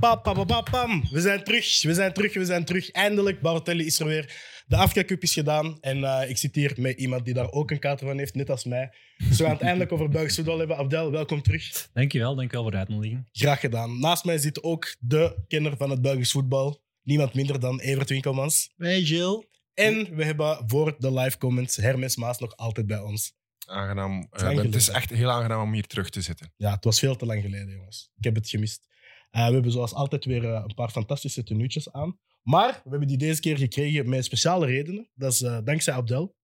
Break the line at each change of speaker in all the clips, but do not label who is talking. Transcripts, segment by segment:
Pa, pa, pa, pa, pam. We zijn terug, we zijn terug, we zijn terug. Eindelijk, Barotelli is er weer. De Afrika Cup is gedaan. En eh, ik zit hier met iemand die daar ook een kater van heeft, net als mij. Dus we gaan het eindelijk over Belgisch voetbal hebben. Abdel, welkom terug.
Dankjewel, dankjewel voor de uitnodiging.
Graag gedaan. Naast mij zit ook de kenner van het Belgisch voetbal. Niemand minder dan Evert Winkelmans.
Hey Jill.
En we hebben voor de live comments Hermes Maas nog altijd bij ons.
Aangenaam. eh,
lang
het is
geleden.
echt heel aangenaam om hier terug te zitten.
Ja, het was veel te lang geleden, jongens. Ik heb het gemist. Eh, we hebben zoals altijd weer eh, een paar fantastische tenuutjes aan. Maar we hebben die deze keer gekregen met speciale redenen. Dat is eh, dankzij Abdel.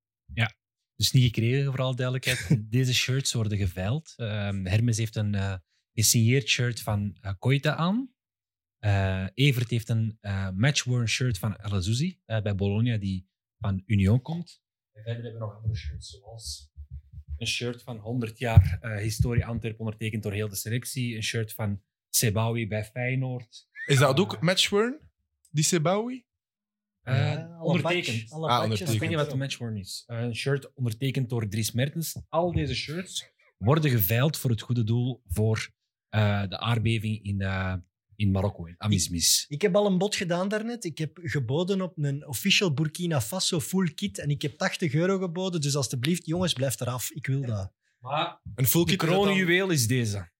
Dus niet gekregen, voor alle duidelijkheid. Deze shirts worden geveild. Ehm, Hermes heeft een eh gesigneerd shirt van eh, Koita aan. Eh, Evert heeft een eh, matchworn shirt van El Azouzi eh, bij Bologna, die van Union komt. En verder hebben we nog andere shirts, zoals een shirt van 100 jaar eh, historie Antwerpen, ondertekend door heel de selectie. Een shirt van Sebawi bij Feyenoord.
Is dat ook matchworn? Die Sebawi?
Eh, ondertekend. Dus Ik
Ah,
weet
ondertekend.
niet wat de matchworn is. Eh, Een shirt ondertekend door Dries Mertens. Al deze shirts worden geveild voor het goede doel voor eh, de aardbeving in, eh, in Marokko, in Amismis.
Ik heb al een bod gedaan daarnet. Ik heb geboden op een official Burkina Faso full kit. En ik heb 80 euro geboden. Dus alsjeblieft, jongens, blijf eraf. Ik wil dat.
Maar
Een full
het
kit. is dat dan-
kroonjuweel is deze.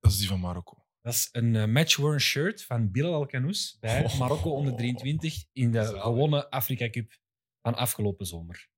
Dat is die van Marokko.
Dat is een eh, matchworn shirt van Bilal Alkanous bij
Oh.
Marokko onder 23 in de
Zalig.
gewonnen Afrika Cup van afgelopen zomer.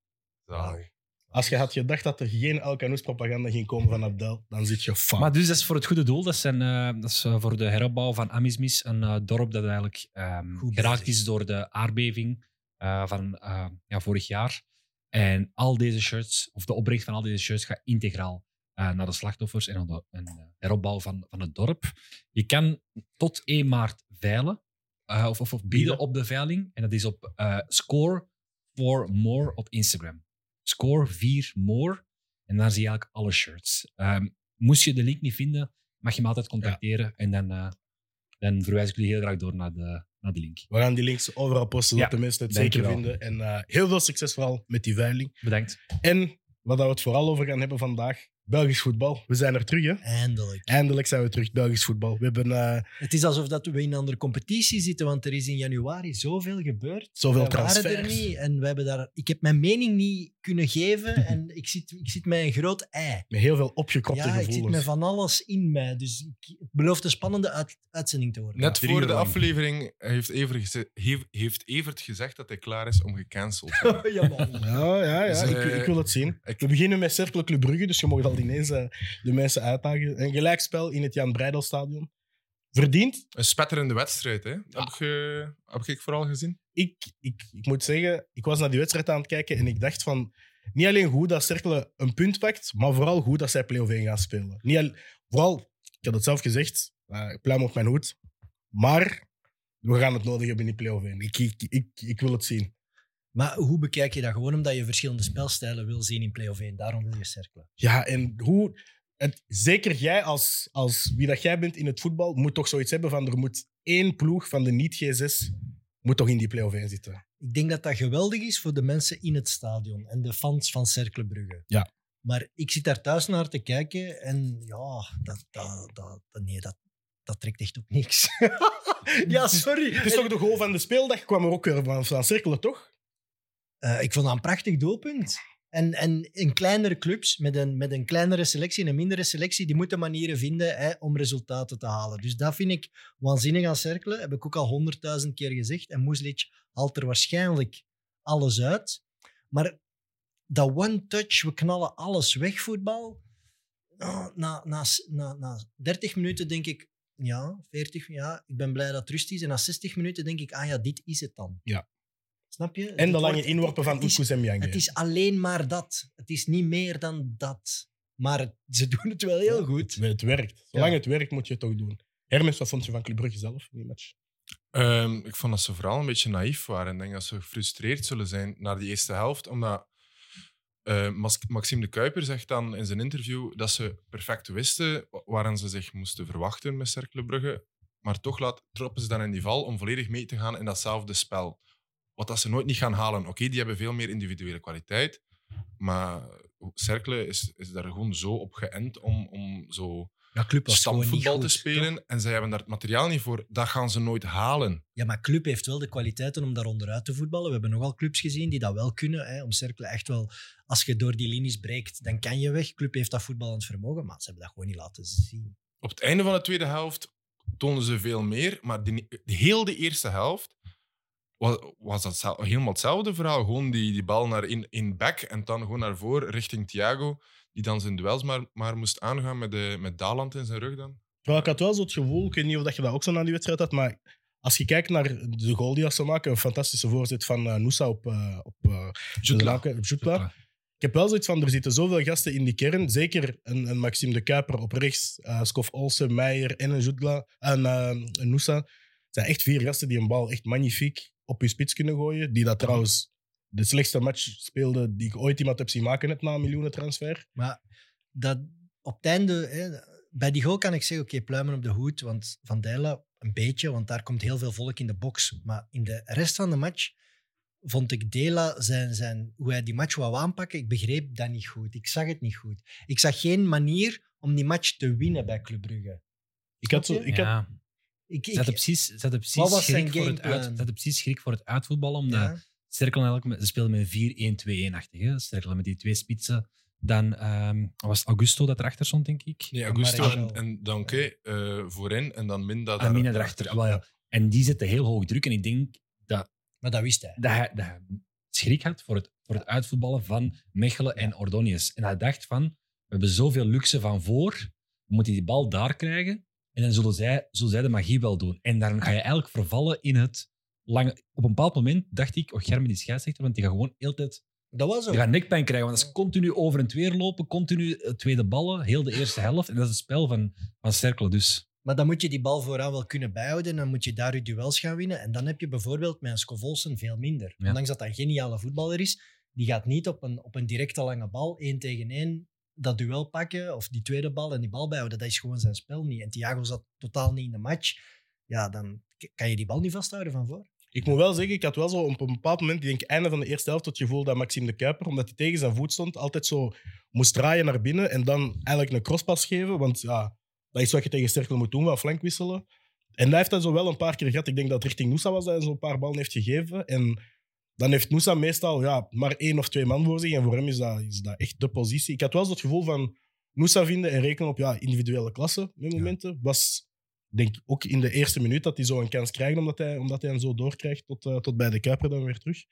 Zalig.
Als je had gedacht dat er geen El Canoes propaganda ging komen van Abdel, dan zit je fout.
Maar dus dat is voor het goede doel. Dat, zijn, eh, dat is eh, voor de heropbouw van Amismis, een eh, dorp dat eigenlijk ehm,
Goed
geraakt
bezig.
is door de aardbeving eh, van eh, ja, vorig jaar. En al deze shirts, of de opbrengst van al deze shirts, gaat integraal eh, naar de slachtoffers en aan de en, eh, heropbouw van, van het dorp. Je kan tot 1 maart veilen, eh, of, of, of bieden
Bieden.
op de veiling. En dat is op eh, Score 4 More op Instagram. Score 4 More. En daar zie je eigenlijk alle shirts. Ehm, moest je de link niet vinden, mag je me altijd contacteren. En dan, eh, dan verwijs ik jullie heel graag door naar de, naar de link.
We gaan die links overal posten, zodat
Ja,
de mensen het zeker
dankjewel.
vinden. En eh, heel veel succes vooral met die veiling.
Bedankt.
En wat we het vooral over gaan hebben vandaag, Belgisch voetbal. We zijn er terug, hè?
Eindelijk.
Eindelijk zijn we terug, Belgisch voetbal. We hebben eh,
Het is alsof dat we in een andere competitie zitten. Want er is in januari zoveel gebeurd.
zoveel
Wij waren er
transfers.
niet. En we hebben daar, ik heb mijn mening niet kunnen geven. En ik zit, ik zit met een groot ei.
Met heel veel opgekropte
Ja, ik zit met
gevoelens.
van alles in mij. Dus ik, het belooft een spannende uit- uitzending te worden.
Net
drie
voor
uur
de
lang.
aflevering heeft Evert, geze- hef- heeft Evert gezegd dat hij klaar is om gecanceld te worden.
ja, man.
Ja, ja, ja.
Dus,
ik,
eh,
ik wil het zien.
ik-
We beginnen met Cercle Club Brugge, dus je mag al ineens eh, de mensen uitdagen. Een gelijkspel in het Jan Breidelstadion. Verdiend.
Een spetterende wedstrijd, hè? Heb, je, heb ik vooral gezien?
Ik, ik, ik moet zeggen, ik was naar die wedstrijd aan het kijken en ik dacht van... Niet alleen goed dat Cercle een punt pakt, maar vooral goed dat zij play-off 1 gaan spelen. Niet al- vooral, ik had het zelf gezegd, eh, ik pluim op mijn hoed. Maar we gaan het nodig hebben in die play-off 1. Ik, ik, ik, ik wil het zien.
Maar hoe bekijk je dat? Gewoon omdat je verschillende spelstijlen wil zien in play-off 1. Daarom wil je cirkelen.
Ja, en hoe. Het, zeker jij, als, als wie dat jij bent in het voetbal, moet toch zoiets hebben van er moet één ploeg van de niet-G6 moet toch in die play-off 1 zitten.
Ik denk dat dat geweldig is voor de mensen in het stadion en de fans van Cercle Brugge.
Ja.
Maar ik zit daar thuis naar te kijken en ja, dat, dat, dat, dat- nee, dat, dat trekt echt op niks. ja, sorry.
Het is toch de goal van de speeldag, kwam er ook weer van, van cirkelen, toch?
Eh, ik vond dat een prachtig doelpunt. En, en in kleinere clubs, met een, met een kleinere selectie en een mindere selectie, die moeten manieren vinden hè, om resultaten te halen. Dus dat vind ik waanzinnig aan cirkelen. Heb ik ook al honderdduizend keer gezegd. En Moeslic haalt er waarschijnlijk alles uit. Maar dat one-touch, we knallen alles weg voetbal. Na, na, na, na, na 30 minuten denk ik, ja, 40, ja, ik ben blij dat het rust is. En na 60 minuten denk ik, ah ja, dit is het dan.
Ja.
Snap je?
En
Dit
de lange
wordt-
inworpen van
het is-
Oekoes en
het is alleen maar dat. Het is niet meer dan dat. Maar het- ze doen het wel heel goed.
Het werkt. Zolang het werkt, moet je het toch doen. Hermes, wat vond je van Club Brugge zelf in die match?
Ehm, ik vond dat ze vooral een beetje naïef waren. Ik denk dat ze gefrustreerd zullen zijn na die eerste helft, omdat eh, Mas- Maxime de Kuiper zegt dan in zijn interview dat ze perfect wisten wa- waaraan ze zich moesten verwachten met Cercle Brugge, maar toch laat, troppen ze dan in die val om volledig mee te gaan in datzelfde spel. Wat dat ze nooit niet gaan halen. Oké, die hebben veel meer individuele kwaliteit, maar Cercle is, is daar gewoon zo op geënt om, om zo
Ja, club was gewoon niet
stapvoetbal
goed.
te spelen. En zij hebben daar het materiaal niet voor. Dat gaan ze nooit halen.
Ja, maar club heeft wel de kwaliteiten om daar onderuit te voetballen. We hebben nogal clubs gezien die dat wel kunnen. Hè, om cirkelen echt wel, als je door die linies breekt, dan kan je weg. Club heeft dat voetballend vermogen, maar ze hebben dat gewoon niet laten zien.
Op het einde van de tweede helft tonden ze veel meer. Maar de, de- heel de eerste helft was, was dat zel- helemaal hetzelfde verhaal. Gewoon die, die bal naar in, in back en dan gewoon naar voren richting Thiago. Die dan zijn duels maar, maar moest aangaan met, de, met Daland in zijn rug dan.
Terwijl ik had wel zo het gevoel, ik weet niet of dat je dat ook zo aan die wedstrijd had, maar als je kijkt naar de goal die dat ze maken, een fantastische voorzet van eh Nusa op, eh op eh,
Jutla.
Zlaka- op Jutla. Ik heb wel zoiets van, er zitten zoveel gasten in die kern. Zeker een, een Maxime de Kuiper op rechts, eh Skof Olsen, Meijer en een Jutla, en eh, een Nusa. Het zijn echt vier gasten die een bal echt magnifiek op je spits kunnen gooien. Die dat trouwens de slechtste match speelden die ik ooit iemand heb zien maken net na een miljoenen transfer.
Maar dat, op het einde, hè, bij die goal kan ik zeggen: oké, pluimen op de hoed. Want Van Dijla een beetje, want daar komt heel veel volk in de box. Maar in de rest van de match vond ik Dela zijn, zijn, hoe hij die match wou aanpakken. Ik begreep dat niet goed. Ik zag het niet goed. Ik zag geen manier om die match te winnen bij Club Brugge.
Ik had, zo, ik had
Ja.
Ik,
Ze hadden
ik,
precies, ze hadden precies
Wat was zijn
schrik voor het uit,
gameplan?
ze hadden precies schrik voor het uitvoetballen. Omdat
ja.
Sterkel eigenlijk, met- ze speelden met een 4-1-2-1 achtig. hè. Sterkel met die twee spitsen. Dan ehm, was het Augusto dat erachter stond, denk ik.
Nee, Augusto
Marechal.
en, en Danke eh, voorin en dan Minda
Ah, Mina erachter. Ah, wel, ja. En die zette heel hoog druk. En ik denk
Maar dat wist hij.
dat hij, dat hij schrik had voor het, voor het uitvoetballen van Mechelen en Ordonius. En hij dacht van, we hebben zoveel luxe van voor, we moeten die bal daar krijgen en dan zullen zij, zullen zij de magie wel doen. En dan ga je eigenlijk vervallen in het lange... Op een bepaald moment dacht ik, oh, Germen die scheidsrechter, want die gaat gewoon heel de tijd...
Dat was ook.
Die gaat nekpijn krijgen, want dat is continu over en weer lopen, continu eh, tweede ballen, heel de eerste helft. En dat is het spel van, van Cercle dus.
Maar dan moet je die bal vooraan wel kunnen bijhouden. En dan moet je daar je duels gaan winnen. En dan heb je bijvoorbeeld met een Scovolsen veel minder.
Ja.
Ondanks dat dat een geniale voetballer is, die gaat niet op een, op een directe lange bal, één tegen één, dat duel pakken. Of die tweede bal en die bal bijhouden. Dat is gewoon zijn spel niet. En Thiago zat totaal niet in de match. Ja, dan k- kan je die bal niet vasthouden van voor.
Ik moet wel zeggen, ik had wel zo op een bepaald moment, ik denk einde van de eerste helft, het gevoel dat Maxime de Kuiper, omdat hij tegen zijn voet stond, altijd zo moest draaien naar binnen en dan eigenlijk een crosspas geven. Want ja, dat is wat je tegen Sterkel moet doen, wel flank wisselen. En hij heeft dat zo wel een paar keer gehad. Ik denk dat het richting Noosa was dat hij zo'n paar ballen heeft gegeven. En dan heeft Noosa meestal ja, maar één of twee man voor zich. En voor hem is dat, is dat echt de positie. Ik had wel zo het gevoel van Noosa vinden en rekenen op ja, individuele klassen met momenten. Was denk ik ook in de eerste minuut dat hij zo een kans krijgt, omdat hij, omdat hij hem zo doorkrijgt tot, eh, tot bij de Kuiper dan weer terug. Dus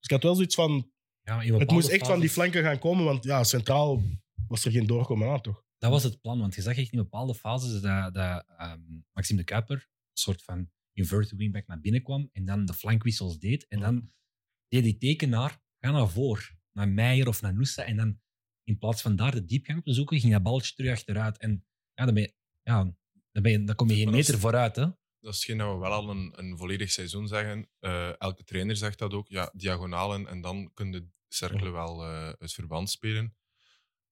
ik had wel zoiets van,
Ja, maar in
het
bepaalde
moest echt van die
fases-
flanken gaan komen, want ja, centraal was er geen doorkomen aan, toch?
Dat was het plan, want je zag echt in bepaalde fases dat, dat ehm, Maxime de Kuiper een soort van inverted wingback naar binnen kwam en dan de flankwissels deed. En
Mhm.
dan deed die tekenaar, ga naar voor, naar Meijer of naar Nusa. En dan in plaats van daar de diepgang op te zoeken, ging dat balletje terug achteruit. En ja, dan, ben je, ja, dan, ben je, dan kom je geen
Maar dat is-
meter vooruit. Hè?
Dat is hetgeen dat we wel al een, een volledig seizoen zeggen. Eh, elke trainer zegt dat ook. Ja, diagonalen en dan kunnen de cirkelen wel eh het verband spelen.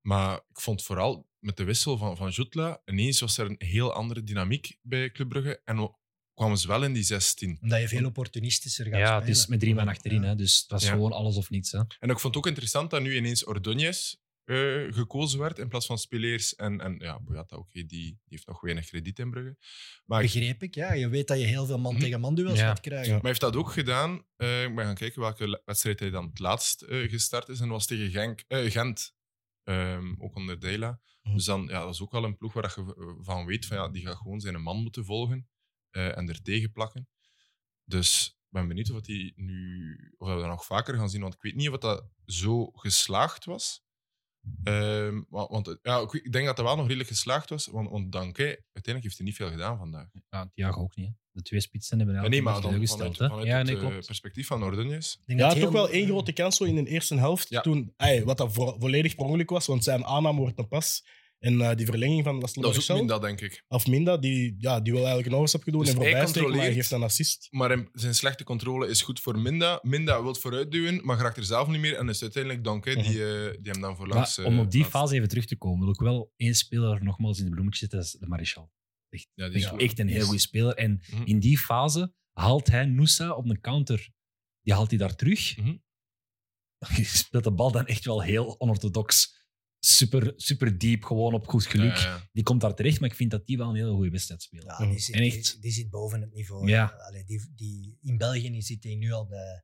Maar ik vond vooral met de wissel van, van Jutla, ineens was er een heel andere dynamiek bij Club Brugge. En we- kwamen ze wel in die 16.
Omdat je veel opportunistischer gaat
Ja,
spelen.
het is met drie man achterin,
Ja.
hè, dus het was
Ja.
gewoon alles of niets. Hè?
En ik vond het ook interessant dat nu ineens Ordóñez eh, gekozen werd in plaats van Speleers. En, en ja, Boyata, oké, die, die heeft nog weinig krediet in Brugge. Maar ik
Begreep ik, ja. Je weet dat je heel veel man
Mhm.
tegen man duels
Ja.
gaat krijgen.
Ja.
Maar hij heeft dat ook gedaan. Eh, ik ben gaan kijken welke le- wedstrijd hij dan het laatst eh, gestart is. En dat was tegen Genk, eh, Gent. Ehm, ook onder Deila.
Mhm.
Dus dan, ja, dat is ook wel een ploeg waar dat je v- van weet van ja, die gaat gewoon zijn man moeten volgen eh, en er tegen plakken. Dus ik ben benieuwd of, dat die nu, of dat we dat nog vaker gaan zien. Want ik weet niet of dat zo geslaagd was. Ehm, wa- want eh, ja, ik, weet- ik denk dat dat wel nog redelijk geslaagd was. Want, want Danke, uiteindelijk heeft hij niet veel gedaan vandaag.
Ja, Thiago ook niet. hè. De twee spitsen hebben
Ja,
eigenlijk
nee, maar
een
dan
beetje
vanuit,
teleurgesteld, hè.
vanuit
Ja,
het
nee,
eh,
klopt.
perspectief van Ordonez.
Ik denk
Ja,
dat
toch
heel-
wel één grote kans zo in de eerste helft.
Ja.
Toen, ey, wat dat vo- volledig per ongeluk was, want zijn aanname wordt een pas. En eh, die verlenging van Laszlo
Dat is ook
Marcel,
Minda, denk ik.
of Minda, die, ja, die wil eigenlijk een overstapje doen
Dus
en
hij
voorbij steken, maar hij
controleert.
geeft een assist.
Maar hem- zijn slechte controle is goed voor Minda. Minda wil vooruitduwen, maar raakt er zelf niet meer. En is uiteindelijk Danke die, eh, die hem dan voorlangs...
Mhm. Maar
eh,
om op die
plaatst.
fase even terug te komen, wil ik wel één speler nogmaals in de bloemetjes zetten, dat is de Marichal.
Ja, die
Dat
is
is
goed.
echt een heel
Yes.
goede speler. En
Mhm.
in die fase haalt hij Nusa op een counter. Die haalt hij daar terug.
Mhm.
Die speelt de bal dan echt wel heel onorthodox. super, super diep, gewoon op goed geluk.
Ja, ja.
Die komt daar terecht, maar ik vind dat die wel een hele goede wedstrijd speelt.
Ja, die, zit,
Mhm. En echt-
die, die zit boven het niveau.
Ja.
Allee, die, die, in België die zit hij nu al bij.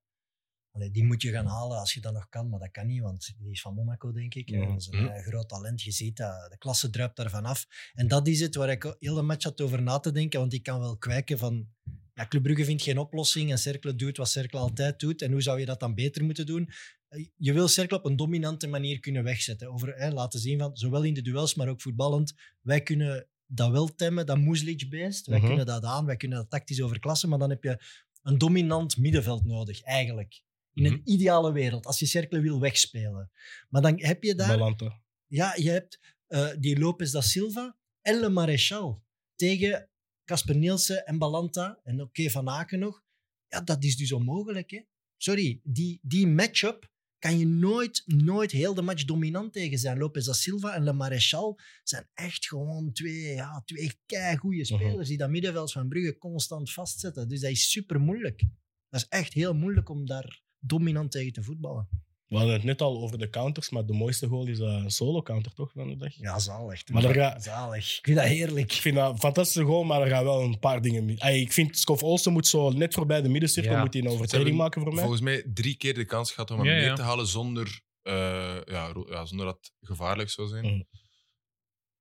Allee, die moet je gaan
Mhm.
halen als je dat nog kan, maar dat kan niet, want die is van Monaco, denk ik.
Ja.
Dat is een
Mhm.
eh, groot talent. Je ziet dat. De klasse druipt daarvan af. En dat is het waar ik heel de match had over na te denken, want ik kan wel kwijken van. Ja, Club Brugge vindt geen oplossing en Cercle doet wat Cercle altijd doet. En hoe zou je dat dan beter moeten doen? Eh, Je wil Cercle op een dominante manier kunnen wegzetten. Over, hè, laten zien van, zowel in de duels, maar ook voetballend, wij kunnen dat wel temmen, dat Moeslic-beest. Wij
Mhm.
kunnen dat aan, wij kunnen dat tactisch overklassen, maar dan heb je een dominant middenveld nodig, eigenlijk. In een
Mhm.
ideale wereld, als je Cercle wil wegspelen. Maar dan heb je daar
Balante.
ja, je hebt eh, die Lopez da Silva en Le Marechal tegen Casper Nielsen en Balanta en oké Van Aken nog. Ja, dat is dus onmogelijk. Hè? Sorry, die, die match-up kan je nooit, nooit heel de match dominant tegen zijn. Lopez da Silva en Le Marechal zijn echt gewoon twee, ja, twee keigoede spelers die dat middenveld van Brugge constant vastzetten. Dus dat is super moeilijk. Dat is echt heel moeilijk om daar dominant tegen te voetballen.
We hadden het net al over de counters, maar de mooiste goal is eh, een solo-counter, toch, van de dag?
Ja, zalig.
Maar er gaat-
Zalig. Ik vind dat heerlijk.
Ik vind dat een fantastische goal, maar er gaan wel een paar dingen mis. Ey, ik vind Scoff Olsen moet zo net voorbij de middencirkel
Ja.
moet hij een
Ze hebben
overtreding maken voor mij.
Volgens mij drie keer de kans gehad om hem
Ja,
neer
ja.
te halen zonder, eh, ja, ro- ja, zonder dat het gevaarlijk zou zijn.
Mhm.
Mm.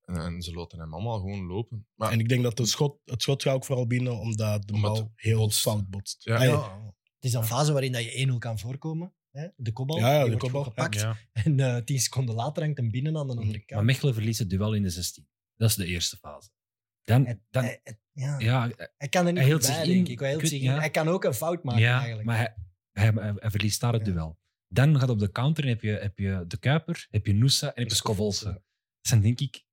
En, en ze laten hem allemaal gewoon lopen. Maar
En ik denk dat de schot, het schot gaat ook vooral binnen, omdat de
Omdat
bal
het
heel
botst.
fout botst.
Ja.
Ey,
Ja. Het is een fase waarin dat je 1-0 kan voorkomen. Hè? De kopbal.
Ja, ja,
die
de
wordt
kopbal,
goed gepakt. En eh tien seconden later hangt hem binnen aan de andere
Maar
kant.
Mechelen verliest het duel in de 16. Dat is de eerste fase. Dan,
Hij-
dan,
hij, hij- ja.
ja,
hij kan er niet
hij hield
bij,
zich
denk
in.
ik. Hij, hield
Ik
zich
weet-
in.
ja.
hij kan ook een fout maken,
Ja,
eigenlijk.
maar hij, hij, hij- hij verliest daar het
Ja.
duel. Dan gaat op de counter en heb je, heb je de Kuiper, heb je Noosa en heb je Scovolse. Dat zijn denk ik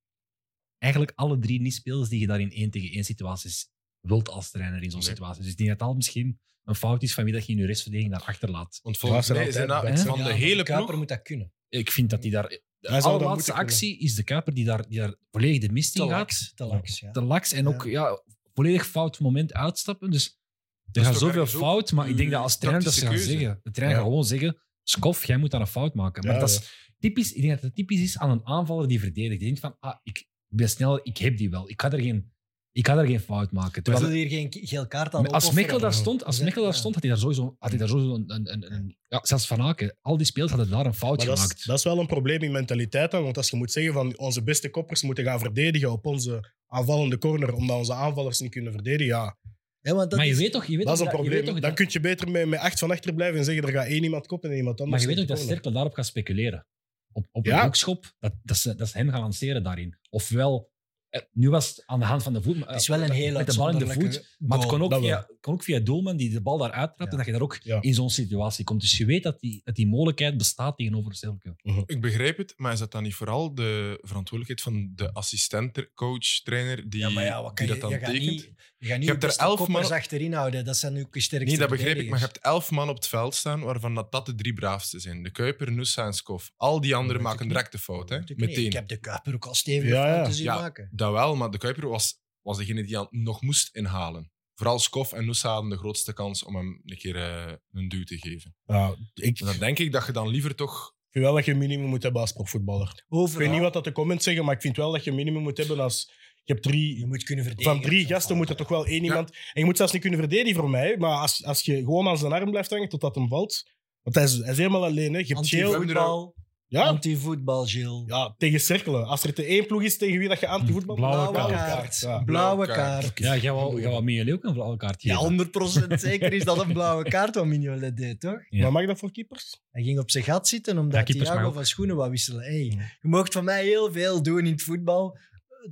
eigenlijk alle drie niet spelers die je daar in één tegen één situaties wilt als trainer in zo'n
Nee.
situatie. Dus ik denk dat het al misschien een fout is van wie dat je in je restverdediging daar achterlaat.
was
want volgens
er
mij
altijd
zijn dat
bij, hè?
van
Ja,
de
maar
hele
Kuiper
ploeg...
moet dat kunnen.
Ik vind dat die daar... De
Hij zou dat
allerlaatste
moeten
actie is de Kuiper die daar, die daar volledig de mist
Te
in gaat.
laks. Te laks, ja.
te laks en ook ja, volledig fout moment uitstappen. Dus er
is
gaan
toch
zoveel
ergens ook
fout, maar ik denk dat als trainer dat ze gaan
tactische keuze.
zeggen. De trainer
Ja.
gaat gewoon zeggen, Skof, jij moet daar een fout maken. Maar
Ja,
dat is typisch, ik denk dat het typisch is aan een aanvaller die verdedigt. Die denkt van, ah, ik ben snel, ik heb die wel. Ik ga er geen, ik ga er geen fout maken.
We
Terwijl,
zullen hier geen geel kaart aan
als Mikkel
opofferen.
daar stond, als
Ja.
Mikkel daar stond had hij daar sowieso, had hij daar sowieso een, een, een, een- ja, zelfs Van Aken, al die spelers hadden daar een fout
Maar dat
gemaakt.
is, dat is wel een probleem in mentaliteit dan. Want als je moet zeggen van onze beste koppers moeten gaan verdedigen op onze aanvallende corner, omdat onze aanvallers niet kunnen verdedigen, ja,
Ja, want dat
maar je
is-
weet toch, je weet
dat is
toch
een
je weet
probleem.
toch
Dan kun je beter met, met acht van achter blijven en zeggen er gaat één iemand koppen en iemand
Maar
anders.
je weet ook dat
komt
Cirkel daarop gaat speculeren. Op, op
Ja.
een hoekschop, dat, dat, ze, dat ze hem gaan lanceren daarin. Ofwel, eh, nu was het aan de hand van de voet. maar, eh,
Het is wel een heel
Met de bal in de
uitzonderlijke
voet. Maar het
goal.
kon ook,
dat wel.
via, kon ook via doelman die de bal daar uittrapt.
Ja.
En dat je daar ook
Ja.
in zo'n situatie komt. Dus je weet dat die, dat die mogelijkheid bestaat tegenover Cirkel.
Ik begrijp het, maar is dat dan niet vooral de verantwoordelijkheid van de assistent, coach, trainer, die,
Ja, maar ja, wat kan
die
je,
dat
je
dan
gaat
tekent?
niet, je gaat niet
Je hebt
je
er
beste
elf
koppers
man-
achterin houden. Dat zijn nu ook je sterkste
Nee, dat begrijp ik. Maar je
verdedigers.
hebt elf man op het veld staan waarvan dat, dat de drie braafste zijn. De Kuiper, Nusa en Skof. Al die anderen
Dat weet
maken
ik
direct de fout. Hè?
Natuurlijk niet. Ik
Meteen.
heb de Kuiper ook al stevige
Ja, ja.
fouten zien
Ja.
maken.
Dat wel, maar de Kuiper was, was degene die aan nog moest inhalen. Vooral Skof en Nusa hadden de grootste kans om hem een keer eh, een duw te geven.
Ja, ik
En dan denk ik dat je dan liever toch...
vind wel dat je een minimum moet hebben als profvoetballer. Ik
Overal.
weet niet wat dat de comments zeggen, maar ik vind wel dat je een minimum moet hebben als... Je hebt
Je
drie...
moet kunnen verdedigen.
Van drie gasten moet er toch wel één
Ja.
iemand... En je moet zelfs niet kunnen verdedigen voor mij, maar als, als je gewoon aan zijn arm blijft hangen totdat hem valt... Want hij is, hij is helemaal alleen, hè. Je hebt geel...
Anti-voetbal.
Ja,
Anti-voetbal, Gilles.
Ja, tegen cirkelen. Als er te één ploeg is tegen wie dat je anti-voetbal... Nou,
Blauwe
Blauwe
kaart.
Ja.
Blauwe
Blauwe
kaart.
kaart.
Ja, jij wou, jij wou Miele ook een blauwe kaart geven.
Ja, 100% zeker is dat een blauwe kaart wat Mignolet deed, toch?
Ja.
Maar mag dat voor keepers?
Hij ging op zijn gat zitten
Ja,
omdat
keepers
Thiago
mag ook.
van schoenen wou wisselen. Hey, je mocht van mij heel veel doen in het voetbal.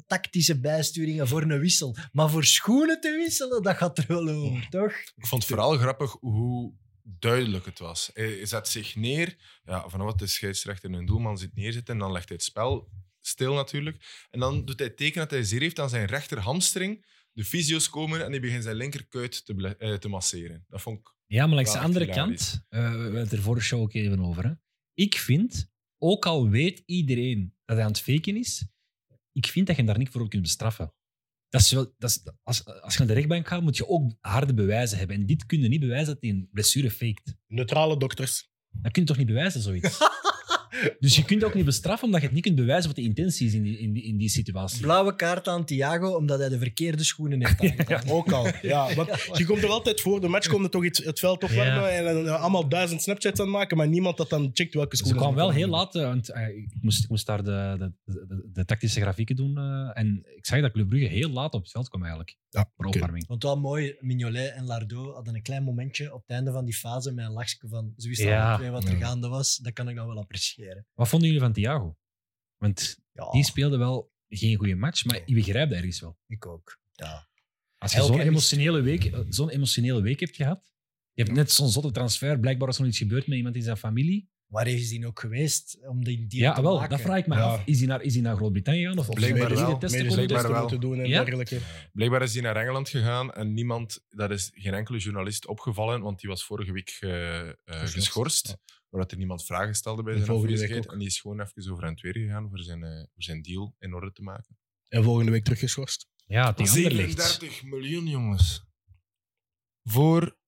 Tactische bijsturingen voor een wissel. Maar voor schoenen te wisselen, dat gaat er wel over, toch?
Ik vond het vooral grappig hoe duidelijk het was. Hij zet zich neer. Ja, van wat de scheidsrechter een doelman zit neerzetten. En dan legt hij het spel stil natuurlijk. En dan doet hij teken dat hij zeer heeft aan zijn rechterhamstring. De fysio's komen en die begint zijn linkerkuit te, ble- eh, te masseren. Dat vond ik...
Ja, maar langs de
Waar
andere
hilarisch.
kant, eh, we hebben het er vorige show ook even over. Hè. Ik vind, ook al weet iedereen dat hij aan het faken is, ik vind dat je hem daar niet voor op kunt bestraffen. Dat is wel, dat is, als, als je naar de rechtbank gaat, moet je ook harde bewijzen hebben. En dit kun je niet bewijzen dat hij een blessure faked.
Neutrale dokters.
Dat kun je toch niet bewijzen, zoiets? Dus je kunt ook niet bestraffen omdat je het niet kunt bewijzen wat de intentie is in die, in die, in die situatie.
Blauwe kaart aan Thiago, omdat hij de verkeerde schoenen heeft aangedaan.
Ook al. Ja, want je komt er altijd voor, de match komt er toch iets, het veld opwarmen en dan eh, allemaal duizend Snapchats aan het maken, maar niemand dat dan checkt welke
Ze
schoenen.
kwam wel heel
hebben.
laat, eh, want eh, ik, moest, ik moest daar de, de, de, de tactische grafieken doen. eh, en ik zag dat Club Brugge heel laat op het veld kwam eigenlijk,
Ja,
voor
oké.
opwarming.
Want wel mooi, Mignolet en Lardo hadden een klein momentje op het einde van die fase met een lachje van ze wisten
Ja.
alle twee wat er
Ja.
gaande was. Dat kan ik dan wel appreciëren.
Wat vonden jullie van Thiago? Want
Ja,
Ah.
die speelde wel geen goede match, maar je begrijpt dat ergens wel.
ik ook. Ja.
Als je
Elke
zo'n
is-
emotionele, week, eh, zo'n emotionele week hebt gehad, je hebt net zo'n zotte transfer, blijkbaar is er nog iets gebeurd met iemand in zijn familie.
Waar is die ook geweest om die deal
ja,
te
wel,
maken?
dat vraag ik me
Ja.
af. Is hij naar, is hij naar Groot-Brittannië gegaan? Of, of
Blijkbaar
is hij
wel.
de testen
Medisch-
komen
Medisch
doen?
blijkbaar
testen
wel.
moeten doen en
Ja?
dergelijke.
Blijkbaar is hij naar Engeland gegaan en niemand, dat is geen enkele journalist opgevallen, want die was vorige week ge- eh, geschorst.
Ja.
Doordat er niemand vragen stelde bij
En
zijn
volgende week
afwezigheid.
ook.
En die is gewoon even over en weer gegaan voor zijn, eh, voor zijn deal in orde te maken.
En volgende week teruggeschorst.
Ja, tegen Anderlecht.
37 miljoen, jongens. Voor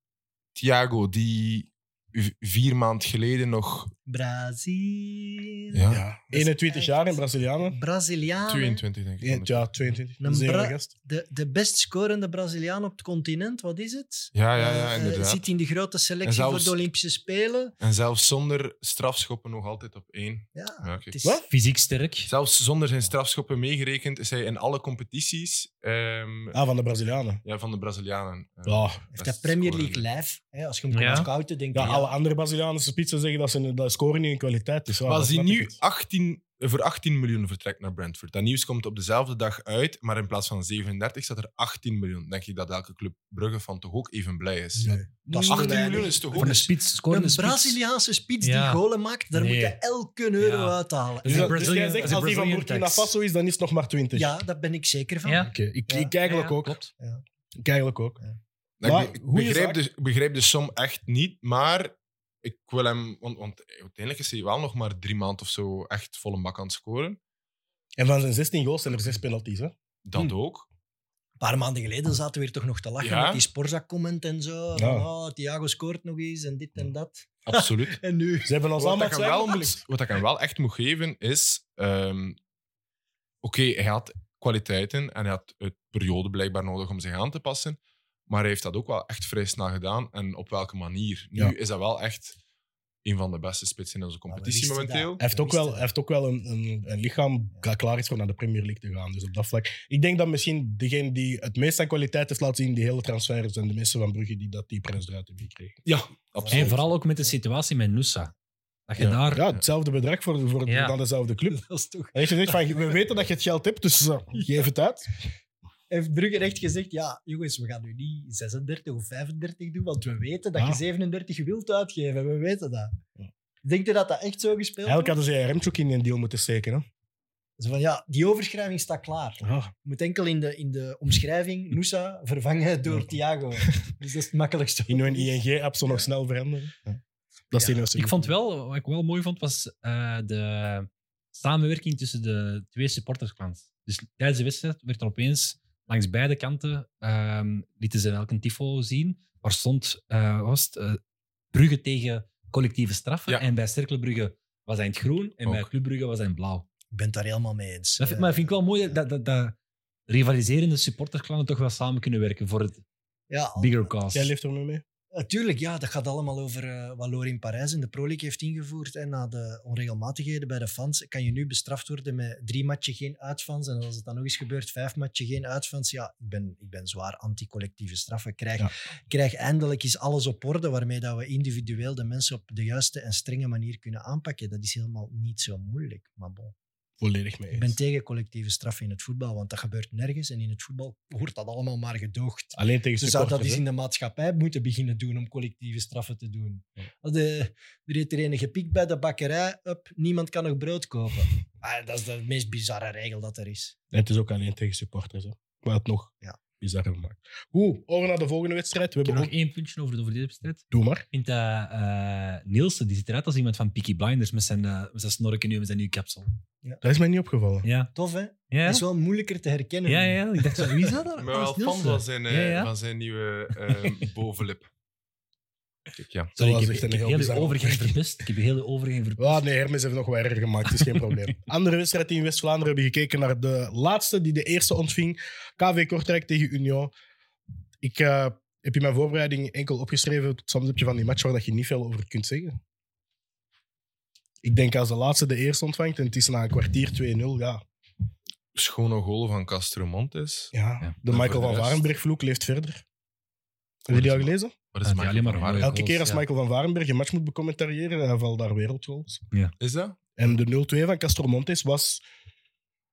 Thiago, die v- vier maand geleden nog
Ah, Brazil.
ja,
Ja. 21 jaar in Brazilianen.
Braziliaan.
22, denk ik.
Ja, 22.
Een
Een
bra-
zeer gast.
De, de best scorende Braziliaan op het continent, wat is het?
Ja, ja, ja,
Eh, eh,
inderdaad.
zit in de grote selectie
En zelfs-
voor de Olympische Spelen.
En zelfs zonder strafschoppen nog altijd op één.
Ja,
Ja, oké.
het is-
Wat?
Fysiek sterk.
Zelfs zonder zijn strafschoppen meegerekend is hij in alle competities ehm,
Ah, van de Brazilianen.
ja, van de Brazilianen. eh,
Ja.
Heeft
best
dat Premier
scorer.
League lijf? Hè? Als je hem
Ja.
kan scouten, denk je...
Ja, alle andere Braziliaanse spitsen zeggen dat ze dat scoren niet in kwaliteit is. Ja,
Maar
dat
als hij
snap ik
nu
niet.
18, eh, voor 18 miljoen vertrekt naar Brentford, dat nieuws komt op dezelfde dag uit, maar in plaats van 37 staat er 18 miljoen. Denk ik dat elke club Brugge van toch ook even blij is.
Ja.
dat is te
18
weinig.
miljoen is toch
Voor
ook...
een spits, scorende
een
spits.
Braziliaanse spits
Ja.
die golen maakt, daar
Nee.
moet je elke euro
Ja.
uithalen.
Dus,
Is
dat-
een
dus
Brazilian-
jij
is
zegt,
een
als die van
Brazilian
Burkina
tax.
Faso is, dan is het nog maar 20.
Ja, daar ben ik zeker van.
Ja.
Oké, ik,
Ja.
ik eigenlijk
Ja, ja,
ook.
klopt.
Ik eigenlijk ook.
Nou, Ik
Maar
be- ik
goeie
begrijp,
zaak.
de, ik begrijp de som echt niet, maar ik wil hem... Want, want uiteindelijk is hij wel nog maar drie maanden of zo echt volle bak aan het scoren.
En van zijn 16 goals zijn er 6 penalties. Hè?
Dat
Hm.
ook.
Een paar maanden geleden zaten we weer toch nog te lachen
Ja.
met die Sporza-comment en zo. Van,
Ja.
oh, Thiago scoort nog eens en dit en dat.
Absoluut.
En nu?
Ze hebben ons
Wat
allemaal
ik, hem wel
twijfel.
moet, wat ik hem wel echt moet geven is. ehm, Oké, hij had kwaliteiten en hij had het periode blijkbaar nodig om zich aan te passen. Maar hij heeft dat ook wel echt vrij snel gedaan. En op welke manier? Nu
Ja.
is dat wel echt een van de beste spitsen in onze competitie
wisten
momenteel.
Hij heeft ook wel, hij heeft ook wel een, een, een lichaam dat klaar is voor naar de Premier League te gaan. Dus op dat vlak. Ik denk dat misschien degene die het meest aan kwaliteit heeft laten zien, die hele transfers en de mensen van Brugge die dat die prijs eruit hebben gekregen.
Ja,
En
absoluut.
vooral ook met de situatie met Nusa. Dat je
Ja.
daar...
Ja, hetzelfde bedrag voor, voor
Ja.
dan dezelfde club.
Dat is toch...
Hij heeft gezegd van, we weten dat je het geld hebt, dus eh, geef het uit.
Heeft Brugge echt gezegd, ja, jongens, we gaan nu niet 36 of 35 doen, want we weten dat
Ja.
je 37 wilt uitgeven. We weten dat. Denkt u dat dat echt zo gespeeld
Eigenlijk
wordt?
hadden ze Remchuk in een deal moeten steken. Hè?
Zo van, ja, die overschrijving staat klaar.
Ja.
Je moet enkel in de, in de omschrijving Nusa vervangen door Thiago. Dus dat is het makkelijkste.
In hun ING-app zo nog snel veranderen. Ja. Dat is
Ja.
die eerste.
Ik vond wel, wat ik wel mooi vond, was eh, de samenwerking tussen de twee supportersklans. Dus tijdens de wedstrijd werd er opeens langs beide kanten, ehm, lieten ze elk een tifo zien, waar stond, eh, wat was het, eh, Brugge tegen collectieve straffen.
Ja.
En bij Cercle Brugge was hij in het groen en
Ook.
bij Club Brugge was hij in het blauw.
Ik ben het daar helemaal mee eens. Eh,
Dat vind, maar vind ik wel mooi dat, dat, dat rivaliserende supportersklanen toch wel samen kunnen werken voor het
Ja,
bigger cause.
Jij leeft er mee mee?
natuurlijk. Ja, dat gaat allemaal over eh, wat Loor in Parijs in de Pro League heeft ingevoerd. En na de onregelmatigheden bij de fans kan je nu bestraft worden met drie matchen geen uitfans. En als het dan nog eens gebeurt, vijf matchen geen uitfans. Ja, ik ben, ik ben zwaar anti-collectieve straffen. Krijg,
Ja.
krijg eindelijk eens alles op orde waarmee dat we individueel de mensen op de juiste en strenge manier kunnen aanpakken. Dat is helemaal niet zo moeilijk. Maar bon.
Volledig mee.
Ik ben tegen collectieve straffen in het voetbal, want dat gebeurt nergens. En in het voetbal wordt dat allemaal maar gedoogd.
Ah,
Alleen tegen
Ze zou dat
supporters,
eens
hè.
in de maatschappij moeten beginnen doen om collectieve straffen te doen. De, er heeft er een gepikt bij de bakkerij, up, niemand kan nog brood kopen. Ah, dat is de meest bizarre regel dat er is.
En het is ook alleen tegen supporters. Hè. Maar het nog
Ja.
bizarrer maakt. Goed, over naar de volgende wedstrijd. We
Ik heb
hebben
nog
ook...
één puntje over, over deze wedstrijd.
Doe maar.
Ik vind dat eh, Nielsen, die ziet eruit als iemand van Peaky Blinders met zijn, eh, met zijn snorken nu, met zijn nieuwe kapsel.
Dat is mij niet opgevallen.
Ja.
Tof, hè?
Ja?
Dat is wel moeilijker te herkennen.
ja, ja. Ik dacht, zo, wie is dat?
Ik
dan?
ben wel fan van zijn, eh,
Ja, ja.
Van zijn nieuwe ehm, bovenlip. Kijk, ja.
Sorry,
was
ik heb,
echt een
ik heb
heel
heel de
bizarre
overgang verpest. Ik heb heel de overgang verpest.
Ah, nee, Hermes heeft nog wat erger gemaakt, is geen probleem. Andere wedstrijd die in West-Vlaanderen hebben gekeken naar de laatste, die de eerste ontving. KV Kortrijk tegen Union. Ik eh, heb in mijn voorbereiding enkel opgeschreven, soms heb je van die match waar dat je niet veel over kunt zeggen. Ik denk als de laatste de eerste ontvangt en het is na een kwartier 2-0, ja.
Schone goal van Castro Montes.
ja. De
En
Michael
voor de
van
rest-
Varenberg-vloek leeft verder. Hebben jullie die al gelezen?
Wat is
Ja,
het
die alleen maar
waar?
rode
Elke keer
goals,
als
ja.
Michael van Varenberg een match moet becommentariëren, hij valt daar wereldgoals.
Is dat?
En de 0-2 van Castor Montes was.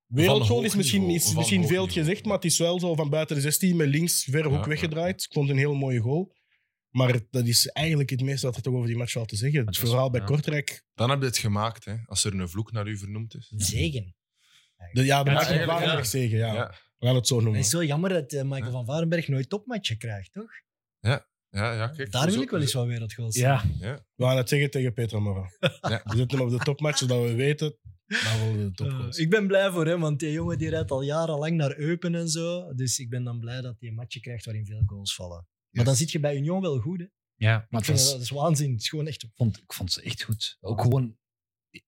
Van
Wereldgoal
hoog
is misschien,
niveau,
is
van
misschien
hoog
veel
niveau.
gezegd, maar het is wel zo van buiten de 16 met links ver hoek
Ja, ja.
weggedraaid. Ik vond het een heel mooie goal. Maar dat is eigenlijk het meeste dat er toch over die match valt te zeggen. Het
Het was-
verhaal bij
ja.
Kortrijk.
Dan heb je het gemaakt, hè? Als er een vloek naar u vernoemd is.
Zegen.
De, ja, de
Ja,
match van
eigenlijk,
Varenberg
ja.
zeggen. Ja.
Ja,
We gaan het zo
Het
noemen.
is zo jammer dat eh, Michael
Ja.
van Varenberg nooit topmatchen krijgt, toch?
ja, ja kijk.
Daar wil
zo-
ik wel eens wat wereldgoals zien.
Ja,
We gaan het zeggen tegen Petra Morra.
Ja.
We zitten op de topmatch, zodat we weten. Dan willen we de
Eh,
topgoals.
ik ben blij voor hem, want die jongen die rijdt al jarenlang naar Eupen en zo. Dus ik ben dan blij dat hij een matje krijgt waarin veel goals vallen. Maar dan zit je bij Union wel goed, hè?
ja, maar het
Ik vind
was,
dat, dat is waanzin. Het is gewoon echt...
ik vond, ik vond ze echt goed. Ook gewoon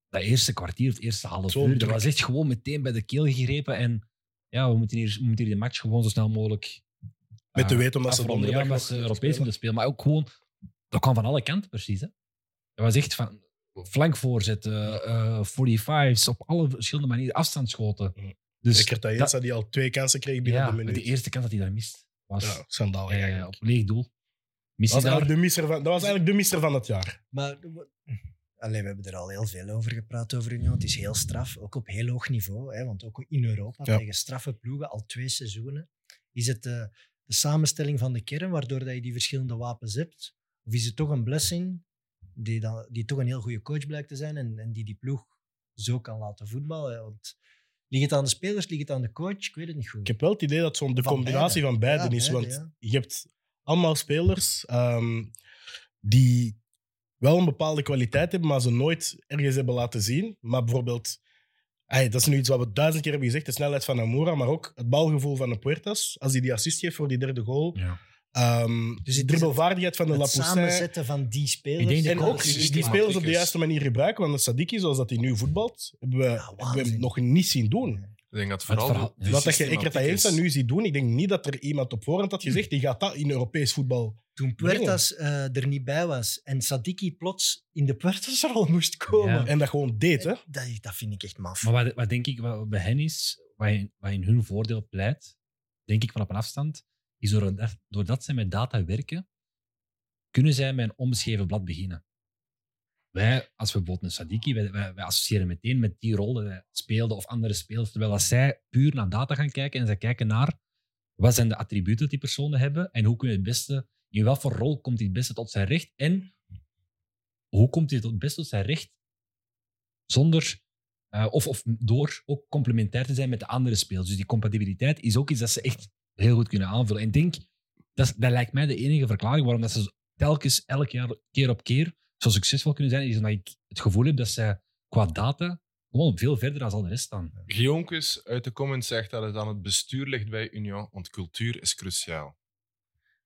dat eerste kwartier, het eerste half
Zo
uur. Dat
druk.
was echt gewoon meteen bij de keel gegrepen. En ja, we moeten hier, we moeten hier de match gewoon zo snel mogelijk.
Met de
eh,
weten omdat ze
afronden.
donderdag
Ja, omdat ze
nog
eh, Europees
spelen.
moeten spelen. Maar ook gewoon, dat kwam van alle kanten precies. Hè. Dat was echt van flankvoorzetten, eh 45's, op alle verschillende manieren afstandsschoten.
Ja.
Dus
Zeker
dat-
Tajensa, die al twee kansen kreeg binnen
ja,
de
de
minuut.
eerste kans dat hij daar mist, was
Ja, schandaal
eh,
eigenlijk.
op leeg doel. Mist
Dat
hij
was,
daar.
eigenlijk de misser van, dat was eigenlijk de misser van het jaar.
Maar... Allee, we hebben er al heel veel over gepraat over Union. Het is heel straf, ook op heel hoog niveau. Hè? Want ook in Europa,
Ja.
tegen straffe ploegen, al twee seizoenen, is het eh, de samenstelling van de kern waardoor dat je die verschillende wapens hebt? Of is het toch een blessing die, dan, die toch een heel goede coach blijkt te zijn en, en die die ploeg zo kan laten voetballen? hè? Want ligt het aan de spelers, ligt het aan de coach? Ik weet het niet goed.
Ik heb wel het idee dat zo'n de
Van
combinatie
beide.
van beiden
Ja,
is.
beide,
Want
ja.
je hebt allemaal spelers ehm, die wel een bepaalde kwaliteit hebben, maar ze nooit ergens hebben laten zien. Maar bijvoorbeeld, ey, dat is nu iets wat we duizend keer hebben gezegd, de snelheid van Amora, maar ook het balgevoel van de Puertas. Als hij die assist geeft voor die derde goal.
Ja.
Ehm,
is
de
Dus het-
dribbelvaardigheid van de
het
Lapoussin.
samenzetten van die spelers.
Ik denk dat
En ook
systeem-
die spelers op de
is.
juiste manier gebruiken. Want de Sadiki, zoals dat hij nu voetbalt, hebben we, hebben we hem
waanzin. Dus
nog niet zien doen.
Ik denk dat vooral.
verhaal-
de- de
Wat dat je
systematiek
Ekretajensa
is.
nu ziet doen, ik denk niet dat er iemand op voorhand had gezegd, die gaat dat in Europees voetbal.
Toen Puertas eh, er niet bij was en Sadiki plots in de Puertasrol moest komen.
Ja.
En dat gewoon deed, hè.
Eh, Dat, dat vind ik echt maf.
Maar wat, wat denk ik wat bij hen is, wat in, wat in hun voordeel pleit, denk ik van op een afstand, is doordat, doordat zij met data werken, kunnen zij met een onbeschreven blad beginnen. Wij, als we bijvoorbeeld een Sadiki, wij, wij, wij associëren meteen met die rol die hij speelde of andere spelers, terwijl dat zij puur naar data gaan kijken en zij kijken naar wat zijn de attributen die personen hebben en hoe kun je het beste, in welke rol komt hij het beste tot zijn recht en hoe komt hij tot het beste tot zijn recht zonder eh, of, of door ook complementair te zijn met de andere spelers. Dus die compatibiliteit is ook iets dat ze echt heel goed kunnen aanvullen. En ik denk, dat, is- dat lijkt mij de enige verklaring waarom dat ze telkens elk jaar keer op keer zo succesvol kunnen zijn, is omdat ik het gevoel heb dat ze qua data gewoon veel verder dan al de rest staan.
Gionkes uit de comments zegt dat het aan het bestuur ligt bij Union, want cultuur is cruciaal.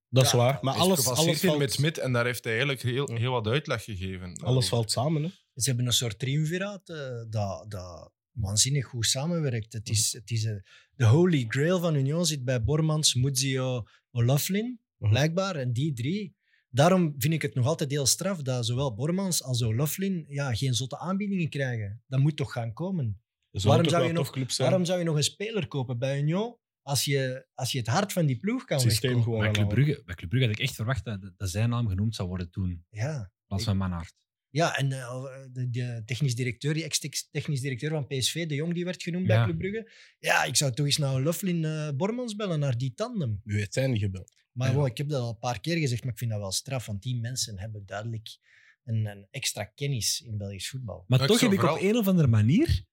Dat is waar. Maar
Hij is
alles, alles,
gefaseerd in
valt,
met Smit en daar heeft hij eigenlijk heel, heel wat uitleg gegeven.
alles valt samen, hè.
Ze hebben een soort triumviraat eh, dat, dat waanzinnig goed samenwerkt. Het is, het is eh, de holy grail van Union zit bij Bormans, Muzio, O'Loughlin,
Mhm.
blijkbaar. En die drie. Daarom vind ik het nog altijd heel straf dat zowel Bormans als O'Loughlin ja, geen zotte aanbiedingen krijgen. Dat moet toch gaan komen.
Dus dat moet ook
Waarom zou
wel
je
een
nog-
topclub zijn?
Waarom zou je nog een speler kopen bij Union als je, als je het hart van die ploeg kan
het systeem
wegkopen?
gewoon
Bij Club,
aanhouden?
Brugge, bij Club Brugge had ik echt verwacht dat, dat zijn naam genoemd zou worden toen, in
Ja.
plaats van Manhart.
Ja, en eh, de, de technisch directeur, die ex-technisch directeur van PSV, de Jong, die werd genoemd bij
Ja.
Club Brugge. Ja, ik zou toch eens naar Loughlin eh Bormans bellen, naar die tandem.
Nu heeft hij niet gebeld.
Maar
Ja.
wow, ik heb dat al een paar keer gezegd, maar ik vind dat wel straf, want die mensen hebben duidelijk een, een extra kennis in Belgisch voetbal.
Maar
Maar ik
toch heb
zou
ik op
vooral-
een of andere manier,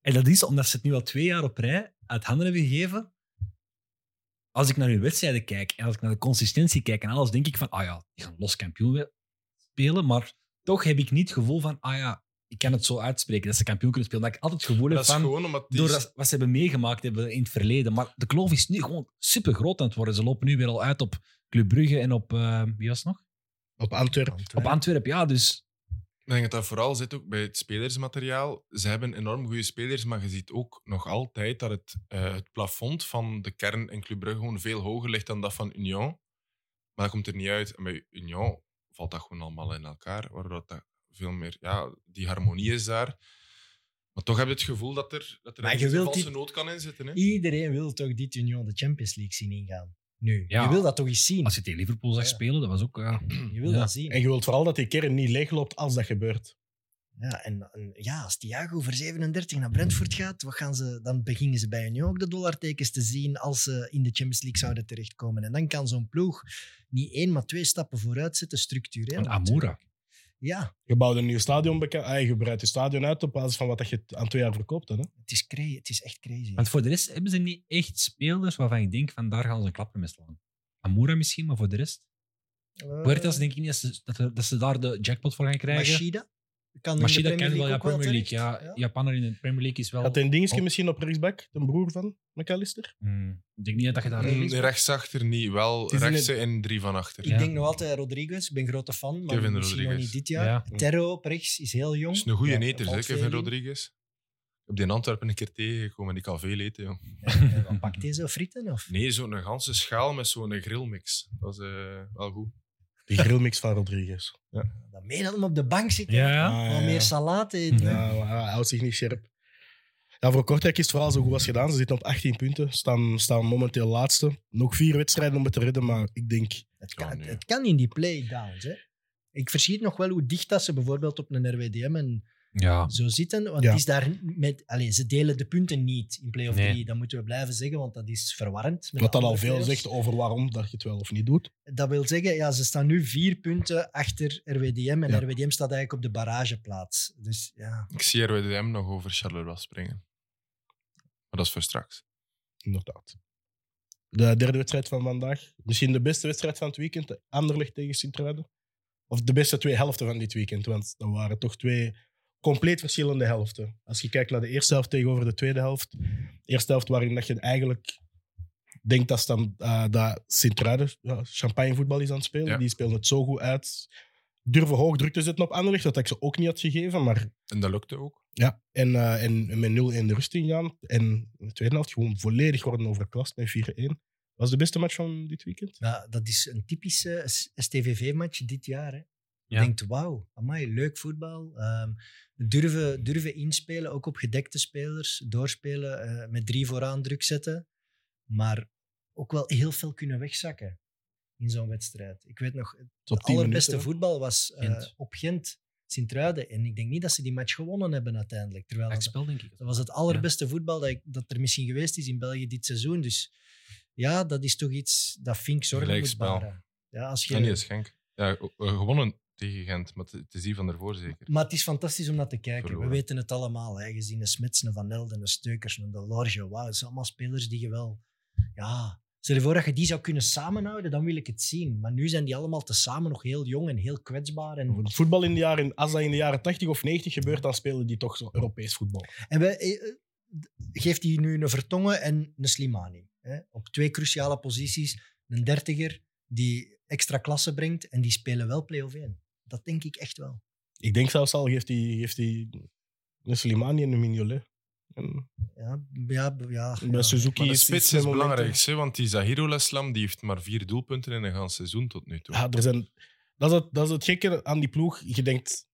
en dat is omdat ze het nu al twee jaar op rij uit handen hebben gegeven, als ik naar hun wedstrijden kijk en als ik naar de consistentie kijk en alles, denk ik van, ah ja, die gaan los kampioen we- spelen, maar toch heb ik niet het gevoel van, ah ja, ik kan het zo uitspreken dat ze kampioen kunnen spelen. Dat ik altijd het gevoel heb
Dat is
van,
gewoon omdat die
door dat- wat ze hebben meegemaakt hebben in het verleden. Maar de kloof is nu gewoon super groot aan het worden. Ze lopen nu weer al uit op Club Brugge en op, eh, wie was het nog?
Op Antwerpen.
Op
Antwerpen.
Antwerpen, ja. Dus
Ik denk dat dat vooral zit ook bij het spelersmateriaal. Ze hebben enorm goede spelers, maar je ziet ook nog altijd dat het, eh, het plafond van de kern in Club Brugge gewoon veel hoger ligt dan dat van Union. Maar dat komt er niet uit. En bij Union valt dat gewoon allemaal in elkaar, waardoor dat veel meer... Ja, die harmonie is daar. Maar toch heb je het gevoel dat er, dat er
Maar
een
je
beetje
wilt
valse
die-
nood kan inzitten. Hè?
Iedereen wil toch dit Union de Champions League zien ingaan. Nu.
Ja.
Je wil dat toch eens zien?
als je tegen Liverpool zag
Ja.
spelen, dat was ook... eh, ja.
Je wil
Ja.
dat zien.
En je wilt vooral dat die kern niet leegloopt als dat gebeurt.
Ja, en, en ja, als Thiago voor 37 naar Brentford
Mm.
gaat, wat gaan ze, dan beginnen ze bij Union ook de dollartekens te zien als ze in de Champions League zouden terechtkomen. En dan kan zo'n ploeg niet één, maar twee stappen vooruit zetten, structureel.
Van
natuurlijk.
Amoura.
Ja,
Je bouwt een nieuw stadion bekend. Ah, je breidt je stadion uit op basis van wat dat je t- aan twee jaar verkoopt. Hè?
het is, cra- het is echt crazy.
Want voor de rest hebben ze niet echt spelers waarvan ik denk, van daar gaan ze een klapper mee slaan. Amoura misschien, maar voor de rest...
Eh,
Puertas denk ik niet dat ze, dat, ze- dat ze daar de jackpot voor gaan krijgen.
Machida? Kan in
Machida
de
kan wel, ja,
ook wel
Premier League.
terecht.
Ja, Japaner in de Premier League is wel...
Had een dingetje
Oh.
misschien op rechtsback, de broer van McAllister?
Hmm, ik denk niet dat je daar...
Mm, Rechtsachter niet, wel
Het is in
rechts en drie van achter.
Ik
Ja.
denk nog altijd Rodriguez. Ik ben grote fan, maar
Kevin
misschien nog
Rodriguez.
niet dit jaar. Terro op rechts is heel jong.
Dat is een goede
Ja,
eter,
valt
hè,
veel
Kevin
in.
Rodriguez. Ik heb die in Antwerpen een keer tegengekomen en die kan veel eten, joh.
Eh, wat Pakt hij zo frieten? Of?
Nee, zo'n ganse schaal met zo'n grillmix. Dat is eh, wel goed.
Die grillmix van Rodriguez.
Dan meen dat hem op de bank zit.
Ja.
Ah,
Wat
ja.
meer salade eh, eten.
Ja, maar hij houdt zich niet scherp. Ja, voor Kortrijk is het verhaal zo goed als gedaan. Ze zitten op 18 punten, staan, staan momenteel laatste. Nog vier wedstrijden om het te redden, maar ik denk...
Het
Ja,
kan, het,
nee.
het kan in die playdowns. Hè. Ik verschiet nog wel hoe dicht dat ze bijvoorbeeld op een RWDM en
Ja.
zo zitten. Want
Ja.
het is daar met, allez, ze delen de punten niet in play of
Nee.
3. Dat moeten we blijven zeggen, want dat is verwarrend. met
Wat
de
dan al
andere
veel
play-offs.
zegt over waarom dat je het wel of niet doet.
Dat wil zeggen, ja, ze staan nu vier punten achter RWDM. En
Ja.
RWDM staat eigenlijk op de barrageplaats. Dus ja,
Ik zie RWDM nog over Charleroi springen. Maar dat is voor straks.
Inderdaad. De derde wedstrijd van vandaag. Misschien de beste wedstrijd van het weekend. Anderlecht tegen Sint-Truiden. Of de beste twee helften van dit weekend. Want dat waren toch twee compleet verschillende helften. Als je kijkt naar de eerste helft tegenover de tweede helft. De eerste helft waarin dat je eigenlijk denkt dat, Stam- eh, dat Sint-Truiden ja, champagnevoetbal is aan het spelen.
Ja.
Die spelen het zo goed uit. Durven hoog druk te zetten op Anderlecht. Dat ik ze ook niet had gegeven. Maar
En dat lukte ook.
ja, en, eh, en met 0-1 de rust ingaan. En in de tweede helft gewoon volledig worden overklast met 4-1. Was de beste match van dit weekend?
ja, dat is een typische S- STVV-match dit jaar. Hè.
Ja.
Je denkt, wauw, amai, leuk voetbal. Ehm, durven, durven inspelen, ook op gedekte spelers. Doorspelen, eh, met drie vooraan druk zetten. Maar ook wel heel veel kunnen wegzakken in zo'n wedstrijd. Ik weet nog,
Tot
het
10
allerbeste
minuten, hè?
voetbal was eh,
Gent.
op Gent, Sint-Truiden. En ik denk niet dat ze die match gewonnen hebben uiteindelijk. Terwijl dat,
Gelijkspel, denk ik.
dat was het allerbeste voetbal dat, ik, dat er misschien geweest is in België dit seizoen. Dus ja, dat is toch iets dat Fink zorgen moet
Gelijkspel.
baren. Ja, als je,
En die Ah, is Genk. Ja, eh, gewonnen tegen Gent, maar het is die van daarvoor zeker.
Maar het is fantastisch om naar te kijken.
Verloren.
We weten het allemaal. Hè. Gezien de Smitsene, Van Elden, de Steukers, en de Lorge. Wauw, het zijn allemaal spelers die je wel... Ja, stel je voor dat je die zou kunnen samenhouden, dan wil ik het zien. Maar nu zijn die allemaal tezamen nog heel jong en heel kwetsbaar. En,
Want Voetbal in de jaren, als dat in de jaren 80 of 90 gebeurt, dan spelen die toch zo Europees voetbal.
en wij, eh, eh, geeft die nu een Vertongen en een Slimani. Hè. Op twee cruciale posities. Een dertiger die extra klasse brengt en die spelen wel play-off 1. Dat denk ik echt wel.
Ik denk zelfs al, geeft die, geeft die een Slimani en een Mignolet. En
Ja, ja, ja,
bij
ja.
Suzuki
Maar de
is-
spits
zijn
is
momenten-
belangrijk, hè, want die Zahiro Leslam die heeft maar vier doelpunten in een ganse seizoen tot nu toe.
Ja, er zijn, dat, is het, dat is het gekke aan die ploeg. Je denkt,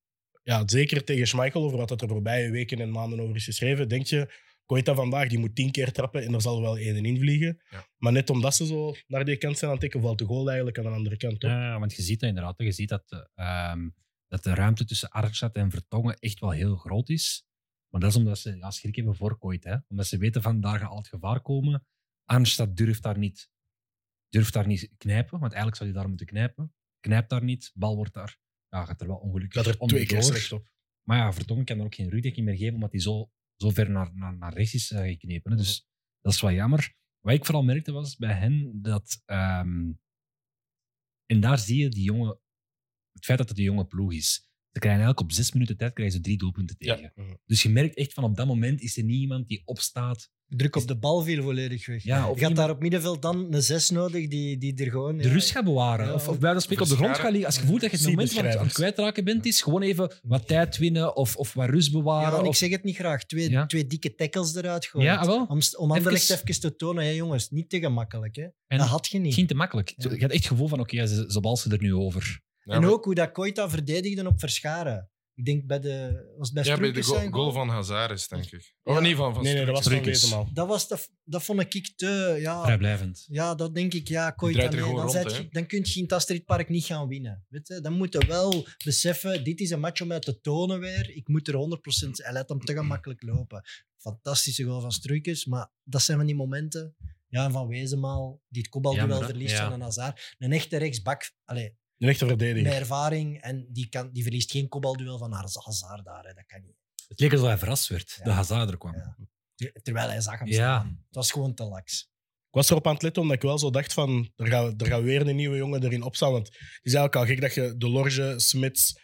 ja, zeker tegen Schmeichel, over wat dat er voorbije weken en maanden over is geschreven, denk je, Koita vandaag, die moet tien keer trappen en er zal wel één in vliegen.
Ja.
Maar net omdat ze zo naar die kant zijn aan het tikken, valt de goal eigenlijk aan de andere kant op.
Ja, ja, want je ziet dat inderdaad. Je ziet dat, de, ehm, dat de ruimte tussen Arnstad en Vertongen echt wel heel groot is. Maar dat is omdat ze ja, schrik hebben voor Kooit. Hè? Omdat ze weten van daar gaat al het gevaar komen. Arnstad durft daar niet, durft daar niet knijpen. Want eigenlijk zou hij daar moeten knijpen. Knijpt daar niet. Bal wordt daar. Ja, gaat er wel ongelukkig
Dat er twee keer slecht op.
Maar ja, Vertongen kan er ook geen rugdekking meer geven. Omdat hij zo, zo ver naar, naar, naar rechts is eh, geknepen. Hè?
Mhm.
Dus dat is wel jammer. Wat ik vooral merkte was bij hen dat. ehm, en daar zie je die jonge, het feit dat het een jonge ploeg is. Ze krijgen eigenlijk op zes minuten tijd krijgen ze drie doelpunten
Ja.
tegen.
Mhm.
Dus je merkt echt van op dat moment is er niet iemand die opstaat
Druk op de bal viel volledig weg.
Ja,
Je
of
gaat
iemand
daar op middenveld dan een zes nodig die, die er gewoon...
de
ja.
rust gaat bewaren.
Ja,
of,
of-
of bij wijze van spreken op de grond
Scharen.
gaat liggen. Als je voelt dat je het moment van het- aan het
Siebeschrijvers.
kwijtraken bent, is gewoon even wat tijd winnen of, of wat rust
Ja,
bewaren.
en ik
of,
zeg het niet graag. Twee,
Ja.
twee dikke tackles eruit gooien.
ja, ah, wel.
Om, om Anderlecht
Even-
even... te tonen, hè, jongens, niet te gemakkelijk. Hè.
En
dat had je niet.
het ging te makkelijk.
Ja.
Je had echt het gevoel van, oké, ze, ze balsen er nu over.
Ja,
en
maar-
ook hoe dat Koita verdedigde op Verscharen. Ik denk bij de... Was het bij
ja, bij de
Stroepkes
goal,
zijn
goal van Hazaris, denk ik. Oh
Ja.
nee, van, van
Nee, nee, dat was van
Struikens.
Wezenmaal.
Dat, was dat, dat vond ik te...
Ah.
Ja,
Vrijblijvend.
ja, dat denk ik. Ja, Koita,
draait er
nee, dan,
gewoon rond,
zet je-
hè.
dan kun je in het Astridpark niet gaan winnen. Weet je? Dan moet je wel beseffen, dit is een match om uit te tonen weer. Ik moet er 100%... Hij laat hem te gemakkelijk lopen. Fantastische goal van Struikens, maar dat zijn van die momenten... Ja, en Van Wezenmaal, die het kopbalduel
Jammer, hè?
verliest
Ja.
van een Hazard. Een echte rechtsbak... Allee,
Een echte verdediger.
met ervaring. En die, kan, die verliest geen kopbalduel van Haz- Hazard daar. Hè. Dat kan niet.
Het leek alsof hij verrast werd,
Ja.
de Hazard er kwam.
Ja. Ter- Terwijl hij zag hem
Ja.
staan. Het was gewoon te lax.
Ik was erop aan het letten omdat ik wel zo dacht van, er gaat, er gaat weer een nieuwe jongen erin opstaan. Want het is eigenlijk al gek dat je De Lorge, Smits,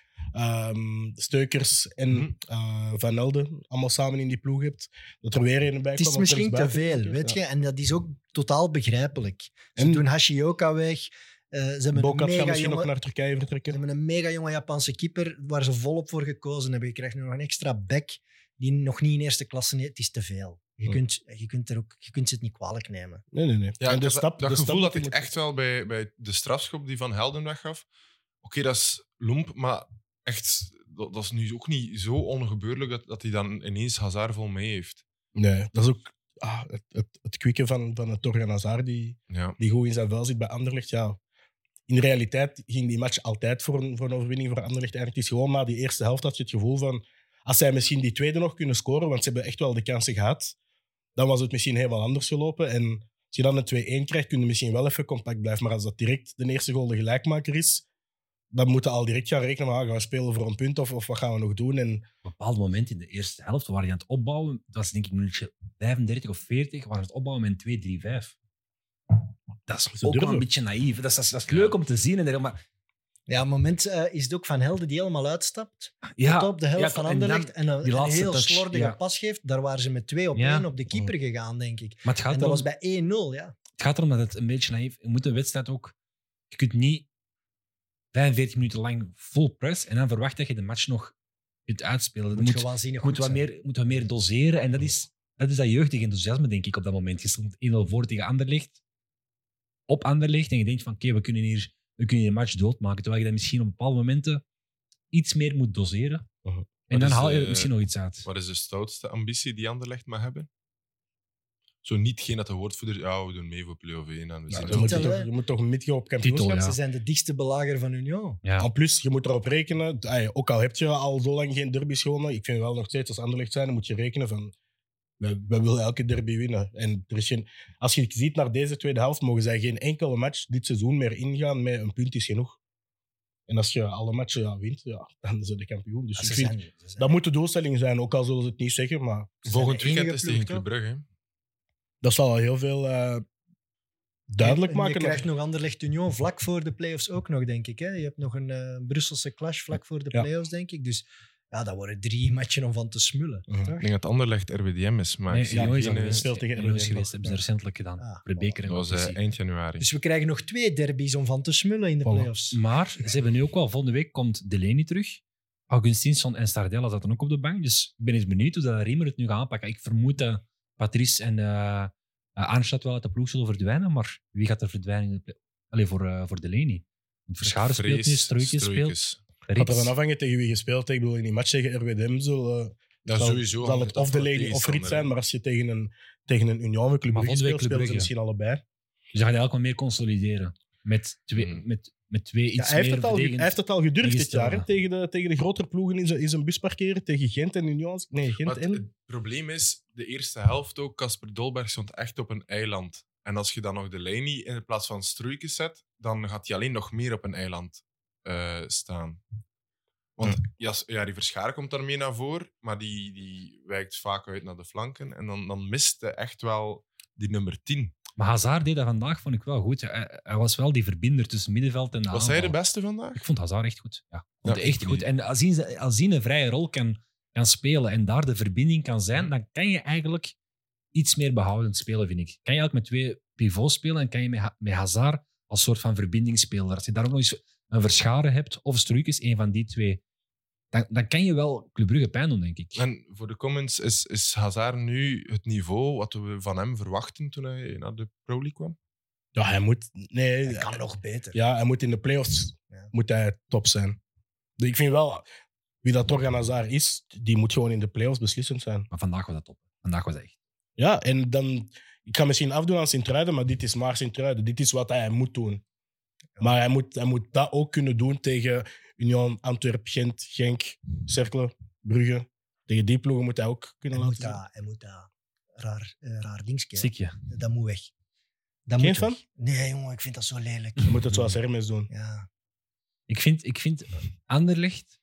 ehm, Steukers en
Mhm.
eh, Van Elden allemaal samen in die ploeg hebt. Dat er weer een bij
Het is
kwam, want er
misschien te
buiten-
veel, weet je. En dat is ook totaal begrijpelijk. Ze
En-
doen Hashioka weg. eh, ze, hebben een
Bokat gaat
mega
misschien
jonge,
nog naar Turkije
ze
vertrekken.
hebben een mega jonge Japanse keeper waar ze volop voor gekozen hebben. Je krijgt nu nog een extra back die nog niet in eerste klasse... neemt. Het is te veel. Je
Ja.
kunt, je, kunt er ook, je kunt ze het niet kwalijk nemen.
Nee, nee, nee.
Ja,
En
ik
de
heb
stap,
dat
de
gevoel
stap
dat ik
moet-
echt wel bij, bij de strafschop die Van Helden weggaf. Oké, dat is lomp, maar echt, dat, dat is nu ook niet zo ongebeurlijk dat, dat hij dan ineens Hazard vol mee heeft.
Nee, dat is ook ah, het, het, het kwikken van, van het Torgan Hazard die,
Ja.
die goed in zijn vel zit bij Anderlecht. Ja, in de realiteit ging die match altijd voor een, voor een overwinning voor Anderlecht. Eigenlijk is gewoon na die eerste helft had je het gevoel van... Als zij misschien die tweede nog kunnen scoren, want ze hebben echt wel de kansen gehad, dan was het misschien helemaal anders gelopen. En als je dan een 2-1 krijgt, kun je misschien wel even compact blijven. Maar als dat direct de eerste goal de gelijkmaker is, dan moeten we al direct gaan rekenen van ah, gaan we spelen voor een punt of, of wat gaan we nog doen. En
Op een bepaald moment in de eerste helft waar je aan het opbouwen. Dat was denk ik minuutje 35 of 40, waar ze het opbouwen met 2-3-5. Dat is ook wel
durven.
een beetje naïef. Dat is, dat is, dat is leuk om te zien. En dergelijke, maar
Ja, op het moment eh, is het ook Van Helden die helemaal uitstapt. tot
ja,
op de helft
ja,
van
en dan
Anderlecht en, een,
die
en een
laatste
heel
touch,
slordige
ja.
pas geeft, daar waren ze met twee op
Ja.
één op de keeper gegaan, denk ik.
maar het gaat,
En dat
erom,
was bij 1-0, ja.
het gaat erom dat het een beetje naïef Je moet een wedstrijd ook... Je kunt niet 45 minuten lang vol press en dan verwachten dat je de match nog kunt uitspelen.
Moet,
Je moet,
gewoon zien
je moet, wat, meer, je moet wat meer doseren. En dat is, dat is dat jeugdig enthousiasme, denk ik, op dat moment. Je stond 1-0 voor tegen Anderlecht. Op Anderlecht. En je denkt van, oké, we kunnen hier we kunnen hier een match doodmaken. Terwijl je dat misschien op bepaalde momenten iets meer moet doseren.
Mhm.
En
Wat
dan
is
haal je
de-
er misschien nog iets uit.
Wat is de stoutste ambitie die Anderlecht mag hebben? Zo niet geen dat de woordvoerder, ja, we doen mee voor play-off 1 en we
ja, je,
zien wel.
moet
Titel,
toch,
hè?
je moet toch een midje op
Titel,
kampioenschap
ja.
Ze zijn de dichtste belager van Union.
Ja.
En plus, je moet erop rekenen, ey, ook al heb je al zo lang geen derby's gewonnen, ik vind wel nog steeds als Anderlecht zijn, dan moet je rekenen van, we, we willen elke derby winnen. En er is geen, als je ziet naar deze tweede helft, mogen zij geen enkele match dit seizoen meer ingaan met een punt is genoeg. En als je alle matchen ja, wint, ja, dan zijn de kampioen. Dus
Ja,
ik
ze
vind,
zijn- ze zijn-
dat moet de doelstelling zijn, ook al zullen ze het niet zeggen, maar
Volgend
de enige
weekend is tegen
ploeg,
Club Brugge. hè?
dat zal al heel veel eh, duidelijk
En
maken.
Je
dat-
krijgt nog Anderlecht Union vlak voor de play-offs ook nog, denk ik. Hè? Je hebt nog een eh, Brusselse clash vlak voor de
Ja.
play-offs, denk ik. Dus ja, dat worden drie matchen om van te smullen.
Ik denk dat Anderlecht RWDM is, maar ik
Nee,
zie
Union is
geen,
al
eh,
geweest.
Speel tegen
Union is
RWDM
geweest.
nog.
Hebben ze recentelijk gedaan.
Ah,
voor de beker en
dat was eh,
competitie.
eind januari.
Dus we krijgen nog twee derbies om van te smullen in de
Voilà. Mm.
play-offs.
Maar ze hebben nu ook wel, volgende week komt Delaney terug. Augustinsson en Stardella zaten ook op de bank. Dus ik ben eens benieuwd hoe dat Riemer het nu gaat aanpakken. Ik vermoed dat Patrice en eh eh, Arnstad wel uit de ploeg zullen verdwijnen. Maar wie gaat er verdwijnen? in de play- Allee, voor, eh voor Delaney. Want Verscharen speelt nu,
Vrees,
Struikens speelt.
Struikens.
gaat er
Rits.
van afhangen tegen wie je speelt. Ik bedoel, in die match tegen RWDM zullen...
Dat
zal,
sowieso
zal
hangt
het
af
of de
van
Lady of Rit
tegenstander,
zijn,
hè.
maar als je tegen een, tegen een Union of Club
Maar
Brugge
volgende week
speelt,
Club
spelen ze
Brugge.
misschien allebei.
Dus ze gaan eigenlijk wel meer consolideren. Met twee,
Hmm.
met, met twee
Ja,
iets
hij, heeft
meer
het al, ge- hij
verdedigend-
heeft het al gedurfd dit
ingestelde.
jaar, hè, tegen, de, tegen de grotere ploegen in zijn, in zijn bus parkeren, tegen Gent en Union. als- Nee, Gent
Maar het,
en...
het probleem is, de eerste helft ook, Casper Dolberg stond echt op een eiland. En als je dan nog de Delaney in plaats van Struikens zet, dan gaat hij alleen nog meer op een eiland eh, staan. Want ja. s- ja, die Verschaar komt daarmee naar voren, maar die, die wijkt vaak uit naar de flanken. En dan, dan mist hij echt wel die nummer 10.
Maar Hazard deed dat vandaag, vond ik wel goed. Hij, hij was wel die verbinder tussen middenveld en de
Was hij de
aanval.
beste vandaag?
Ik vond Hazard echt goed. Ja, ik vond
Ja,
hij echt
ik
goed.
niet.
En als hij, als hij een vrije rol kan, kan spelen en daar de verbinding kan zijn, dan kan je eigenlijk iets meer behoudend spelen, vind ik. Kan je eigenlijk met twee pivots spelen en kan je met, Ha- met Hazard als soort van verbindingsspeler, als je daar ook nog eens een verscharen hebt of Struik is een van die twee, dan, dan kan je wel Club Brugge pijn doen, denk ik.
En voor de comments, is, is Hazard nu het niveau wat we van hem verwachten toen hij naar de Pro League kwam?
Ja, hij moet... Nee,
Dat kan nog beter.
Ja, hij moet in de playoffs moet hij top zijn. Dus ik vind wel, wie dat toch aan Hazard is, die moet gewoon in de playoffs beslissend zijn.
Maar vandaag was dat top. Vandaag was dat echt.
Ja, en dan... Ik kan misschien afdoen aan Sint-Truiden, maar dit is maar Sint-Truiden. Dit is wat hij moet doen. Maar hij moet, hij moet dat ook kunnen doen tegen Union, Antwerp, Gent, Genk, Cercle, Brugge. Tegen die ploegen moet hij ook
Hij
kunnen
moet
laten zien.
dat, hij moet dat raar, eh, raar dingetje. hè.
Ziekje.
Dat moet weg. Dat
Geen
moet
fan?
weg. Nee, jongen, ik vind dat zo lelijk.
Hij moet het zoals
Mm.
Hermes doen.
Ja.
Ik vind, ik vind Anderlecht,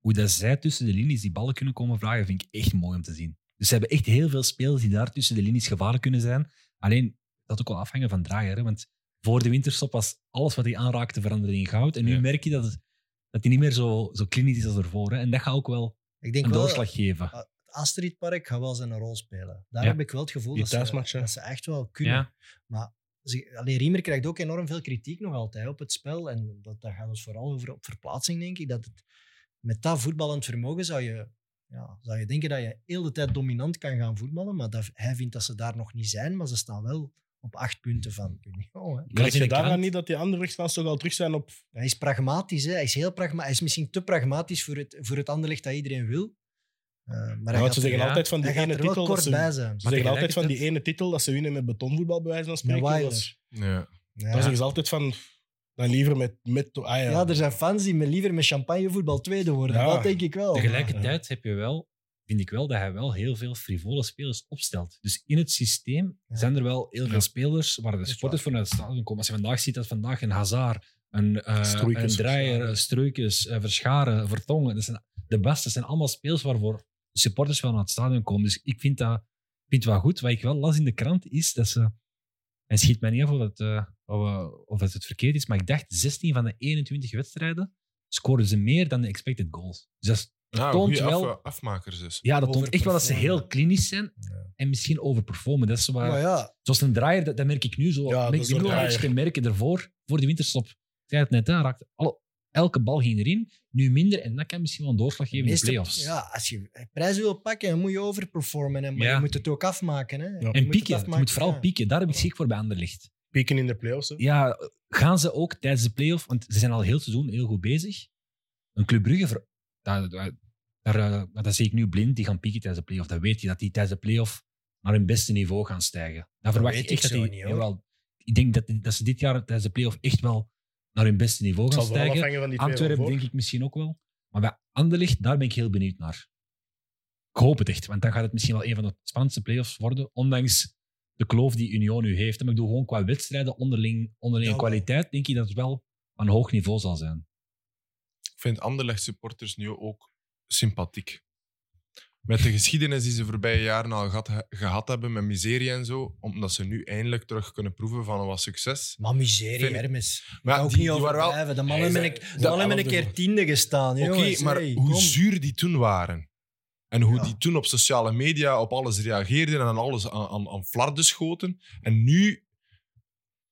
hoe dat zij tussen de linies die ballen kunnen komen vragen, vind ik echt mooi om te zien. Dus ze hebben echt heel veel spelers die daar tussen de linies gevaarlijk kunnen zijn. Alleen, dat ook wel afhangen van draaier. Hè? Want voor de winterstop was alles wat hij aanraakte veranderen in goud. En nu
Ja.
merk je dat, het- dat hij niet meer zo, zo klinisch is als ervoor. Hè? En dat gaat ook wel
Ik denk
een
wel,
doorslag geven.
Ah, het Astridpark gaat wel zijn rol spelen. Daar
Ja.
heb ik wel het gevoel
Die
dat ze,
thuismatchen.
dat ze echt wel kunnen.
Ja.
Maar ze- allee, Riemer krijgt ook enorm veel kritiek nog altijd op het spel. En dat, dat gaat ons vooral over op verplaatsing, denk ik. Dat het, met dat voetballend vermogen zou je, ja, zou je denken dat je heel de tijd dominant kan gaan voetballen. Maar dat, hij vindt dat ze daar nog niet zijn, maar ze staan wel op acht punten van Union. Hè.
Merk
in
je
de
daaraan
krant.
niet dat die andere fans toch al terug zijn op...
Hij is pragmatisch, hè. hij is heel pragma Hij is misschien te pragmatisch voor het, voor het anderlicht dat iedereen wil. Eh, maar hij
Want
gaat
Nou, ze
er-
zeggen
ja,
altijd van die
hij gaat
ene
er wel
titel... dat
kort
ze-
bij zijn.
Ze zeggen altijd van die
tegelijkertijd-
ene titel dat ze winnen met betonvoetbal, bij wijze van
Met
spreken.
Weiler.
Dat is-
Ja.
Ja.
Daar zeggen ze altijd van, dan liever met... met ah, ja.
Ja, er zijn fans die me liever met champagnevoetbal tweede worden.
Ja.
Dat denk ik wel.
Tegelijkertijd heb je wel, vind ik wel dat hij wel heel veel frivole spelers opstelt. Dus in het systeem
Ja.
zijn er wel heel veel
Ja.
spelers waar de
is
sporters voor naar het stadion komen. Als je vandaag ziet dat vandaag een Hazard, een, eh
Struikens,
een Draaier,
Verscharen.
Struikens, eh, Verscharen, Vertongen, dat zijn de beste. Dat zijn allemaal spelers waarvoor de supporters wel naar het stadion komen. Dus ik vind dat vind het wel goed. Wat ik wel las in de krant is dat ze... En schiet mij niet af of het, eh, of, we- of het, het verkeerd is, maar ik dacht 16 van de 21 wedstrijden scoorden ze meer dan de expected goals. Dus dat is
Ja,
toont
goede
wel-
af, afmakers dus.
ja, dat toont echt wel dat ze
Overperformen.
heel klinisch zijn en misschien overperformen. Dat is waar,
Maar ja,
Zoals een draaier, dat, dat merk ik nu zo.
Ja,
Ja,
dat is
ik
een
bedoel iets te
draaier.
merken ervoor, voor de winterstop. Ik zei het net, hè, raakte alle, elke bal ging erin, nu minder. En dat kan misschien wel een doorslag geven
meeste-
in de playoffs.
ja, als je prijs wil pakken, dan moet je overperformen. En, maar
Ja.
je moet het ook afmaken. Hè. Je moet
En
het
pieken, het
afmaken,
moet vooral
ja.
pieken. Daar heb ik ziek voor bij Anderlicht.
Pieken in de playoffs. hè.
Ja, gaan ze ook tijdens de playoff, want ze zijn al heel het seizoen heel goed bezig. Een Club Brugge, ver- daar, daar, daar, eh, dat zie ik nu blind, die gaan pieken tijdens de playoff. Dan weet je dat die tijdens de playoff naar hun beste niveau gaan stijgen. Dan verwacht
weet
ik
ik
echt dat
zo
die...
niet, hoor.
jawel, ik denk dat, dat ze dit jaar tijdens de playoff echt wel naar hun beste niveau
Het
gaan
zal vooral
stijgen.
afhangen van die twee
Antwerpen
ervoor.
denk ik misschien ook wel. Maar bij Anderlicht, daar ben ik heel benieuwd naar. Ik hoop het echt, want dan gaat het misschien wel een van de spannendste playoffs worden. Ondanks de kloof die Union nu heeft. Maar ik bedoel, gewoon qua wedstrijden, onderling, onderlinge
Ja, wel.
kwaliteit, denk ik dat het wel aan een hoog niveau zal zijn.
Ik vind Anderlecht supporters nu ook sympathiek. Met de geschiedenis die ze voorbije jaren al gehad, gehad hebben met miserie en zo, omdat ze nu eindelijk terug kunnen proeven van wat succes.
Maar miserie,
Vind ik-
Hermes.
Maar
Ja, ook
die,
niet
die waren wel...
overdrijven. De mannen
Nee,
hebben
ze-
een,
de
de mannen hebben een
elfde
keer
dus-
tiende gestaan.
Oké,
jongens.
maar
Hey,
hoe
kom.
zuur die toen waren. En hoe
Ja.
die toen op sociale media op alles reageerden en aan alles aan, aan, aan flarden schoten. En nu...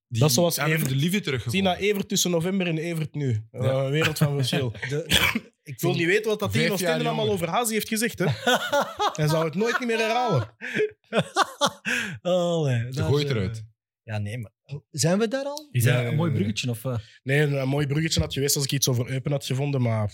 Die
Dat is zoals
hebben
Evert-
de liefde
Zie naar
teruggevonden.
nou
Evert tussen november en Evert nu. Eh,
Ja.
Een wereld van verschil.
De- de- ik
Ik wil niet
vind,
weten wat dat
Vijf
hier
jaar
Oostende allemaal
jonger.
over Hazi heeft gezegd. Hè? Hij zou het nooit niet meer herhalen.
oh, nee, dat
gooit
is, eh,
eruit.
Ja, nee, maar zijn we daar al?
Is
Nee,
dat
nee,
een mooi
nee,
bruggetje? Of, eh,
Nee, een, een mooi bruggetje had geweest als ik iets over Eupen had gevonden, maar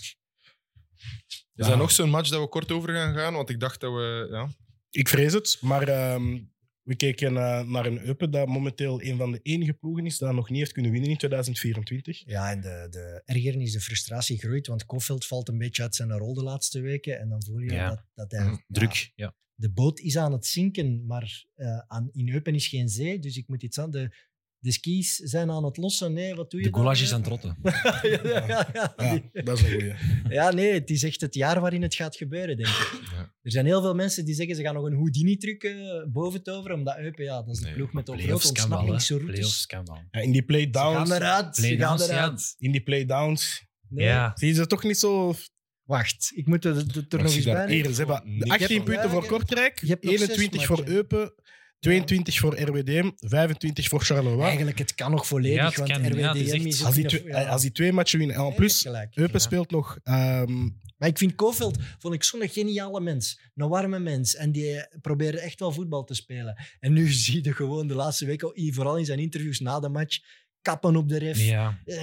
Is dat nog zo'n match dat we kort over gaan gaan? Want ik dacht dat we... Ja.
ik vrees het. Maar ehm, we keken eh, naar een Eupen dat momenteel een van de enige ploegen is dat nog niet heeft kunnen winnen in 2024.
Ja, en de, de ergernis, de frustratie groeit, want Kofeld valt een beetje uit zijn rol de laatste weken. En dan voel je
Ja. Mhm.
dat, dat hij... ja,
Druk, ja.
de boot is aan het zinken, maar eh, aan, in Eupen is geen zee, dus ik moet iets aan... De, de skis zijn aan het lossen, nee, wat doe je
De
dan,
collage is
hè?
aan het rotten.
ja, ja, ja,
Ja,
Die-
dat is een goeie.
ja, nee, het is echt het jaar waarin het gaat gebeuren, denk ik.
Ja.
Er zijn heel veel mensen die zeggen ze gaan nog een Houdini-truc eh, boven toveren, omdat Eupen, ja, dat is de
Nee,
ploeg met de grote
Playoffs kan wel, hè. Playoffs
ontsnappingsroutes.
kan wel.
Ja, in die
Ze gaan
playdowns,
eruit, ze gaan
Playdowns, ja.
eruit.
in die playdowns,
Nee.
Ja.
zie je ze toch niet zo
Wacht, ik moet het het er
Maar
nog
zie
eens
daar
bij.
Hier, ze hebben
Niks
18
van.
punten
Ja,
voor
ik-
Kortrijk,
je hebt nog zes
21 voor
matchen.
Eupen, 22 voor RWDM, 25 voor Charleroi.
Eigenlijk, het kan nog
Ja,
volledig,
het
want
kan, ja,
RWDM
het is echt-
is...
Als die,
het
twee,
in een- ja.
als die twee matchen winnen. En
Nee,
en
je hebt
plus,
gelijk.
Eupen
Ja.
speelt nog... ehm,
Maar ik vind Kofeld, vond ik zo'n geniale mens. Een warme mens. En die probeerde echt wel voetbal te spelen. En nu zie je gewoon de laatste week, al- vooral in zijn interviews na de match, kappen op de ref.
Ja.
Eh,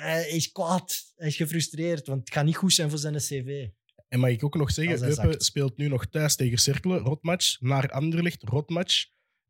hij is kwaad. Hij is gefrustreerd, want het gaat niet goed zijn voor zijn cv.
en mag ik ook nog
Als
zeggen,
hij
Eupen
zakt.
speelt nu nog thuis tegen Cercle, rotmatch. Naar Anderlecht, rotmatch.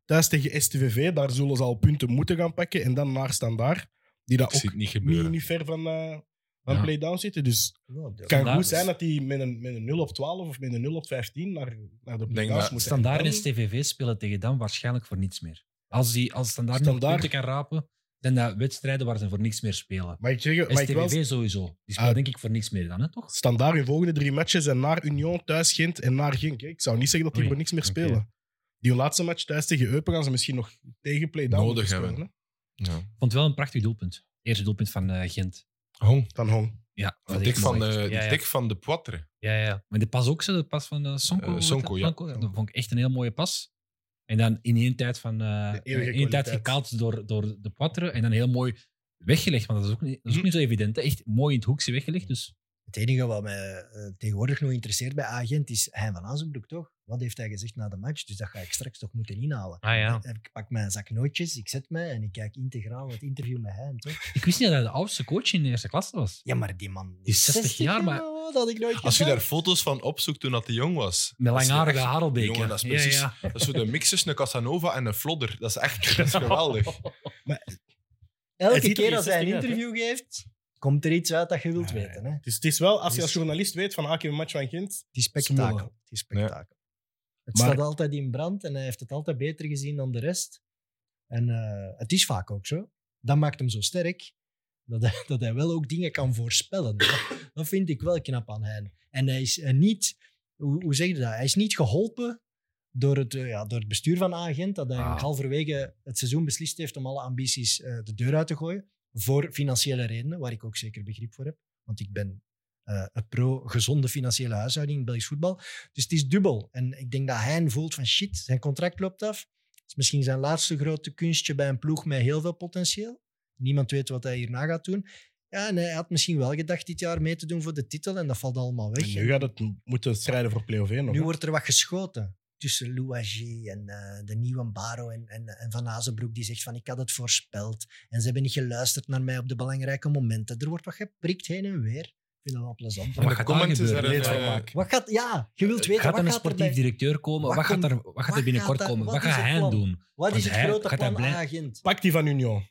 Thuis tegen STVV, daar zullen ze al punten moeten gaan pakken. En dan naar Standaard, die dat
Ik
ook
zie het niet
niet,
gebeuren.
niet ver van, eh van
Ja.
play-down zitten. Dus
Nou,
het
dat-
kan
Standaard
goed
is-
zijn dat die met een, met een 0 op 12 of met een 0 op 15 naar, naar de play-downs
dat
moeten.
Standaard en
En
STVV spelen tegen dan waarschijnlijk voor niets meer. Als, die, als Standaard,
Standaard-
nog punten kan rapen, zijn dat wedstrijden waar ze voor niks meer spelen.
Mag ik zeggen, mag ik wel...
STVV sowieso. Die speelt
Ah.
denk ik voor niks meer dan, hè, toch?
Standaard hun volgende drie matches en naar Union, thuis Gent en naar Genk. hè. Ik zou niet zeggen dat die
Oei,
voor niks meer
oké.
spelen. Die laatste match thuis tegen Eupen gaan ze misschien nog tegen play-down
Nodig
moeten
hebben.
spelen, hè.
Ja.
Ik vond het wel een prachtig doelpunt. Eerste doelpunt van eh, Gent.
Hong.
Van Hong.
Ja,
Die
dat
dik
is
van eh,
mooi.
de, die
ja, ja.
dik van de Poitre.
Ja, ja. Maar de pas ook, zo, de pas van eh, Sonko.
Eh,
hoe heet
Sonko,
dat?
ja.
Dat vond ik echt een heel mooie pas. En dan in één tijd, van, eh,
De
in
eeuwige
één tijd
kwaliteit.
gekaald door, door de Poitre. En dan heel mooi weggelegd. Want dat is ook niet, dat is ook niet zo evident. hè. Echt mooi in het hoekje weggelegd. Dus
Het enige wat mij eh, tegenwoordig nog interesseert bij Agent is Hein van Azenbroek, toch? Wat heeft hij gezegd na de match? Dus dat ga ik straks toch moeten inhalen.
Ah, ja.
Ik pak mijn zak nootjes, ik zet mij en ik kijk integraal het interview met Hein, toch?
ik wist niet dat hij de oudste coach in de eerste klasse was.
Ja, maar die man
Die is 60 jaar, maar-
hè, Dat had ik nooit
Als je daar
gedacht.
foto's van opzoekt toen dat hij jong was.
Met
dat is
langharige
echt-
Harelbeek.
Jongen,
hè.
dat is
Ja,
precies-
ja.
Dat is zo de mix tussen een Casanova en een Flodder. Dat is echt dat is geweldig.
Hij
Elke
ziet er
keer
geen
als hij een
60 uit,
interview geeft, komt er iets uit dat je wilt
Nee.
weten. Hè? Het
Dus het is wel, als je
Dus-
als journalist weet van ah, ik heb een match van Gent,
is
spektakel.
spektakel. Het is spektakel. Het
Maar-
staat altijd in brand en hij heeft het altijd beter gezien dan de rest. En eh, het is vaak ook zo. Dat maakt hem zo sterk. Dat hij, dat hij wel ook dingen kan voorspellen. Dat, dat vind ik wel knap aan hem. En hij is eh, niet, hoe, hoe zeg je dat? Hij is niet geholpen door het, eh, ja, door het bestuur van Agent. Dat hij
Ah.
halverwege het seizoen beslist heeft om alle ambities eh, de deur uit te gooien. Voor financiële redenen, waar ik ook zeker begrip voor heb. Want ik ben eh, een pro-gezonde financiële huishouding in Belgisch voetbal. Dus het is dubbel. En ik denk dat hij voelt van shit, zijn contract loopt af. Het is misschien zijn laatste grote kunstje bij een ploeg met heel veel potentieel. Niemand weet wat hij hierna gaat doen. Ja, en hij had misschien wel gedacht dit jaar mee te doen voor de titel en dat valt allemaal weg.
en nu gaat het m- moeten strijden voor play-off 1.
Nu wordt er wat geschoten tussen Louagie en eh, de nieuwe Baro en, en, en Van Azenbroek, die zegt van ik had het voorspeld en ze hebben niet geluisterd naar mij op de belangrijke momenten. Er wordt wat geprikt heen en weer. Ik vind dat wel plezant.
Maar wat gaat daar
comment is
gebeuren?
er een,
Leed van
eh,
maken.
Wat gaat, ja, je wilt weten,
Gaat er
wat
een
gaat er
sportief
bij,
directeur komen?
Wat
Wat gaat er,
komt-
wat gaat
wat
er binnenkort
gaat er-
komen?
wat
Wat
is
gaat
het
hij
plan?
doen?
wat is
want
het
hij-
grote
gaat hij
plan
blij-
agent?
Pak die van Union.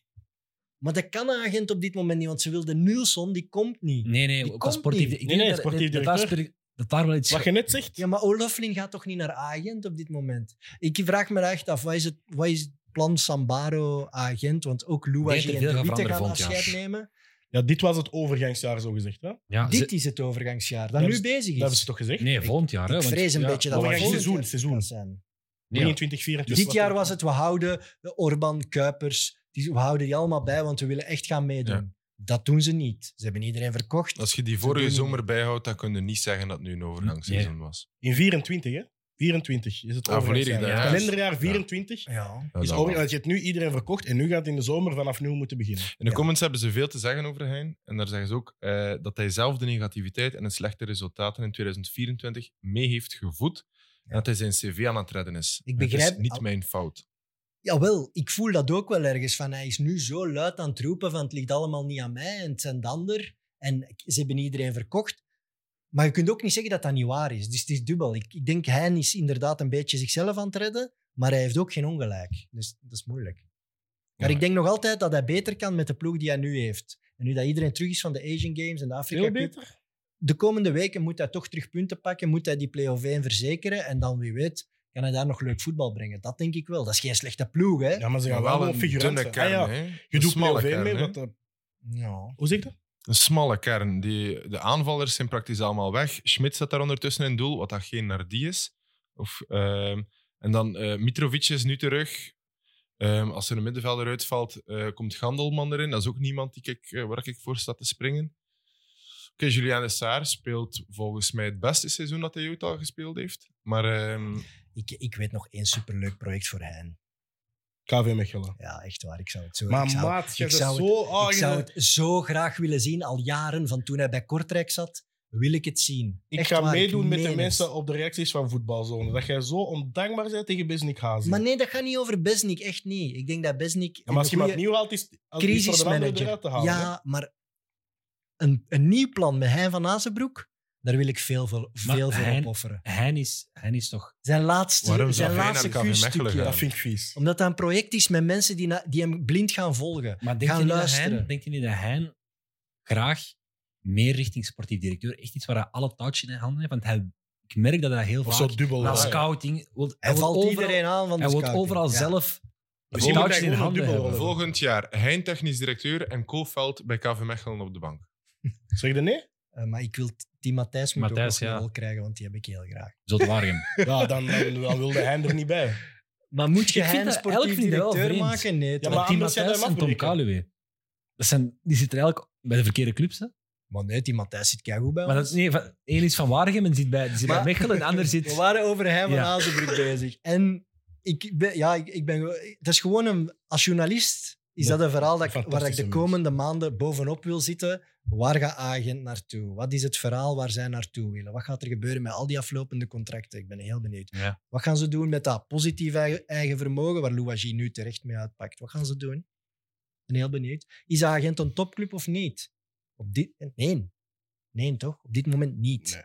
Maar dat kan agent op dit moment niet, want ze wil de Nilsson, die komt
Hm.
niet.
Nee, nee,
Die
qua
komt
sportief.
niet.
Ik
Nee,
denk
nee,
dat-
sportief
dat daar
directeur.
spe- Dat daar wel iets
Wat je net zegt,
Ja, maar Oloflin gaat toch niet naar agent op dit moment? Ik vraag me echt af, wat is het, wat is het plan Sambaro agent? Want ook
Ik
Louagie
denk
en
dat
De
veel
Witte
gaat
gaan
veranderen volgend
afscheid nemen.
ja, dit was het overgangsjaar zo gezegd. Hè? Dat
Ja, ze-
Dit is het overgangsjaar, dat
Dat
nu
is-
bezig
hebben
is.
ze toch gezegd?
Nee, volgend jaar. hè,
Ik
want-
vrees een
ja,
beetje dat
volgend
we
jaar
volgend
seizoen, seizoen.
jaar
Dus
gaat zijn.
ja.
23, 24.
Dit jaar was het, we houden de Orban, Kuipers, die, we houden die allemaal bij, want we willen echt gaan meedoen.
Ja.
Dat doen ze niet. Ze hebben iedereen verkocht.
Als je die
doen
vorige
niet
zomer bijhoudt, dan kun je niet zeggen dat het nu een overgangsseizoen was.
In 24, hè? 24 is het
Ah, volledig,
overgangsjaar.
ja.
Het kalenderjaar 24
Ja.
Ja,
is
dat
over,
wel.
dat je hebt nu iedereen verkocht en nu gaat het in de zomer vanaf nul moeten beginnen.
In de
Ja.
comments hebben ze veel te zeggen over Hein. En daar zeggen ze ook eh, dat hij zelf de negativiteit en de slechte resultaten in 2024 mee heeft gevoed. En dat hij zijn cv aan het redden is.
Ik
Het
begrijp-
is niet mijn fout.
Jawel, ik voel dat ook wel ergens. Van, hij is nu zo luid aan het roepen van het ligt allemaal niet aan mij en het zijn de ander. En ik- ze hebben iedereen verkocht. Maar je kunt ook niet zeggen dat dat niet waar is. Dus het is dubbel. Ik, ik denk, hij is inderdaad een beetje zichzelf aan het redden, maar hij heeft ook geen ongelijk. Dus dat is moeilijk. Maar
Ja.
ik denk nog altijd dat hij beter kan met de ploeg die hij nu heeft. En nu dat iedereen terug is van de Asian Games en de Afrika
Veel
Cup,
beter.
de komende weken moet hij toch terug punten pakken, moet hij die play-off 1 verzekeren en dan wie weet kan hij daar nog leuk voetbal brengen. Dat denk ik wel. Dat is geen slechte ploeg, hè?
Ja, maar ze gaan
Maar
wel
wel
een
een
figurant
dunne
zijn.
kern.
Ah, ja.
hè.
Je
een
doet
smalle
play-off
kern.
1 mee.
hè.
Wat, eh,
Ja.
hoe zeg je dat?
Een smalle kern. Die, de aanvallers zijn praktisch allemaal weg. Schmidt zit daar ondertussen in doel, wat dat geen Nardi is. Of, ehm, en dan eh, Mitrovic is nu terug. Ehm, als er een middenvelder uitvalt, eh, komt Gandelman erin. Dat is ook niemand die ik, eh, waar ik voor sta te springen. Ik Julien de Saar speelt volgens mij het beste seizoen dat hij ooit al gespeeld heeft. Maar ehm,
Ik, ik weet nog één superleuk project voor hen.
KV Mechelen.
Ja, echt waar. Ik zou het zo...
Maar
ik zou,
maat, jij
ik
bent
zou
zo... ah,
ik
je
zou
bent-
het zo graag willen zien. Al jaren, van toen hij bij Kortrijk zat, wil ik het zien.
ik
Echt
ga
waar, ik
meedoen met
meen
de
het.
mensen op de reacties van voetbalzone. Dat jij zo ondankbaar bent tegen Besnik Hazen.
Maar nee, dat gaat niet over Besnik. Echt niet. Ik denk dat Besnik...
Ja, maar als je
een
iemand
goeie-
nieuw haalt, is als die voor de andere
crisismanager.
eruit te halen. hè?
Ja, maar een, een nieuw plan met Hein van Azenbroek, daar wil ik veel, veel,
Maar
veel voor
Hein-
opofferen.
Hij is, hij is toch...
Zijn laatste,
Waarom zou
zijn
Hein
laatste
naar de KV Mechelen
kusstukje.
gaan?
Dat vind ik vies.
Omdat dat een project is met mensen die, na- die hem blind gaan volgen.
Maar denkt
Gaan
je, niet dat
luisteren.
hij, denkt je niet dat hij graag meer richting sportief directeur, echt iets waar hij alle touwtjes in handen heeft? Want hij, ik merk dat hij heel
Of
vaak
zo dubbel.
na
hè.
scouting... Wil, hij
Hij
wil
valt
overal-
iedereen aan van de
Hij wil
scouting.
overal
Ja.
zelf
Misschien moet hij
touwtjes in
gewoon een
handen
dubbel
hebben.
rollen.
volgend jaar Hein technisch directeur en Koolveld bij KV Mechelen op de bank.
Zeg je nee?
Eh, maar ik wil die Matthijs moet
Matthijs,
ook nog
ja.
wel krijgen, want die heb ik heel graag.
Zult Waregem.
Ja, dan, dan, dan wilde hij er niet bij.
Maar moet je
Ik vind
Hein
dat
sportief
elk vind ik wel
directeur
vreemd.
maken? Nee,
Ja,
toch?
maar
Tim
anders gaat hij
Matthijs
hem
en Tom
afbreken.
Kaluwe. Dat zijn, die zitten eigenlijk bij de verkeerde clubs. Hè?
Maar nee, die Matthijs zit keigoed bij
Maar
ons.
dat, nee, van, één is van Waregem en zit bij, die zit bij
Maar-
Mechelen. En de ander
We
zit...
waren over hem van
Ja.
Azenbroek bezig. En ik ben, ja, ik, ik ben, gewoon- dat is gewoon een, als journalist is
Ja,
dat een verhaal dat ik- waar ik
fantastische
de
mens.
komende maanden bovenop wil zitten. Waar gaat agent naartoe? Wat is het verhaal waar zij naartoe willen? Wat gaat er gebeuren met al die aflopende contracten? Ik ben heel benieuwd.
Ja.
Wat gaan ze doen met dat positief eigen, eigen vermogen waar Louwagie nu terecht mee uitpakt? Wat gaan ze doen? Ik ben heel benieuwd. Is agent een topclub of niet? Op dit, nee. Nee, toch? Op dit moment niet.
Nee.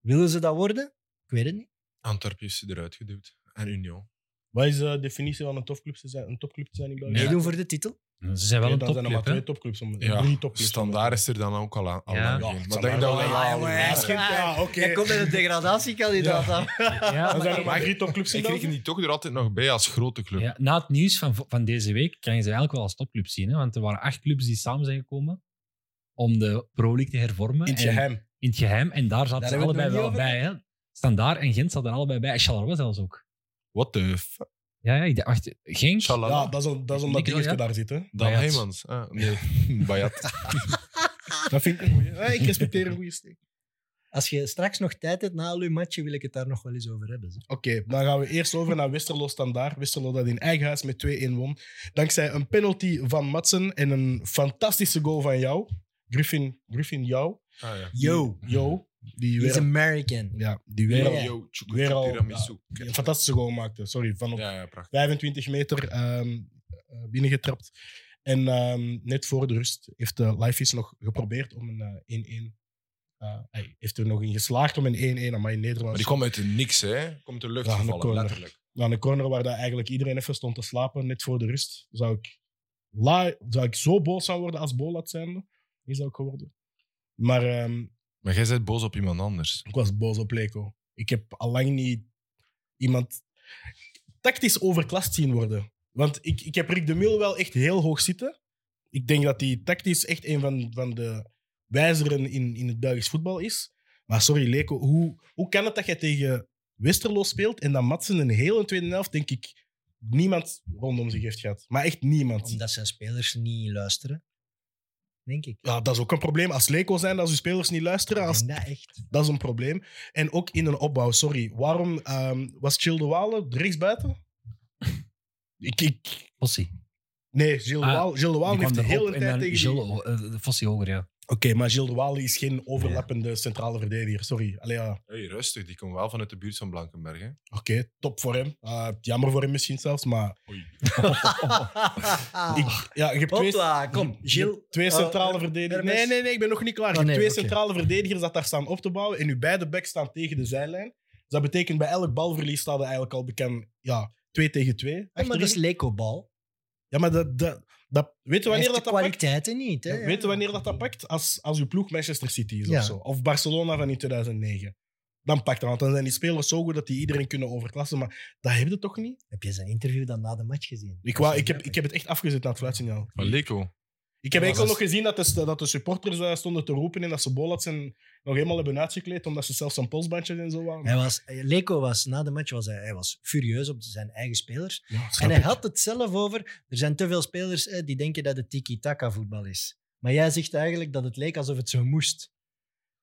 Willen ze dat worden? Ik weet het niet.
Antwerpen heeft ze eruit geduwd. En Union.
Wat is eh, de definitie van een topclub te zijn, een topclub te zijn in België?
Ja.
Meedoen voor de titel.
Ze zijn wel
Nee,
een
dan zijn er maar
topclub.
twee
hè?
topclubs. Om,
Ja,
drie topclubs.
Standaard is er dan ook al aan. Al
Ja.
aan
Ja,
geen. Maar
Standaard
denk dat
wel,
we-
ja,
ja,
ja,
maar-
ja, ja, oké.
Jij komt met een degradatiekandidaat
Ja.
aan.
Ja,
Dan
maar-
zijn er maar drie topclubs in
En kregen
België.
die toch er altijd nog bij als grote club.
Ja, na het nieuws van, van deze week kan je ze eigenlijk wel als topclub zien. Hè? Want er waren acht clubs die samen zijn gekomen om de Pro League te hervormen.
In het
En,
geheim.
in het geheim. En daar zaten
Daar
ze
hebben we het
allebei wel
nog niet
bij. Hè? Standaard en Gent zaten er allebei bij. En Charleroi zelfs ook.
What the fuck?
Ja, ja ik dacht, wacht, Genk?
Shalala.
Ja, dat is, om- dat is omdat
Ik-
die
ja.
eerste daar zit. Hè.
Dan
Bayat.
Heemans. Ah, nee, Bayat.
Dat vind ik een goeie. Ja, ik respecteer een goede steek.
Als je straks nog tijd hebt na al uw matje, wil ik het daar nog wel eens over hebben. zeg.
Oké, dan gaan we eerst over naar Westerlo Standaard. Westerlo dat in eigen huis met 2-1 won. Dankzij een penalty van Matsen en een fantastische goal van jou. Griffin, Griffin jou.
Ah, ja.
Yo,
Yo. Die
he's
weer,
American.
ja, die weer,
Weer
al-
al-
Yo, tjoeke,
weer al-
tiramisu.
die een fantastische goal maakte. Sorry, van op
Ja, ja, prachtig.
25 meter ehm, eh, binnengetrapt. En ehm, net voor de rust heeft eh Lifeis nog geprobeerd om een eh, 1-1. eh, hij heeft er nog in geslaagd om een 1-1, maar in Nederland.
Maar die komt uit de niks, hè? Komt de lucht
Ja,
gevallen,
de corner.
letterlijk.
naar een corner waar dat eigenlijk iedereen even stond te slapen, net voor de rust, zou ik, la, zou ik zo boos aan worden als Bolat zijnde. Die zou ik geworden. Maar ehm,
Maar jij bent boos op iemand anders.
ik was boos op Leko. Ik heb allang niet iemand tactisch overklast zien worden. Want ik, ik heb Rick de Mil wel echt heel hoog zitten. Ik denk dat hij tactisch echt een van, van de wijzeren in, in het Belgisch voetbal is. Maar sorry, Leko, hoe, hoe kan het dat jij tegen Westerlo speelt en dat Matsen een hele tweede helft, denk ik, niemand rondom zich heeft gehad? Maar echt niemand.
Omdat zijn spelers niet luisteren. Denk ik.
Ja, dat is ook een probleem. Als Leko zijn, als uw spelers niet luisteren, als
Ik denk dat echt.
Dat is een probleem. En ook in een opbouw, sorry. Waarom ehm, was Gilles de Waal rechtsbuiten? Ik, ik,
Fossi.
nee, Gilles de
Ah,
Waal, Gilles de Waal
Die
heeft de
kwam erop
hele
en
tijd
dan
tegen die-
Gilles, oh, eh, Fossi hoger, ja.
Oké, maar Gilles de Waal is geen overlappende centrale verdediger, sorry. Allee, ja. Oké,
Hey, rustig, die komt wel vanuit de buurt van Blankenberg. Hè?
top voor hem. Eh, jammer voor hem misschien zelfs, maar... Oh,
Ah.
Ik, ja, je hebt twee,
Hopla, kom.
je hebt
Gilles.
twee
eh,
centrale
eh,
verdedigers...
Hermes.
Nee, nee, nee, ik ben nog niet klaar. Je
Oh,
hebt
nee,
twee
oké.
centrale verdedigers dat daar staan op te bouwen en nu beide backs staan tegen de zijlijn. Dus dat betekent bij elk balverlies staat er eigenlijk al bekend... Ja, twee tegen twee.
Ja, maar
achterin.
dat is Lekobal.
Ja, maar dat, dat, dat, weet je
Hij
wanneer dat,
heeft de
dat pakt?
kwaliteiten niet. Hè?
Ja, Weet je wanneer dat, dat pakt? Als, als uw ploeg Manchester City is
Ja.
of zo. Of Barcelona van in 2009. Dan pakt dat, want dan zijn die spelers zo goed dat die iedereen kunnen overklassen. Maar dat heb je toch niet?
Heb je zijn interview dan na de match gezien?
Ik, wou, ik, heb, ik heb het echt afgezet na het fluitsignaal.
Maar Leko,
Ik heb
Maar
enkel
dat
nog
is-
gezien dat de, dat de supporters eh, stonden te roepen en dat ze Bolat zijn nog helemaal hebben uitgekleed, omdat ze zelfs zijn polsbandjes en zo waren.
Hij was, Leko was, na de match was hij, hij was furieus op zijn eigen spelers.
Ja,
En
snap
hij
ik.
had het zelf over. Er zijn te veel spelers eh, die denken dat het tiki-taka voetbal is. Maar jij zegt eigenlijk dat het leek alsof het zo moest.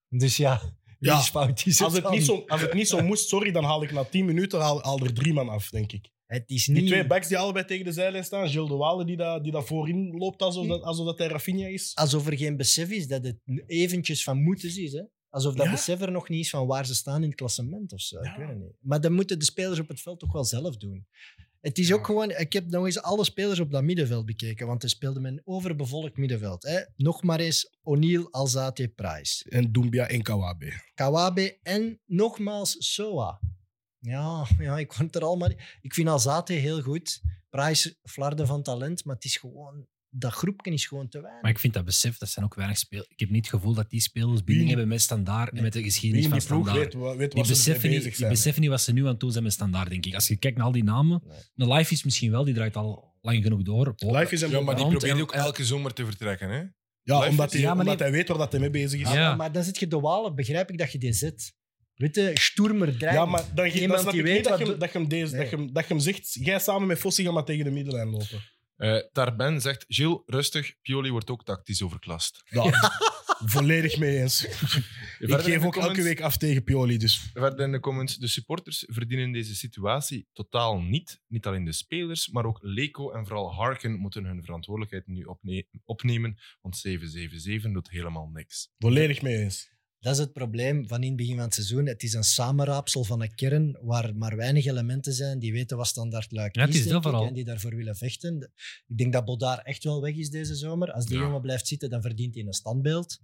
Dus ja, wie
Ja,
is fout is
Als het,
dan?
niet zo, als het niet zo moest, sorry, dan haal ik na 10 minuten haal, haal er drie man af, denk ik.
Het is
Die
niet...
twee backs die allebei tegen de zijlijn staan, Gilles de Walle die daar die dat voorin loopt alsof dat, alsof dat hij Rafinha is.
alsof er geen besef is dat het eventjes van moeten is. Hè? Alsof dat
Ja.
besef er nog niet is van waar ze staan in het klassement of zo. Ik
Ja.
weet het niet. Maar dat moeten de spelers op het veld toch wel zelf doen. Het is ook gewoon, ik heb nog eens alle spelers op dat middenveld bekeken, want er speelde men overbevolkt middenveld. Hè? Nog maar eens O'Neill, Alzate, Price.
En Dumbia en Kawabe.
Kawabe en nogmaals Soa. Ja, ja ik vond het er allemaal. Ik vind Alzate heel goed. Price flarden van talent, maar het is gewoon, dat groepje is gewoon te weinig.
Maar ik vind dat besef, dat zijn ook weinig spelers. Ik heb niet het gevoel dat die spelers binding hebben met standaard en met de
Wie
geschiedenis
in
van
die ploeg
standaard.
weet, wa- weet
Die
wat ze
beseffen,
ermee
niet,
bezig
die
zijn.
beseffen niet wat ze nu aan het doen zijn met standaard, denk ik. Als je kijkt naar al die namen,
Nee.
de life is misschien wel, die draait al lang genoeg door. op-
Life is een
Ja, maar die
Want-
probeert
en-
ook elke zomer te vertrekken. Hè?
Ja,
Life
omdat,
is-
hij,
Ja, maar
omdat
nee.
hij weet waar dat hij mee bezig is.
Ja,
Ja.
maar dan zit je de walen, begrijp ik dat je die zet. Weet je, stoermer
Ja,
drijven.
maar dan, ge- dan
Iemand
snap
die
ik niet
weet
dat
wat
je, hem-
doet.
dat, je hem deze,
Nee.
dat, je, hem- dat je hem zegt, jij samen met Fossi gaat maar tegen de middenlijn lopen.
Eh, Tarben zegt, Gilles, rustig, Pioli wordt ook tactisch overklast.
Ja, Volledig mee eens. ik
Verder in
geef
de
ook elke
comments-
week af tegen Pioli, dus
Verder in de comments, de supporters verdienen deze situatie totaal niet. Niet alleen de spelers, maar ook Leko en vooral Harkin moeten hun verantwoordelijkheid nu opne- opnemen, want 777 doet helemaal niks.
volledig mee eens.
Dat is het probleem van in het begin van het seizoen. Het is een samenraapsel van een kern waar maar weinig elementen zijn die weten wat standaard luik
Ja, het is
denk
dat
ik,
vooral.
en die daarvoor willen vechten. De- Ik denk dat Bodaar echt wel weg is deze zomer. Als die
Ja.
jongen blijft zitten, dan verdient hij een standbeeld.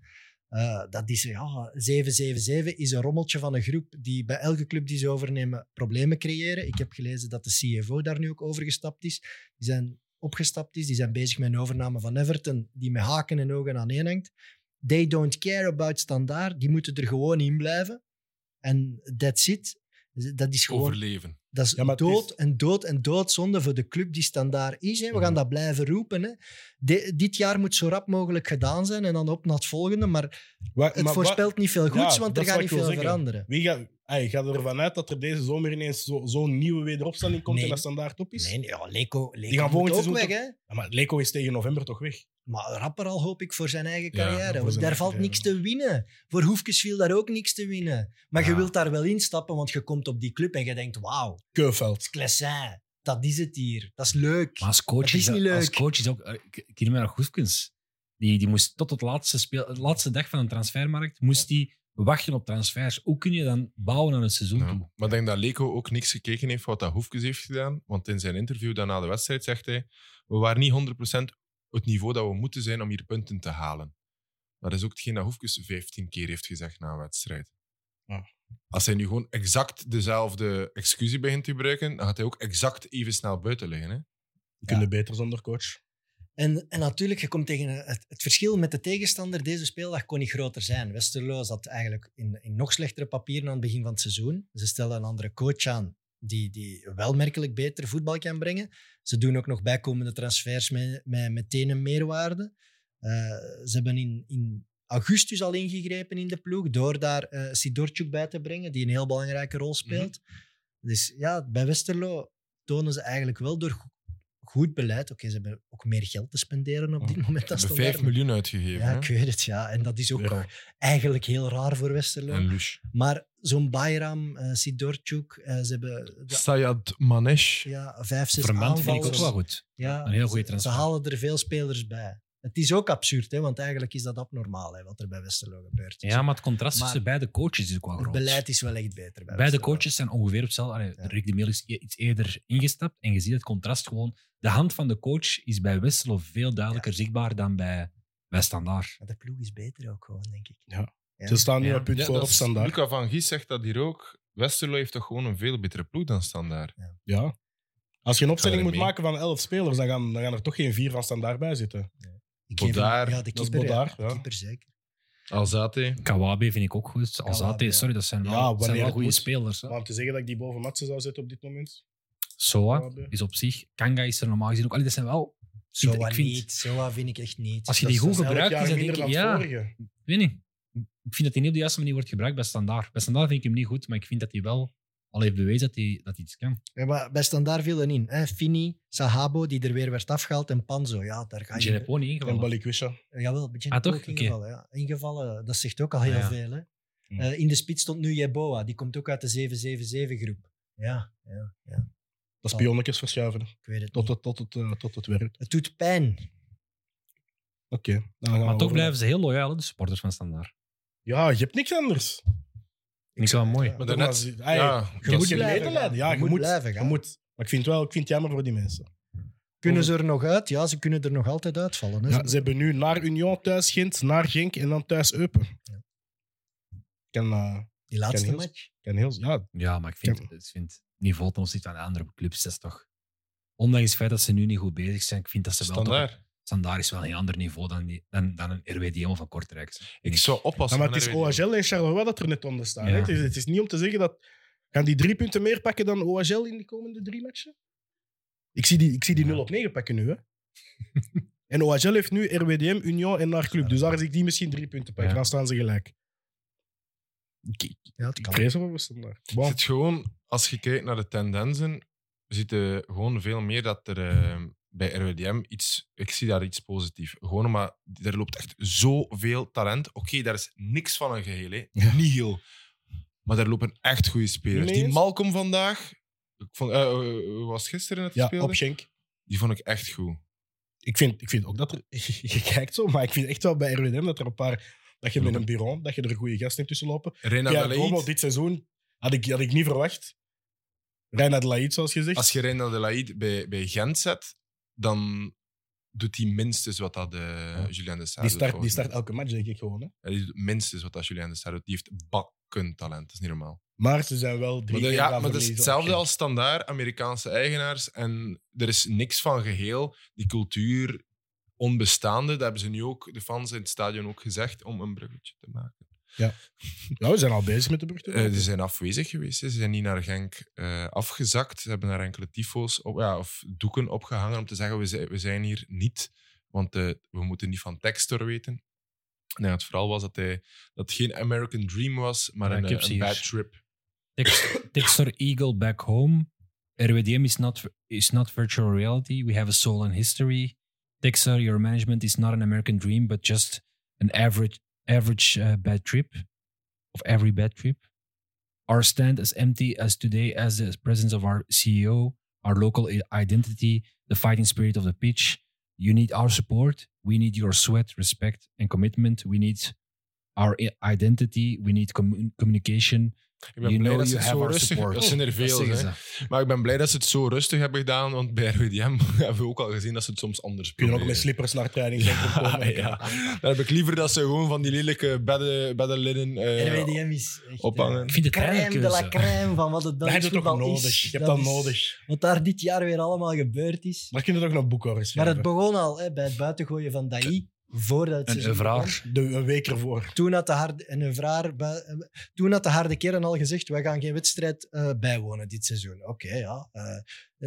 Eh, dat is, ja, 777 is een rommeltje van een groep die bij elke club die ze overnemen problemen creëren. Ik heb gelezen dat de CFO daar nu ook overgestapt is. Die zijn opgestapt is. Die zijn bezig met een overname van Everton, die met haken en ogen aaneen hangt. They don't care about standaard. Die moeten er gewoon in blijven. En that's it. Dat is gewoon
Overleven.
dat is
Ja, maar het
dood
is- Mhm.
en dood en doodzonde voor de club die standaard is. Hè. We gaan dat blijven roepen. Hè. De- dit jaar moet zo rap mogelijk gedaan zijn en dan op naar het volgende. Maar
Wa-
het
maar wa-
voorspelt niet veel goeds,
Ja,
want
dat
er
is
gaat
wat
niet
ik wil
veel
zeggen.
veranderen.
Wie gaat, ey, gaat ervan uit dat er deze zomer ineens zo- zo'n nieuwe wederopstanding komt
Nee.
en dat standaard op is?
Nee, nee, ja, Leko,
gaan
Leko moet
volgend
ook weg.
seizoen
Hè.
Ja, maar Leko is tegen november toch weg?
Maar rapper al hoop ik voor zijn eigen
Ja,
carrière.
voor
want
zijn
daar
eigen
valt niks te
carrière.
winnen. Voor Hoefkes viel daar ook niks te winnen. Maar je
Ja.
wilt daar wel instappen, want je komt op die club en je denkt: wauw,
Keuveld.
Classin, dat is het hier. Dat is leuk.
Maar als coach
Dat
is,
is niet
dat- als
leuk.
coach is ook. eh, Ik ik herinner me nog Goefkens. Die, die moest tot het laatste, speel, de laatste dag van de transfermarkt moest die wachten op transfers. Hoe kun je dan bouwen aan een seizoen
Ja.
toe?
Maar ik denk dat Leko ook niks gekeken heeft wat dat Hoefkes heeft gedaan, want in zijn interview daarna de wedstrijd zegt hij we waren niet 100% het niveau dat we moeten zijn om hier punten te halen. Dat is ook hetgeen dat Hoefkes 15 keer heeft gezegd na een wedstrijd.
Ja.
Als hij nu gewoon exact dezelfde excuus begint te gebruiken, dan gaat hij ook exact even snel buiten liggen. Hè?
Die kunnen beter zonder coach.
En, en natuurlijk, je komt tegen een- het, het verschil met de tegenstander deze speeldag kon niet groter zijn. Westerlo zat eigenlijk in, in nog slechtere papieren aan het begin van het seizoen. Ze stellen een andere coach aan die, die wel merkelijk beter voetbal kan brengen. Ze doen ook nog bijkomende transfers met, met meteen een meerwaarde. Eh, ze hebben in, in augustus al ingegrepen in de ploeg door daar eh Sidorchuk bij te brengen, die een heel belangrijke
Mhm.
rol speelt. Dus ja, bij Westerlo tonen ze eigenlijk wel door go- goed beleid. Oké, ze hebben ook meer geld te spenderen op dit moment.
Mhm. Ze
dan
hebben
Standaard.
5 miljoen uitgegeven.
Ja,
hè?
ik weet het, ja. En dat is ook
Ja.
eigenlijk heel raar voor Westerlo.
En Lush.
Maar zo'n Bayram, eh Sidorchuk, eh, ze hebben de-
Sayad Manesh.
ja, vijf, zes
Vermand vind ik ook
aanvallers.
wel goed.
Ja,
Een heel goede
ze-
transfer.
Ze halen er veel spelers bij. Het is ook absurd, hè, want eigenlijk is dat abnormaal hè, wat er bij Westerlo gebeurt. Dus
Ja, maar het contrast
Maar-
tussen beide coaches is ook wel
het
groot.
beleid is wel echt beter. Bij
Beide
Westerlo.
coaches zijn ongeveer op hetzelfde. Allee,
Ja.
Rick de Meel is e- iets eerder ingestapt en je ziet het contrast gewoon. De hand van de coach is bij Westerlo veel duidelijker zichtbaar dan bij, bij Standaard.
Maar de ploeg is beter ook gewoon, denk ik.
Ja.
Ja.
Ze staan nu
Ja.
een punt
Ja,
voor
dat
op
is-
standaard.
Luca van Gies zegt dat hier ook. Westerlo heeft toch gewoon een veel betere ploeg dan Standaard.
Ja. Als je een opstelling
Ga
moet
erin
maken
mee.
van elf spelers, dan gaan, dan gaan er toch geen vier van standaard bij zitten.
Ik geef hem-
Bodaar,
ja, de
dat is
keeper,
Bodaar,
ja.
ja.
De keeper zeker.
Alzate.
Kawabe vind ik ook goed. Alzate,
ja.
sorry, dat zijn wel,
Ja,
dat zijn
wanneer
wel
het
goede
moet.
spelers. hè.
Maar om te zeggen dat ik die boven Matsen zou zetten op dit moment.
Soa
Kawabe.
is op zich. Kanga is er normaal gezien ook. Allee, dat zijn wel.
Zoa
ik vind-
niet. Zoa vind ik echt niet.
Als je
Dat
die
is-
goed
dat is
Elk
gebruikt, is
jaar
dat
minder
denk ik.
dan
Ja,
het
ik
vorige.
weet niet. Ik vind dat hij niet op de juiste manier wordt gebruikt bij Standaard. Bij Standaard vind ik hem niet goed, maar ik vind dat hij wel al heeft bewezen dat hij, dat hij iets kan.
Ja, maar bij Standaard viel er in. Hè? Fini, Sahabo, die er weer werd afgehaald, en Panzo. Ja, daar ga Ah, je...
Gineppo niet
En
ingevallen.
Balikwisha.
Jawel, een beetje
Ah, toch?
ook
Oké.
ingevallen. Ja. Ingevallen, eh, dat zegt ook al heel
Ah, ja.
veel. Hè?
Hm.
Eh, in de spits stond nu Jeboa, die komt ook uit de 777-groep. Ja, ja, ja,
Dat is pionnetjes verschuiven. hè.
ik weet het
Tot
niet.
het, tot het, eh, tot het werkt.
Het doet pijn.
Oké. nou, dan gaan we
Maar toch
over.
blijven ze heel loyaal, hè, de supporters van Standaard.
Ja, je hebt niks anders.
Ik zou mooi.
Ja.
Maar
daarnet-
daarnet...
ja,
Je moet je
blijven
leven
gaan.
leiden. Ja,
Je
je,
moet
moet,
blijven
je
gaan.
moet. Maar ik vind, wel, ik vind het jammer voor die mensen.
Kunnen ze er nog uit? Ja, ze kunnen er nog altijd uitvallen. Hè?
Ja, ze hebben nu naar Union thuis Gent, naar Genk en dan thuis Eupen. Kan, eh,
die laatste
heel-
match.
kan heel... Ja,
Ja, maar ik vind,
Ja.
ik vind het niveau ten opzichte van de andere clubs, dat is toch... Ondanks het feit dat ze nu niet goed bezig zijn, ik vind dat ze wel... toch-
standaard.
Standaard is wel een heel ander niveau dan, die, dan, dan een RWDM van Kortrijk.
Ik zou
Ja,
oppassen.
maar het is
van RWDM.
OHL en Charleroi dat er net onder staan. hè.
Ja.
Het, is, het is niet om te zeggen dat... Gaan die drie punten meer pakken dan OHL in de komende drie matchen? Ik zie die, ik zie die
Ja.
0 op 9 pakken nu, hè. en OHL heeft nu RWDM, Union en haar club. Dus daar zie ik die misschien drie punten pakken.
Ja.
Dan staan ze gelijk. Ik, ik
Ja, het kan.
vrees voor Standaard. Bon.
Het is gewoon, als je kijkt naar de tendensen, zit je gewoon veel meer dat er eh, bij RWDM iets... Ik zie daar iets positiefs. Gewoon maar er loopt echt zoveel talent. Oké, daar is niks van een geheel, hè. Niet heel. Maar daar lopen echt goede spelers.
Niet mee
Die
eens?
Malcolm vandaag... Ik vond, eh, eh, eh, was gisteren het
Ja,
speelde?
op Schenk.
Die vond ik echt goed.
Ik vind, ik vind ook dat er... Je kijkt zo, maar ik vind echt wel bij RWDM dat er een paar... Dat je met een bureau, dat je er een goede gast in tussen lopen.
Reina
Ja,
Belaïd,
Romo, dit seizoen had ik, had ik niet verwacht. Reina de Laïd, zoals gezegd.
Als je Reina de Laïd bij, bij Gent zet, dan doet hij minstens wat dat eh Julien de
die,
Sarre doet,
start, die
volgens mij.
start elke match, denk ik gewoon. Hè.
Ja, die doet minstens wat als Julien de Sarre doet. Die heeft bakken talent. Dat is niet normaal.
Maar ze zijn wel drie
Maar, de-
keer
ja,
gaan
maar dat is
verliezen.
hetzelfde
Oké.
als standaard Amerikaanse eigenaars. En er is niks van geheel. Die cultuur onbestaande. Dat hebben ze nu ook, de fans in het stadion ook gezegd, om een bruggetje te maken.
Ja, we Nou, zijn al bezig met de brug.
Eh, ze zijn afwezig geweest. hè. Ze zijn niet naar Genk eh, afgezakt. Ze hebben daar enkele tyfo's op, ja, of doeken opgehangen om te zeggen, we zijn, we zijn hier niet. Want eh, we moeten niet van Textor weten. Nee, het verhaal was dat, hij, dat het geen American Dream was, maar
Ja,
een,
ik
eh,
heb ze
een
hier.
bad trip.
Tex- Textor Eagle Back Home. RWDM is not, is not virtual reality. We have a soul and history. Textor, your management is not an American dream, but just an average, average uh, bad trip. Of every bad trip. Our stand is empty as today as the presence of our CEO, our local i- identity, the fighting spirit of the pitch. You need our support. We need your sweat, respect, and commitment. We need our i- identity. We need commu- communication.
Ik ben
You
blij
know
dat ze
you
het
have
zo
our
rustig
support.
Dat zijn er
Dat
veel.
zeggen
hè.
ze.
Maar ik ben blij dat ze het zo rustig hebben gedaan, want bij RWDM hebben we ook al gezien dat ze het soms anders
Kunnen ook met
proberen.
slippers naar training
Ja,
komen.
ja. Dan heb ik liever dat ze gewoon van die lelijke bedden, beddenlinnen eh,
RWDM is echt,
ophangen.
eh,
Ik vind de
crème de la
trainerkeuze.
crème van wat het
Dat
dan
heb je toch nodig.
is.
Je hebt dat
is
nodig.
Wat daar dit jaar weer allemaal gebeurd is.
Daar kun je toch nog boek over
Maar het
schrijven.
begon al hè, bij het buitengooien van Dai. Voordat het
Een
seizoen begon.
vraag.
De, een week ervoor.
Toen had de harde, en een vraag, bij- toen had de harde kern al gezegd, wij gaan geen wedstrijd eh, bijwonen dit seizoen. Oké, ja. eh,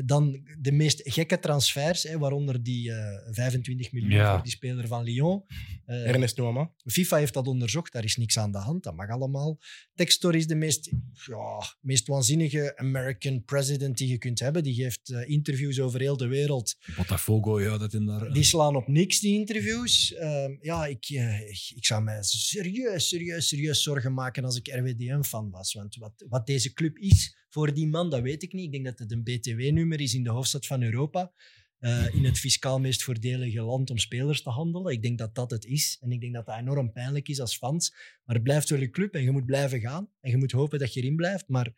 dan de meest gekke transfers, hè, waaronder die eh, 25 miljoen
Ja.
voor die speler van Lyon. Eh,
Ernest Nouama.
FIFA heeft dat onderzocht, daar is niks aan de hand, dat mag allemaal. Textor is de meest, ja, meest waanzinnige American president die je kunt hebben. Die geeft eh, interviews over heel de wereld.
Botafogo, ja, dat in daar. eh.
Die slaan op niks, die interviews. Ehm, ja, ik, eh, ik, ik zou mij serieus, serieus, serieus zorgen maken als ik RWDM-fan was. Want wat, wat deze club is voor die man, dat weet ik niet. Ik denk dat het een BTW-nummer is in de hoofdstad van Europa. eh, in het fiscaal meest voordelige land om spelers te handelen. Ik denk dat dat het is. En ik denk dat dat enorm pijnlijk is als fans. Maar het blijft wel een club en je moet blijven gaan. En je moet hopen dat je erin blijft. Maar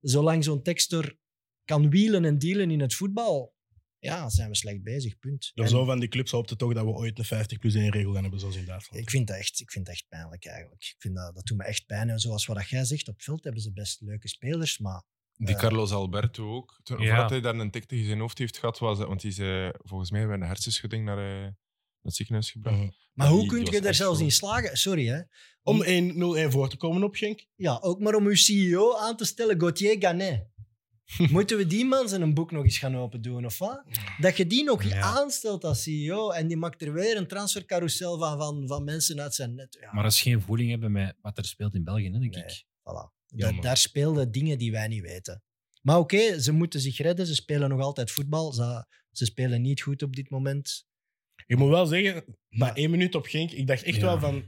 zolang zo'n tekster kan wielen en dealen in het voetbal, ja, zijn we slecht bezig. Punt.
Door
En-
zo van die clubs hoopte toch dat we ooit een 50 plus 1 regel gaan hebben, zoals in Duitsland.
ik vind dat echt, ik vind dat echt pijnlijk eigenlijk. Ik vind dat, dat doet me echt pijn. En zoals wat dat jij zegt, op veld hebben ze best leuke spelers, maar
Die Carlos Alberto ook. Toen,
Eh. Ja.
Voordat hij daar een tik tegen zijn hoofd heeft gehad, was dat, want die is eh, volgens mij bij een hersenschudding naar, eh, naar het ziekenhuis gebracht.
Mhm.
Maar
Ja,
hoe
die-
kun
die
je
was
daar
echt
zelfs
goed.
in slagen? Sorry, hè.
Om 1-0-1 voor te komen op Genk.
Ja, ook maar om uw CEO aan te stellen, Gauthier Ganet. Moeten we die man zijn een boek nog eens gaan opendoen, of wat? Dat je die nog
Ja.
aanstelt als CEO en die maakt er weer een transfercarousel van, van, van mensen uit zijn net. Ja,
Maar als ze geen voeling hebben met wat er speelt in België, hè, denk
Nee.
ik.
voilà. Da-
Jammer.
daar speelden dingen die wij niet weten. Maar oké, ze moeten zich redden. Ze spelen nog altijd voetbal. Ze, ze spelen niet goed op dit moment.
Ik moet wel zeggen, na
Maar-
één minuut op Genk, ik dacht echt
Ja.
wel van... Het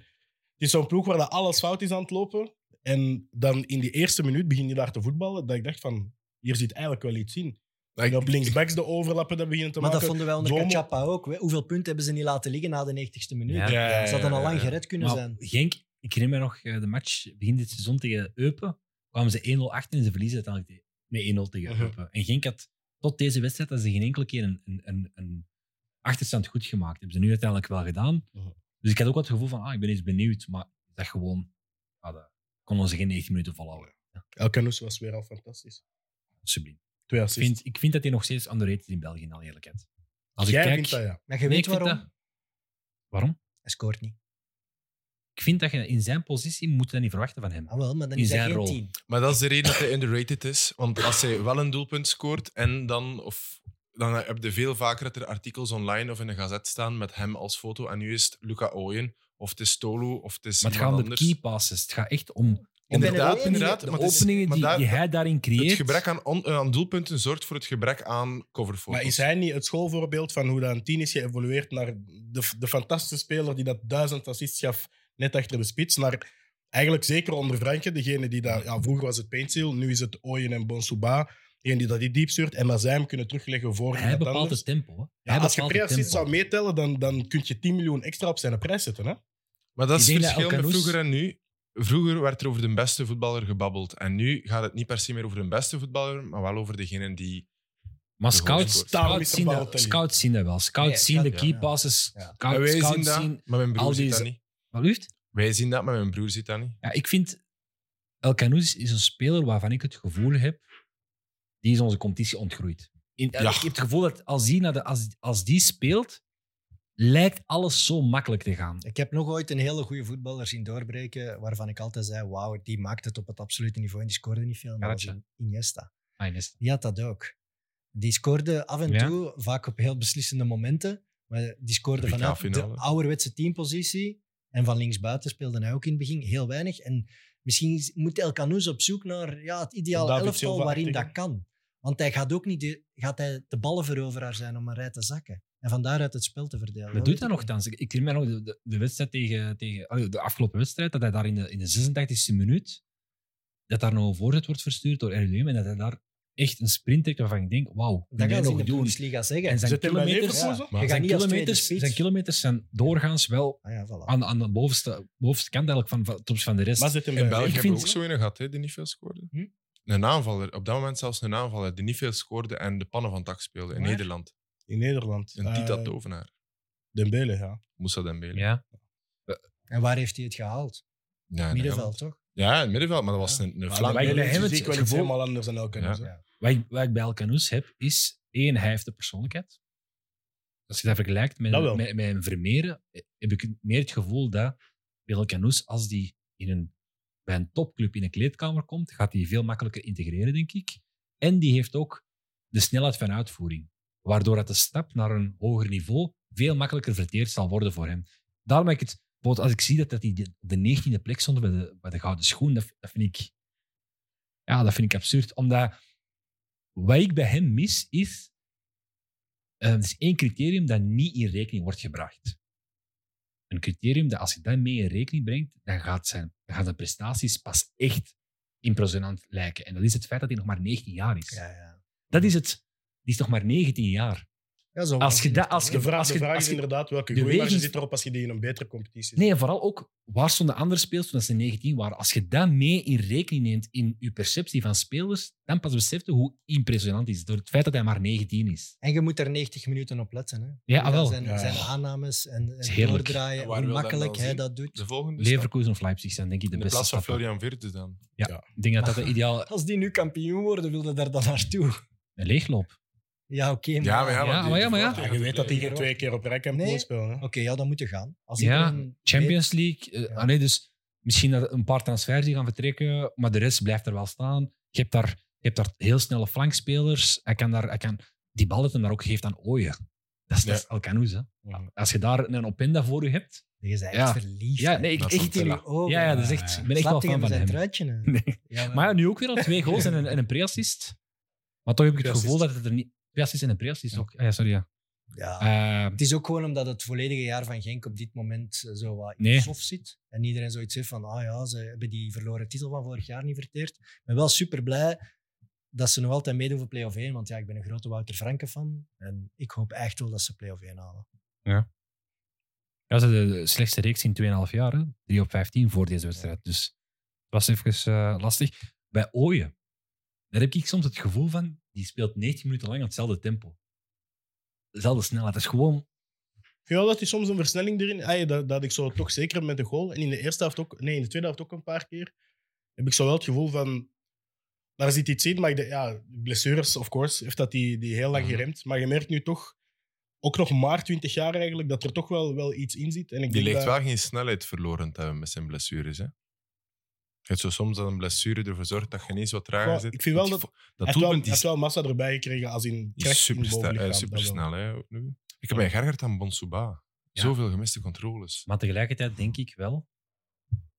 is zo'n ploeg waar dat alles fout is aan het lopen. En dan in die eerste minuut begin je daar te voetballen. Dat ik dacht van, hier zit eigenlijk wel iets in.
Maar ik-
En op linksbacks de overlappen dat beginnen te
maar dat
maken.
vonden wij onder
Zomer-
Kachapa ook. hè. Hoeveel punten hebben ze niet laten liggen na de 90ste minuut?
Ja.
Ze hadden al lang gered kunnen
Maar
zijn.
Genk, ik herinner me nog eh, de match begin dit seizoen tegen Eupen. Kwamen ze 1-0 achter en ze verliezen uiteindelijk met 1-0 tegen
Mhm.
Eupen. En Genk had tot deze wedstrijd dat ze geen enkele keer een, een, een, een achterstand goed gemaakt. hebben ze nu uiteindelijk wel gedaan.
Mhm.
Dus ik had ook wel het gevoel van, ah, ik ben eens benieuwd. Maar ik dacht gewoon, ah, dat konden ze geen 90 minuten volhouden.
El Canoes was weer al fantastisch.
Subliem.
Twee
Ik
assists.
vind, ik vind dat hij nog steeds underrated is in België, in alle eerlijkheid. Als
Jij
ik kijk,
vindt dat, ja.
Maar je
Nee,
weet
ik vind
waarom?
dat- waarom?
Hij scoort niet.
Ik vind dat je in zijn positie moet je dat niet verwachten van hem.
Ah, wel, maar dan
In
is hij
zijn
geen
rol.
team.
Maar dat is de reden dat hij underrated is. Want als hij wel een doelpunt scoort en dan... Of, dan heb je veel vaker dat er artikels online of in een gazet staan met hem als foto. En nu is het Luca Ooyen, of het is Tolu, of het is
Maar het gaat
iemand
om de
anders.
key passes. Het gaat echt om
Inderdaad,
ben er-
inderdaad.
de
maar het is-
openingen
maar
die,
daar-
die hij daarin creëert.
Het gebrek aan, on- eh, aan doelpunten zorgt voor het gebrek aan coverfoto's.
Maar is hij niet het schoolvoorbeeld van hoe dat een tien is geëvolueerd naar de, de fantastische speler die dat duizend assists gaf net achter de spits, naar eigenlijk zeker onder Franke, degene die dat... Ja, vroeger was het Paintseal, nu is het Ooyen en Bonsuba, degene die dat die diep stuurt, en dat zij hem kunnen terugleggen voor
Hij
iemand
bepaalt
anders.
het tempo. hè.
Ja,
Hij
als je
bepaalt het
pre-assists
tempo.
zou meetellen, dan, dan kun je 10 miljoen extra op zijn prijs zetten. Hè?
Maar dat
Ik
is
denk
het
dat
verschil met
Elkanous-
vroeger en nu. Vroeger werd er over de beste voetballer gebabbeld. En nu gaat het niet per se meer over de beste voetballer, maar wel over degene die...
Maar
De
scouts,
goalscorer.
Daarom
scouts,
is er
zien dat,
Balotelli.
scouts zien dat wel. Scouts
Nee,
zien de
ja,
key
ja.
passes.
Ja.
Scouts,
en wij
scouts
zien dat,
zien...
maar mijn
al
broer ziet
die-
dat niet.
Wat lief?
Wij zien dat, maar mijn broer ziet dat niet.
Ja, ik vind... El Canoes is een speler waarvan ik het gevoel heb... Die is onze competitie ontgroeid. In, eh,
Ja.
Ik heb het gevoel dat als die, naar de, als, als die speelt... Lijkt alles zo makkelijk te gaan.
Ik heb nog ooit een hele goede voetballer zien doorbreken, waarvan ik altijd zei, wauw, die maakt het op het absolute niveau en die scoorde niet veel. En Dat was
Karatje.
Iniesta.
Fijn is het.
Die had dat ook. Die scoorde af en
Ja.
toe, vaak op heel beslissende momenten, maar die scoorde
WK
vanuit de
finale.
ouderwetse teampositie. En van linksbuiten speelde hij ook in het begin heel weinig. En misschien is- moet El Canoes op zoek naar ja, het ideale
David
elftal
Silva
waarin dat
achtige.
kan. Want hij gaat ook niet de, gaat hij de ballenveroveraar zijn om een rij te zakken. En van daaruit het spel te verdelen.
Dat
weet
doet hij
ik niet.
nogthans. Ik ik herinner me nog de, de, de wedstrijd tegen, tegen allee, de afgelopen wedstrijd, dat hij daar in de, in de 86e minuut, dat daar nog een voorzet wordt verstuurd door RWM en dat hij daar echt een sprint trekt waarvan ik denk, wauw,
Dat
dat
gaan
kan
ze in
nog
de
doen.
Bundesliga zeggen.
En zijn
Zit hij bij
kilometers,
Leverkusen?
Ja,
Maar
je gaat
zijn,
niet als tweede
kilometers,
spits.
zijn kilometers zijn doorgaans wel
Ah ja, voilà.
aan, aan de bovenste, bovenste kant eigenlijk van, van, ten opzichte van de rest.
Maar zit hem
In
bij
België
Dus ik
hebben we
vind-
ook zo een gehad, hè, die niet veel scoorde.
Hm?
Een aanvaller, op dat moment zelfs een aanvaller die niet veel scoorde en de pannen van tak speelde in
Waar?
Nederland.
in Nederland.
Een Tita
Eh,
Tovenaar,
Dembele, ja.
Moussa Dembele. Ja,
ja.
En waar heeft hij het gehaald?
in Engeland.
Middenveld, toch?
Ja, in het middenveld, maar dat was een, een
Maar
flank.
bij
jullie
jullie hebben
hebben het
het wel iets
gevoel-
helemaal anders dan elke
Ja.
ander, hè.
Wat, ik, wat ik bij Alcanoes heb, is één, hij heeft de persoonlijkheid. Als je dat vergelijkt met,
Dat wel.
met, met een Vermeeren, eh, heb ik meer het gevoel dat bij Alcanoes, als die in een, bij een topclub in een kleedkamer komt, gaat hij veel makkelijker integreren, denk ik. En die heeft ook de snelheid van uitvoering, waardoor dat de stap naar een hoger niveau veel makkelijker verteerd zal worden voor hem. Daarom heb ik het, bijvoorbeeld als ik zie dat dat hij de- op de 19e plek stond bij de, bij de Gouden Schoen, dat, dat vind ik... Ja, dat vind ik absurd. Omdat wat ik bij hem mis is. eh, er is één criterium dat niet in rekening wordt gebracht. Een criterium dat als je dat mee in rekening brengt, dan gaat zijn, dan gaan zijn prestaties pas echt impressionant lijken. En dat is het feit dat hij nog maar 19 jaar is.
Ja, ja.
Dat is het. Die is nog maar 19 jaar.
Ja,
Oh,
zo
Als je dat- als
De
je-
vraag, de
je-
vraag
als
is
je-
inderdaad welke
de
groeimarge
wegen-
zit erop als je die in een betere competitie zet.
Nee, en vooral ook, waar stonden andere spelers toen ze 19 waren? Als je dat mee in rekening neemt in je perceptie van spelers, dan pas beseft je hoe impressionant het is. Door het feit dat hij maar 19 is.
En je moet er 90 minuten op letten. Hè.
Ja,
Hoe dat
wel.
Zijn,
Ja.
zijn aannames en,
is
en
heerlijk.
doordraaien,
En waar
hoe
wil dat
makkelijk
wel
hij
zien?
dat doet.
De volgende stap.
Leverkusen of Leipzig zijn denk ik de
In de
beste
plaats van
stappen.
Florian Virtus dan.
Ik denk dat dat de ideaal
Als die nu kampioen worden, wilde daar dan naartoe.
een leegloop.
Ja, oké. maar...
Ja, maar ja,
Ja, maar ja, maar ja.
Ah,
Ja, je weet dat die geen twee keer op rij kan
Nee.
nee. spelen. Hè?
Oké, ja, dan moet je gaan. Als
Ja,
iedereen
Champions League. eh,
Ja.
allee, dus misschien dat een paar transfers die gaan vertrekken, maar de rest blijft er wel staan. Je hebt daar, je hebt daar heel snelle flankspelers. Hij kan daar, hij kan, die bal dat hem daar ook geeft aan Ooyen. Dat is, dat is Alcanoes, hè.
Ja.
Als je daar een Openda voor je hebt,
Je bent echt
Ja.
verliefd.
Ja,
hè.
nee, ik,
Dat
Ik
ik,
is
zie het in uw ogen.
ja, ja, dat is echt, ik ben echt
Slaat
wel
tegen
fan van
zijn
hem.
truitje aan. Ja,
Maar ja, nu ook weer al twee goals en een, en een pre-assist. Maar toch heb ik het
Pre-assist.
gevoel dat het er niet... Pre-assist en een pre-assist ook. Ah, ja, sorry. Ja.
ja.
Ah.
Eh,
Het is ook gewoon omdat het volledige jaar van Genk op dit moment eh, zo wat in
Nee.
soft zit. En iedereen zoiets heeft van, ah ja, ze hebben die verloren titel van vorig jaar niet verteerd. Ik ben wel super blij dat ze nog altijd meedoen voor play-off 1, want ja, ik ben een grote Wouter Franke fan. En ik hoop echt wel dat ze play-off 1 halen.
ja, ze hadden de slechtste reeks in 2,5 jaar. Hè? 3 op 15 voor deze wedstrijd. Dus het was even eh, lastig. Bij Ooyen, daar heb ik soms het gevoel van, die speelt 90 minuten lang hetzelfde tempo. Dezelfde snelheid. Dat is gewoon...
Ik vind wel dat hij soms een versnelling erin... Ah, ja, dat, dat ik zo toch zeker heb met de goal. En in de eerste helft ook... Nee, in de tweede helft ook een paar keer. Heb ik zo wel het gevoel van... Daar zit iets in, maar ik denk, ja, blessures, of course, heeft dat die, die heel lang
Mhm.
geremd. Maar je merkt nu toch, ook nog maar 20 jaar eigenlijk, dat er toch wel, wel iets in zit. En ik
Die
denk
ligt
dat-
wel geen snelheid verloren te hebben met zijn blessures. Hè? Het zo soms dat een blessure ervoor zorgt dat je ineens wat trager
Goh,
zit.
ik vind wel
Want die
dat-
vo- dat
hij heeft wel,
doelpunt
hij heeft
is,
wel massa erbij gekregen als in
is
kracht in het
supersta-
bovenlichaam,
eh,
dat wel.
supersnel. Hè, ook nu. Ik heb mij geërgerd aan Bonsuba.
Ja.
Zoveel gemiste controles.
Maar tegelijkertijd denk ik wel,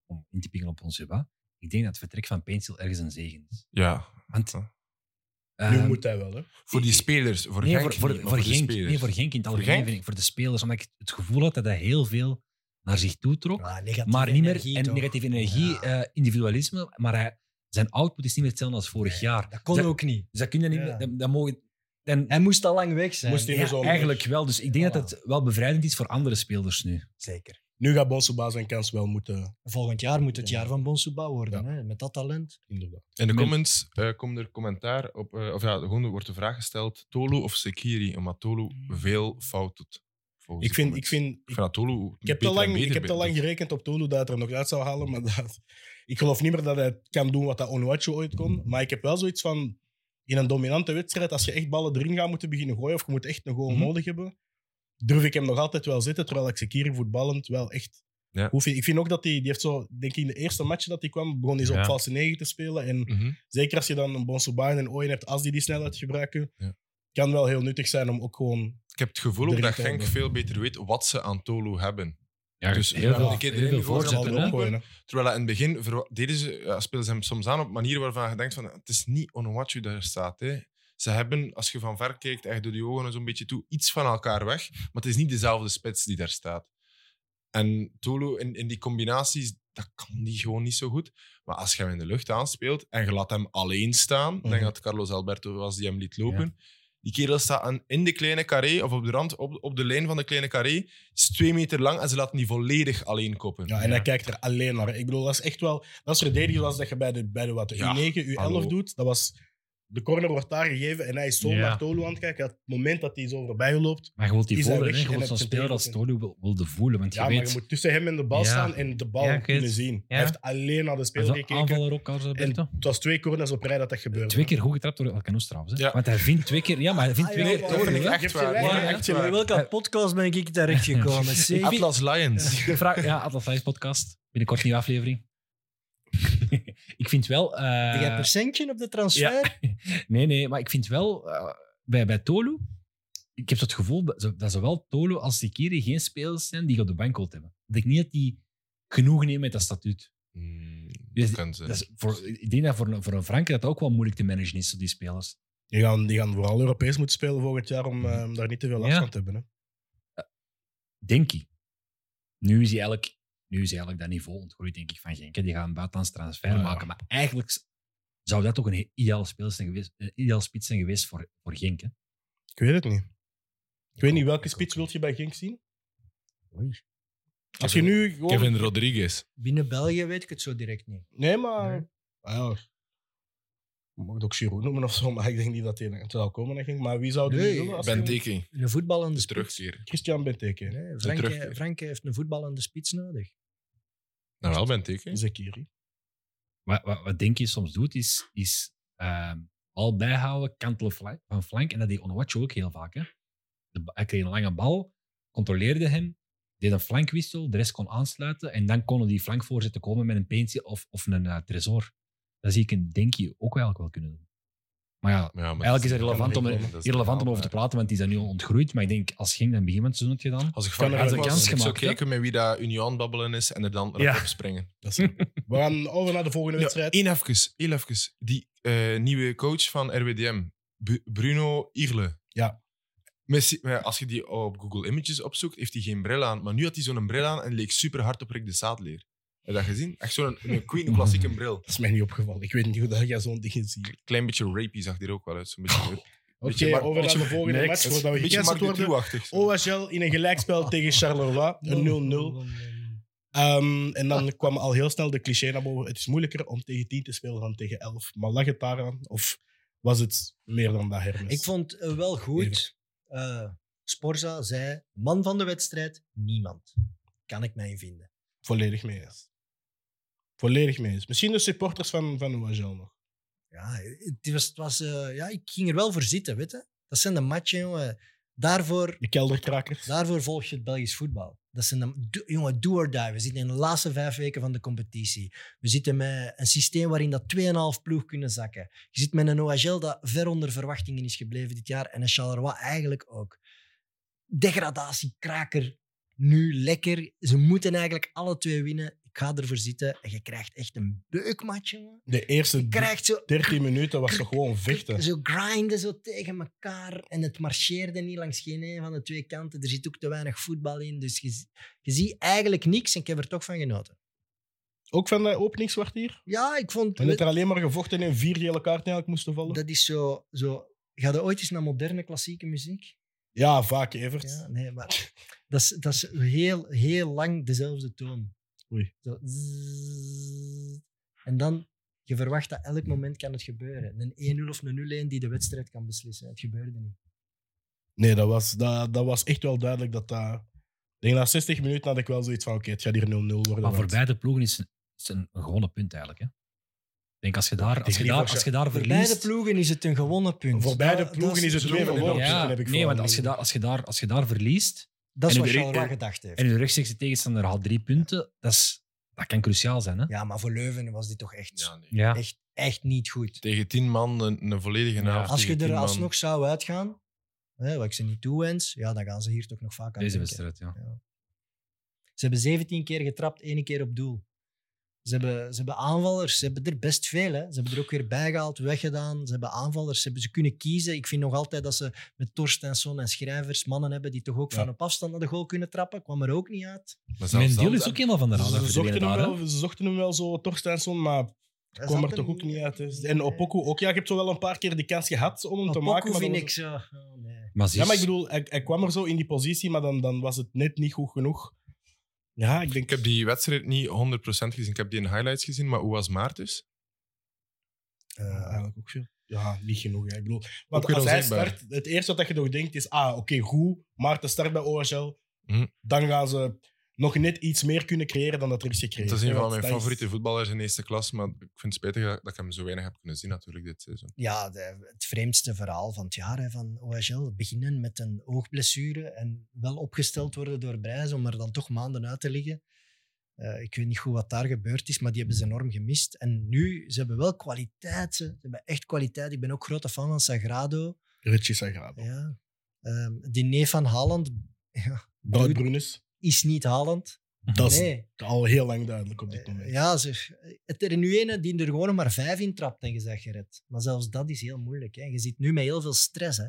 om in te pikken op ons debat, ik denk dat het vertrek van Pencil ergens een zegen is.
Ja.
Want,
Nu
Ehm,
moet hij wel, hè.
Voor die spelers. Voor
nee,
Genk
voor, voor,
niet,
voor,
maar voor de
Genk,
spelers.
nee, voor Genk in het algemeen,
Genk?
vind ik, voor de spelers. Omdat ik het gevoel had dat hij heel veel naar zich toe trok.
Ah, negatieve
maar niet meer
energie
en
toch?
negatieve energie,
Ja.
eh, individualisme. Maar hij, zijn output is niet meer hetzelfde als vorig jaar.
Dat kon
Ze-
ook niet.
Dus dat kun je niet
Ja.
meer. Dat, dat mogen, dan,
Hij moest al lang weg zijn.
Moest hij
ja,
nog zo-
eigenlijk wel. Dus ik denk dat het wel bevrijdend is voor andere spelers nu.
Zeker.
Nu gaat Bonsuba zijn kans wel moeten,
Volgend jaar moet het jaar van Bonsuba worden, hè, met dat talent.
inderdaad.
In de
Men-
comments eh, komt er commentaar op, eh, of ja, gewoon wordt de vraag gesteld: Tolu of Sekiri? Omdat Tolu veel fout doet. volgens
Ik
de
vind, ik
comments.
vind,
Ik vind dat Tolu.
Ik heb,
beter
te
en
lang,
beter
ik heb te
bij-
lang gerekend op Tolu dat hij er nog uit zou halen. Maar dat, ik geloof niet meer dat hij kan doen wat dat Onuachu ooit kon. Maar ik heb wel zoiets van... In een dominante wedstrijd, als je echt ballen erin gaat moeten beginnen gooien... of je moet echt een goal
Mhm.
nodig hebben... durf ik hem nog altijd wel zitten. Terwijl ik Sekiri voetballend wel echt...
Ja.
Hoef ik, ik vind ook dat hij... Die heeft zo, denk ik, in de eerste match dat hij kwam... begon hij zo
Ja.
op valse negen te spelen. En
Mhm.
zeker als je dan een Bonsoba en een Ooyen hebt... als die die snelheid gebruiken...
Ja.
kan wel heel nuttig zijn om ook gewoon...
Ik heb het gevoel ook
Erin
dat
te
Genk
hebben.
veel beter weet wat ze aan Tolu hebben.
Ja,
Dus
heel
ja,
veel,
een keer
heel
erin
veel
gegooid,
voorzetten,
dat
hè.
er ook-
opgooien, hè.
Terwijl hij in het begin verwa- deden ze, ja, speelden ze hem soms aan op manieren waarvan je denkt: van, het is niet Onuachu daar staat. Hè. Ze hebben, als je van ver kijkt, echt door die ogen zo'n beetje toe, iets van elkaar weg. Maar het is niet dezelfde spits die daar staat. En Tolo in, in die combinaties, dat kan die gewoon niet zo goed. Maar als je hem in de lucht aanspeelt en je laat hem alleen staan, ik denk
Mhm.
dat Carlos Alberto was die hem liet lopen. Die kerel staat aan, in de kleine carré, of op de rand, op, op de lijn van de kleine carré, is twee meter lang en ze laten die volledig alleen koppen.
Ja, en hij kijkt er alleen naar. Ik bedoel, dat is echt wel... Dat is
Mm.
verdedigend als dat je bij de, bij de wat, de
Ja,
U9, U11
hallo.
doet. Dat was... De corner wordt daar gegeven en hij is zo
Ja.
naar Tolu aan het kijken. Het moment dat hij zo voorbij loopt...
Maar je wilt die
Die zijn
voelen, hè.
weg
je
en
wilt
heb
zo'n
je
speler als
tegengekomen.
Tolu wil- wilde voelen. Want je
Ja, maar
weet,
je moet tussen hem en de bal
Ja.
staan en de bal
Ja, ik weet
kunnen
het.
zien.
Ja.
Hij heeft alleen naar de
hij is
speler
een
gekeken.
aanvaller ook als
En
Alberto.
het was twee corners op rij dat dat gebeurde.
Twee keer goed getrapt door Alcanos trouwens. Hè?
Ja.
Want hij vindt twee keer... Ja, maar hij vindt
Ah,
twee
ja,
keer...
maar-
Tolu,
Dat vind ik
hè.
echt
Je hebt
waar.
ze
Ja,
weg,
echt
hè?
waar.
In welke podcast ben ik terechtgekomen? zeg?
Atlas Lions.
Dus Ik vraag, ja, Atlas Lions podcast. Binnenkort een nieuwe aflevering. ik vind wel... eh,
Heb jij percentje op de transfer?
nee, nee, maar ik vind wel... eh, bij, bij Tolu... Ik heb zo het gevoel dat, ze- dat zowel Tolu als Sekiri geen spelers zijn die je op de bank wilt hebben. Dat ik niet dat die genoegen nemen met dat statuut.
Mm,
Dus
dat kan zijn.
Dat is voor, ik denk dat voor een, voor een Franke dat ook wel moeilijk te managen is, zo die spelers.
Die, gaan, die gaan vooral Europees moeten spelen volgend jaar om eh, daar niet te veel
Ja.
last van te hebben. Hè.
Denk ik. Nu is hij eigenlijk, nu is hij eigenlijk dat niveau ontgroeid, denk ik, van Genk. hè. Die gaan een buitenlands transfer
Ja, ja.
maken. Maar eigenlijk s- zou dat toch een he- ideaal, speler zijn geweest, een ideaal spits zijn geweest voor, voor Genk. Hè?
Ik weet het niet. Ik weet
ook-
niet,
ik
welke
ook
spits wil
niet.
je bij Genk zien? Als je nu gewoon...
Kevin Rodriguez.
Binnen België weet ik het zo direct niet.
Nee, maar...
Nee.
Ah, ja. Je mag het ook Giroud noemen of zo, maar ik denk niet dat hij er zou komen. denk ik. Maar wie zou er
Nee,
nu willen? als je-
Benteke,
Een voetballende
de
spits.
terugkeer.
Christian Benteke.
Nee, Franke,
terugkeer.
Franke heeft een voetballende spits nodig.
Nou wel, Benteke.
Zekiri.
Wat, wat, wat Denkie soms doet, is, is ehm, bal bijhouden, kantelen fla- van flank. En dat deed Onuachu ook heel vaak. Hè? De, ba- hij kreeg een lange bal, controleerde hem, deed een flankwissel, de rest kon aansluiten. En dan konden die flankvoorzetten komen met een peentje of, of een eh, tresor. Dat zie ik een Denkie ook eigenlijk wel kunnen doen. Maar ja,
Ja, maar
eigenlijk is het
dat
relevant,
kan
om,
er-
niet komen. Dat is
relevant om
normaal,
over te
maar-
praten, want die zijn nu al ontgroeid. Maar ik denk, als ging dan begin van het seizoen het gedaan.
Als ik
Kan
van
er
Gent
wel
was,
kans
ik zou
gemaakt, hè?
kijken met wie dat Union babbelen is en er dan
Ja.
ja. op springen.
Dat is- We gaan over naar de volgende
Ja,
wedstrijd.
één even, één even. Die eh, nieuwe coach van RWDM, Bu- Bruno Irle.
Ja.
Messi, maar als je die op Google Images opzoekt, heeft hij geen bril aan. Maar nu had hij zo'n bril aan en leek super hard op Rick de Zaadleer. Heb je dat gezien? Echt zo'n een queen klassieke bril.
Dat is mij niet opgevallen. Ik weet niet hoe dat jij zo'n ding ziet.
Klein beetje rapy zag die er ook wel uit. Zo'n beetje,
Oh, Oké,
Beetje Mar-
over naar de
beetje-
volgende
Next.
match. Voordat
een
we
beetje
gecanceld
Mark de
worden. Oh,
Toe-achtig. zo.
OHL in een gelijkspel tegen Charleroi. Een 0-0. Ehm, en dan kwam al heel snel de cliché naar boven. Het is moeilijker om tegen 10 te spelen dan tegen 11. Maar lag het daaraan? Of was het meer dan dat, Hermes?
Ik vond eh, wel goed. eh, Sporza zei: man van de wedstrijd, niemand. Kan ik mij in vinden.
Volledig mee eens. Volledig mee eens. Misschien de supporters van, van OHL nog.
Ja, het was, het was, eh, ja, ik ging er wel voor zitten, weet je. Dat zijn de matchen, jongen. Daarvoor,
De kelderkrakers.
daarvoor volg je het Belgisch voetbal. Dat zijn de, do- jongen, do or die. We zitten in de laatste vijf weken van de competitie. We zitten met een systeem waarin dat 2,5 ploeg kunnen zakken. Je zit met een OHL dat ver onder verwachtingen is gebleven dit jaar. En een Charleroi eigenlijk ook. Degradatiekraker nu lekker. Ze moeten eigenlijk alle twee winnen. Ik ga ervoor zitten. En je krijgt echt een beukmatch, jongen.
De eerste
Je krijgt zo
13 minuten was toch gewoon vechten.
zo grinden zo tegen elkaar. En het marcheerde niet langs geen een van de twee kanten. Er zit ook te weinig voetbal in. Dus je, z- je ziet eigenlijk niks. En ik heb er toch van genoten.
Ook van de openingskwartier.
Ja, ik vond...
En dat er alleen maar gevochten en vier gele kaarten eigenlijk moesten vallen.
Dat is zo... zo Ga je ooit eens naar moderne klassieke muziek?
Ja, vaak Evert.
Ja, nee, maar... Dat is, dat is heel, heel lang dezelfde toon.
Oei.
Zo, zzz. en dan... Je verwacht dat elk moment kan het gebeuren. Een 1-0 of een 0-1 die de wedstrijd kan beslissen. Het gebeurde niet.
Nee, dat was, dat, dat was echt wel duidelijk dat dat... Ik denk na 60 minuten had ik wel zoiets van, oké, het gaat hier 0-0 worden.
Maar voor
want-
beide ploegen is een, is een gewonnen punt eigenlijk. Hè. Ik denk, als je daar, als je
niet
daar,
voor-
als je daar
Voor beide
verliest...
ploegen is het een gewonnen punt.
Voor beide
Dat-
ploegen
dat
is het
zo
weer
in de
verloren.
hoogte,
Ja,
heb ik
nee,
vooral
want als je,
niet.
daar, als, je daar, als je daar verliest
Dat is
En
wat
de re-
Charleroi
en-
gedacht heeft.
en je rechtstreekse tegenstander haalt drie punten, dat, is, dat kan cruciaal zijn. Hè?
Ja, maar voor Leuven was dit toch echt,
Ja, nee.
Ja.
echt, echt niet goed.
Tegen tien man een, een volledige
Ja.
avond.
Als je
tegen
er
tien man.
alsnog zou uitgaan, hè, wat ik ze niet toewens, ja, dan gaan ze hier toch nog vaak aan
Deze
denken.
wedstrijd, ja.
Ze hebben 17 keer getrapt, één keer op doel. Ze hebben, ze hebben aanvallers, ze hebben er best veel. Hè. Ze hebben er ook weer bijgehaald, weggedaan. Ze hebben aanvallers, ze, hebben, ze kunnen kiezen. Ik vind nog altijd dat ze met Torstensson en Schrijvers mannen hebben die toch ook
Ja.
van op afstand naar de goal kunnen trappen. Kwam er ook niet uit.
Maar zelfs
Mijn
dan-
deal is ook helemaal van de radar
Ze zochten,
verdwenen
hem
daar. hè.
wel, ze zochten hem wel zo, Torstensson, maar
Hij
kwam
zat
er toch ook niet uit. hè. En
Nee.
Opoku ook. Ja, je hebt zo wel een paar keer de kans gehad om hem te
Opoku
maken. maar dan
vind
was
ik
het-
zo... oh, nee.
Maar ze
Ja, maar ik
is-
bedoel, hij, hij kwam er zo in die positie, maar dan, dan was het net niet goed genoeg. Ja, ik denk...
Ik heb die wedstrijd niet 100% gezien. Ik heb die in highlights gezien, maar hoe was dus? Maartens?
Eh,
Ja, Eh, eigenlijk ook veel. Ja, niet genoeg. hè. Ik bedoel, want
Ook weer
als hij
onzichtbaar.
start, het eerste wat je nog denkt is, ah, oké, goed, maar te start bij OHL,
Hm.
dan gaan ze nog net iets meer kunnen creëren dan dat er is gecreëerd.
Het is een
hè,
van
want
mijn
dat is-
favoriete voetballers in eerste klas, maar ik vind het spijtig dat dat ik hem zo weinig heb kunnen zien natuurlijk dit seizoen.
ja, de- het vreemdste verhaal van het jaar hè, van OHL. Beginnen met een oogblessure en wel opgesteld worden door Brijs om er dan toch maanden uit te liggen. Eh, ik weet niet goed wat daar gebeurd is, maar die hebben ze enorm gemist. En nu, ze hebben wel kwaliteit. Ze, ze hebben echt kwaliteit. Ik ben ook grote fan van Sagrado.
Richie Sagrado.
Ja. Ehm, die neef van Haaland ja,
Brood Brunes,
is niet Haaland.
dat is
Nee.
al heel lang duidelijk op dit moment.
Ja, zeg, het er nu ene die er gewoon maar vijf in trapt en je zegt gered. Maar zelfs dat is heel moeilijk. Hè. Je zit nu met heel veel stress. Hè.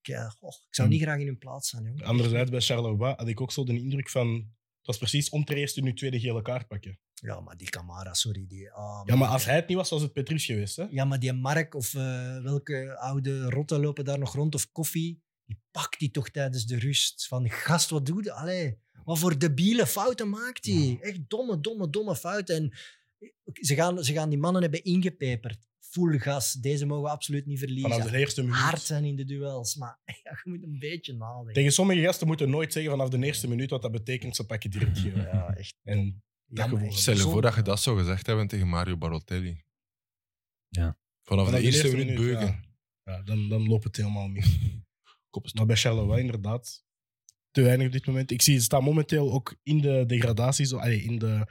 Ik, eh, goh, ik zou
Hmm.
niet graag in hun plaats zijn, jongen.
Anderzijds, bij Charleroi had ik ook zo de indruk van... Het was precies om te eerste nu tweede gele kaart pakken.
Ja, maar die Camara, sorry. Die, ah,
Ja, maar als
die-
hij het niet was, was het Petrus geweest. Hè?
Ja, maar die Mark of eh, welke oude rotten lopen daar nog rond of koffie, die pakt die toch tijdens de rust. Van, gast, wat doe je? Allee, wat voor debiele fouten maakt hij? Echt domme, domme, domme fouten. En eh, ze gaan, ze gaan die mannen hebben ingepeperd. Full gas, deze mogen we absoluut niet verliezen.
Vanaf de eerste minuut.
hard zijn in de duels. Maar ja, je moet een beetje nadenken.
Tegen sommige gasten moeten nooit zeggen vanaf de eerste minuut wat dat betekent. Ze pakken direct geel.
Ja, echt.
En
jammer,
gevoel.
echt.
Stel je voor dat je
Zonde.
dat zou gezegd hebben tegen Mario Barotelli.
Ja.
Vanaf, de, eerste, minuut beuken.
ja. Ja, dan, dan loopt het helemaal mis.
Koppen
Maar bij Charleroi inderdaad te weinig op dit moment. Ik zie, ze staan momenteel ook in de degradatie, allee, in de,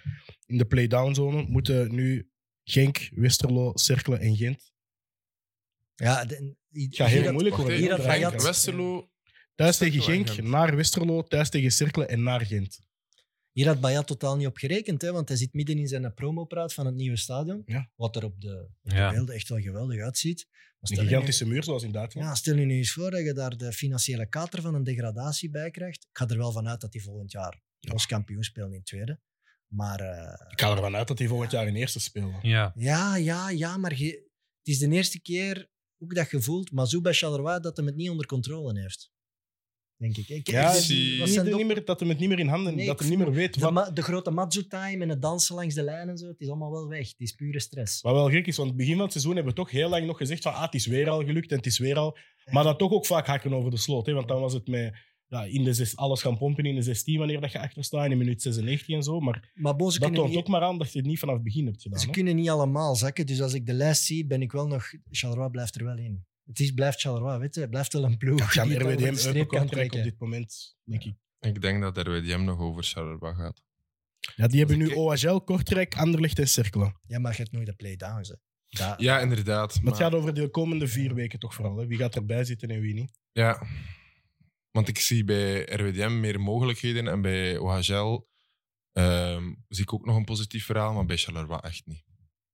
in de play-down zone. Moeten nu Genk, Westerlo, Cerkelen en Gent
Ja, de-
Het gaat heel
hier had-
moeilijk worden.
hier had
hè.
Genk,
Rayat-
Westerlo.
Thuis
Cirkel
tegen
en
Genk,
Gent.
naar Westerlo, thuis tegen Cirkelen en naar Gent.
Hier had Bayat totaal niet op gerekend, hè, want hij zit midden in zijn promopraat van het nieuwe stadion.
Ja.
Wat er op de
Ja.
beelden echt wel geweldig uitziet. Maar
Een
stel je nu-
gigantische muur, zoals in Duitsland.
Ja, stel je nu eens voor dat je daar de financiële kater van een degradatie bij krijgt. Ik ga er wel vanuit dat hij volgend jaar ons kampioen speelt in tweede. Maar eh,
Ik ga ervan uit dat die volgend jaar in eerste spelen.
Ja.
ja, ja, ja, maar je- het is de eerste keer ook dat je voelt, Mazou bij Charleroi, dat hij het niet onder controle heeft. Denk ik. ik
Ja,
ik-
zie-
wat
Niet,
zijn
niet
de-
meer, dat hem het niet meer in handen,
Nee,
dat
ik
hem niet meer weet
de,
wat,
ma- de grote Matsu-time en het dansen langs de lijn en zo, het is allemaal wel weg. Het is pure stress.
wat wel gek is. Want begin van het seizoen hebben we toch heel lang nog gezegd van ah, het is weer al gelukt en het is weer al... Maar dat toch ook vaak hakken over de sloot. Hè, want dan was het met ja, in de zes, alles gaan pompen in de 16 wanneer dat je achter staat, in minuut 96 en zo. Maar
Maar Bo, ze
dat
Dus kunnen
toont
niet-
ook maar aan dat je het niet vanaf het begin hebt gedaan.
Ze
hè.
kunnen niet allemaal zakken, dus als ik de lijst zie, ben ik wel nog... Charleroi blijft er wel in. Het is, blijft Charleroi, weet je. Het blijft wel een ploeg
Ja,
die
maar
het over de
RWDM
streep kan
Eupen-Kortrijk op
trekken.
dit moment, denk ik.
Ik denk dat RWDM nog over Charleroi gaat.
Ja, die hebben
Dus
Als
nu
ik
OHL, Kortrijk, Anderlecht en Cerkelen.
Ja, maar je hebt nooit de play-downs. hè. Da-
Ja, inderdaad.
Maar het
maar-
gaat over de komende vier weken toch vooral. Hè? Wie gaat erbij zitten en wie niet.
Ja, want ik zie bij RWDM meer mogelijkheden en bij OHL ehm, zie ik ook nog een positief verhaal, maar bij Charleroi echt niet.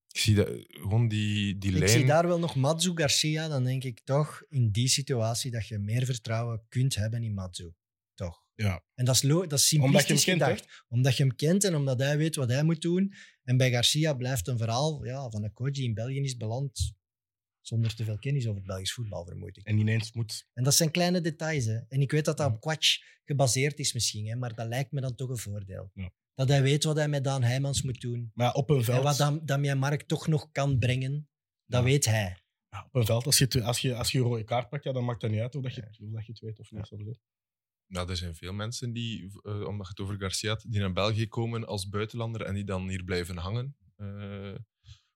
Ik zie dat, gewoon die, die
ik
lijn.
zie daar wel nog Matsu Garcia, dan denk ik toch in die situatie dat je meer vertrouwen kunt hebben in Matsu. Toch?
Ja.
En dat is, lo- dat
Omdat
is
je hem
simplistisch
kent, hè?
gedacht. Omdat je hem kent en omdat hij weet wat hij moet doen. En bij Garcia blijft een verhaal ja, van een coach die in België is beland zonder te veel kennis over het Belgisch voetbal, vermoed ik.
En ineens moet...
En dat zijn kleine details. Hè. En ik weet dat dat op kwatsch gebaseerd is misschien, hè, maar dat lijkt me dan toch een voordeel.
Ja.
Dat hij weet wat hij met Daan Heijmans moet doen.
Maar ja, op een
En wat
veld,
Dam- Damian Mark toch nog kan brengen, dat
Ja.
weet hij.
ja, op een veld als, je, te- als, je, als je een rode kaart pakt, ja, dan maakt dat niet uit of dat je, of dat je het weet of niet. soms, hè.
Nou, er zijn veel mensen die, eh, omdat je het over Garcia had, die naar België komen als buitenlander en die dan hier blijven hangen. Eh,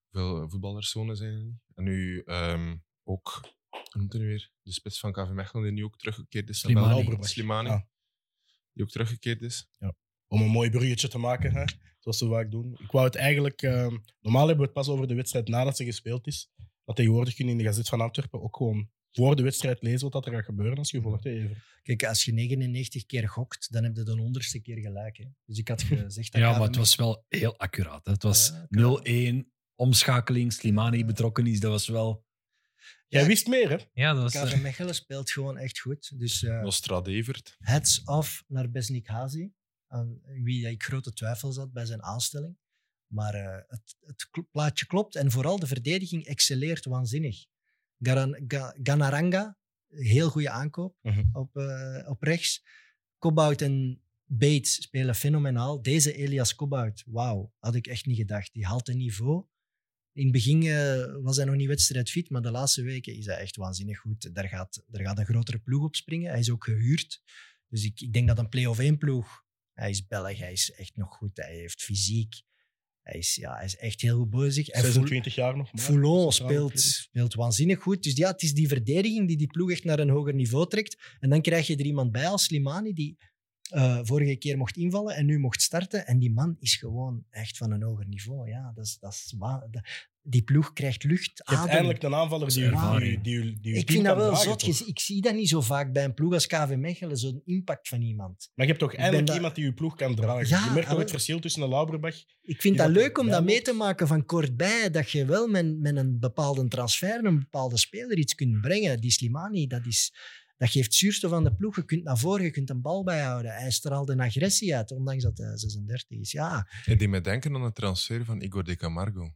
hoeveel voetballerszonen zijn er niet? En nu ehm, ook, hoe noemt hij nu weer? De spits van KV Mechelen, die nu ook teruggekeerd is. naar
Slimani.
België.
Lauberbach.
Slimani,
Ja.
die ook teruggekeerd is.
Om een mooi bruggetje te maken, hè? zoals ze vaak doen. Ik wou het eigenlijk... eh, normaal hebben we het pas over de wedstrijd nadat ze gespeeld is. Maar tegenwoordig kun je in de Gazet van Antwerpen ook gewoon voor de wedstrijd lezen wat er gaat gebeuren als je volgt. hè, Evert.
Kijk, als je 99 keer gokt, dan heb je de honderdste keer gelijk. Hè. Dus ik had gezegd dat
Ja,
KVM
maar het was wel heel accuraat. hè. Het was
Ja,
0-1, omschakeling, Slimani betrokken is. Dat was wel...
Jij
Ja.
wist meer, hè?
Ja, dat was... eh,
KV Mechelen speelt gewoon echt goed. Dus eh,
Nostradevert.
heads off naar Besnik Hazi, aan wie ik grote twijfels had bij zijn aanstelling. Maar eh, het, het kl- plaatje klopt en vooral de verdediging excelleert waanzinnig. Garan, Ga- Ganaranga, heel goede aankoop
Mhm.
op, eh, op rechts. Kobout en Bates spelen fenomenaal. Deze Elias Kobout, wauw, had ik echt niet gedacht. Die haalt een niveau. In het begin eh, was hij nog niet wedstrijdfit, maar de laatste weken is hij echt waanzinnig goed. Daar gaat, daar gaat een grotere ploeg op springen. Hij is ook gehuurd. Dus ik, ik denk dat een play-off 1 ploeg. Hij is Belg, hij is echt nog goed. Hij heeft fysiek. Hij is, ja, hij is echt heel goed bezig. En Foul-
26 jaar nog. maar- Centraal
Foulon speelt,
verdediger.
speelt waanzinnig goed. Dus ja, het is die verdediging die die ploeg echt naar een hoger niveau trekt. En dan krijg je er iemand bij als Slimani, die eh, vorige keer mocht invallen en nu mocht starten. En die man is gewoon echt van een hoger niveau. Ja, dat is, dat is wa- dat- die ploeg krijgt lucht,
Je hebt
adem.
eindelijk een aanvaller die,
Ervaring.
die, die, die, die je team
Ik vind dat
kan
wel
dragen,
zot.
toch?
Je- Ik zie dat niet zo vaak bij een ploeg als KV Mechelen, zo'n impact van iemand.
Maar je hebt toch
ben
eindelijk
daar-
iemand die je ploeg kan dragen.
Ja,
je merkt toch
ah,
het
wel.
verschil tussen een Lauberbach.
Ik vind
Die
dat
dat
leuk om
erbij
dat mee
moet.
te maken van kortbij. Dat je wel met, met een bepaalde transfer, een bepaalde speler iets kunt brengen. Die Slimani, dat, is, dat geeft zuurstof aan de ploeg. Je kunt naar voren, je kunt een bal bijhouden. Hij straalt een agressie uit, ondanks dat hij 36 is. Ja,
En die me denken aan de transfer van Igor de Camargo.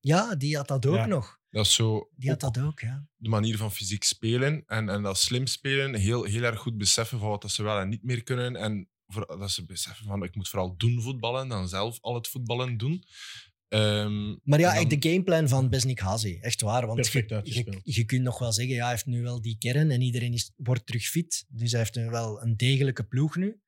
ja die had dat ook
Ja.
nog.
Dat is zo
Die had dat ook, ja.
de manier van fysiek spelen en, en dat slim spelen. Heel, heel erg goed beseffen van wat dat ze wel en niet meer kunnen. En voor- dat ze beseffen van ik moet vooral doen voetballen, dan zelf al het voetballen doen. Ehm,
Maar ja,
en dan-
echt de gameplan van Besnik Hazi. Echt waar. Want
Perfect
je, je,
uitgespeeld.
je kunt nog wel zeggen, ja, hij heeft nu wel die kern en iedereen is, wordt terug fit. Dus hij heeft nu wel een degelijke ploeg nu.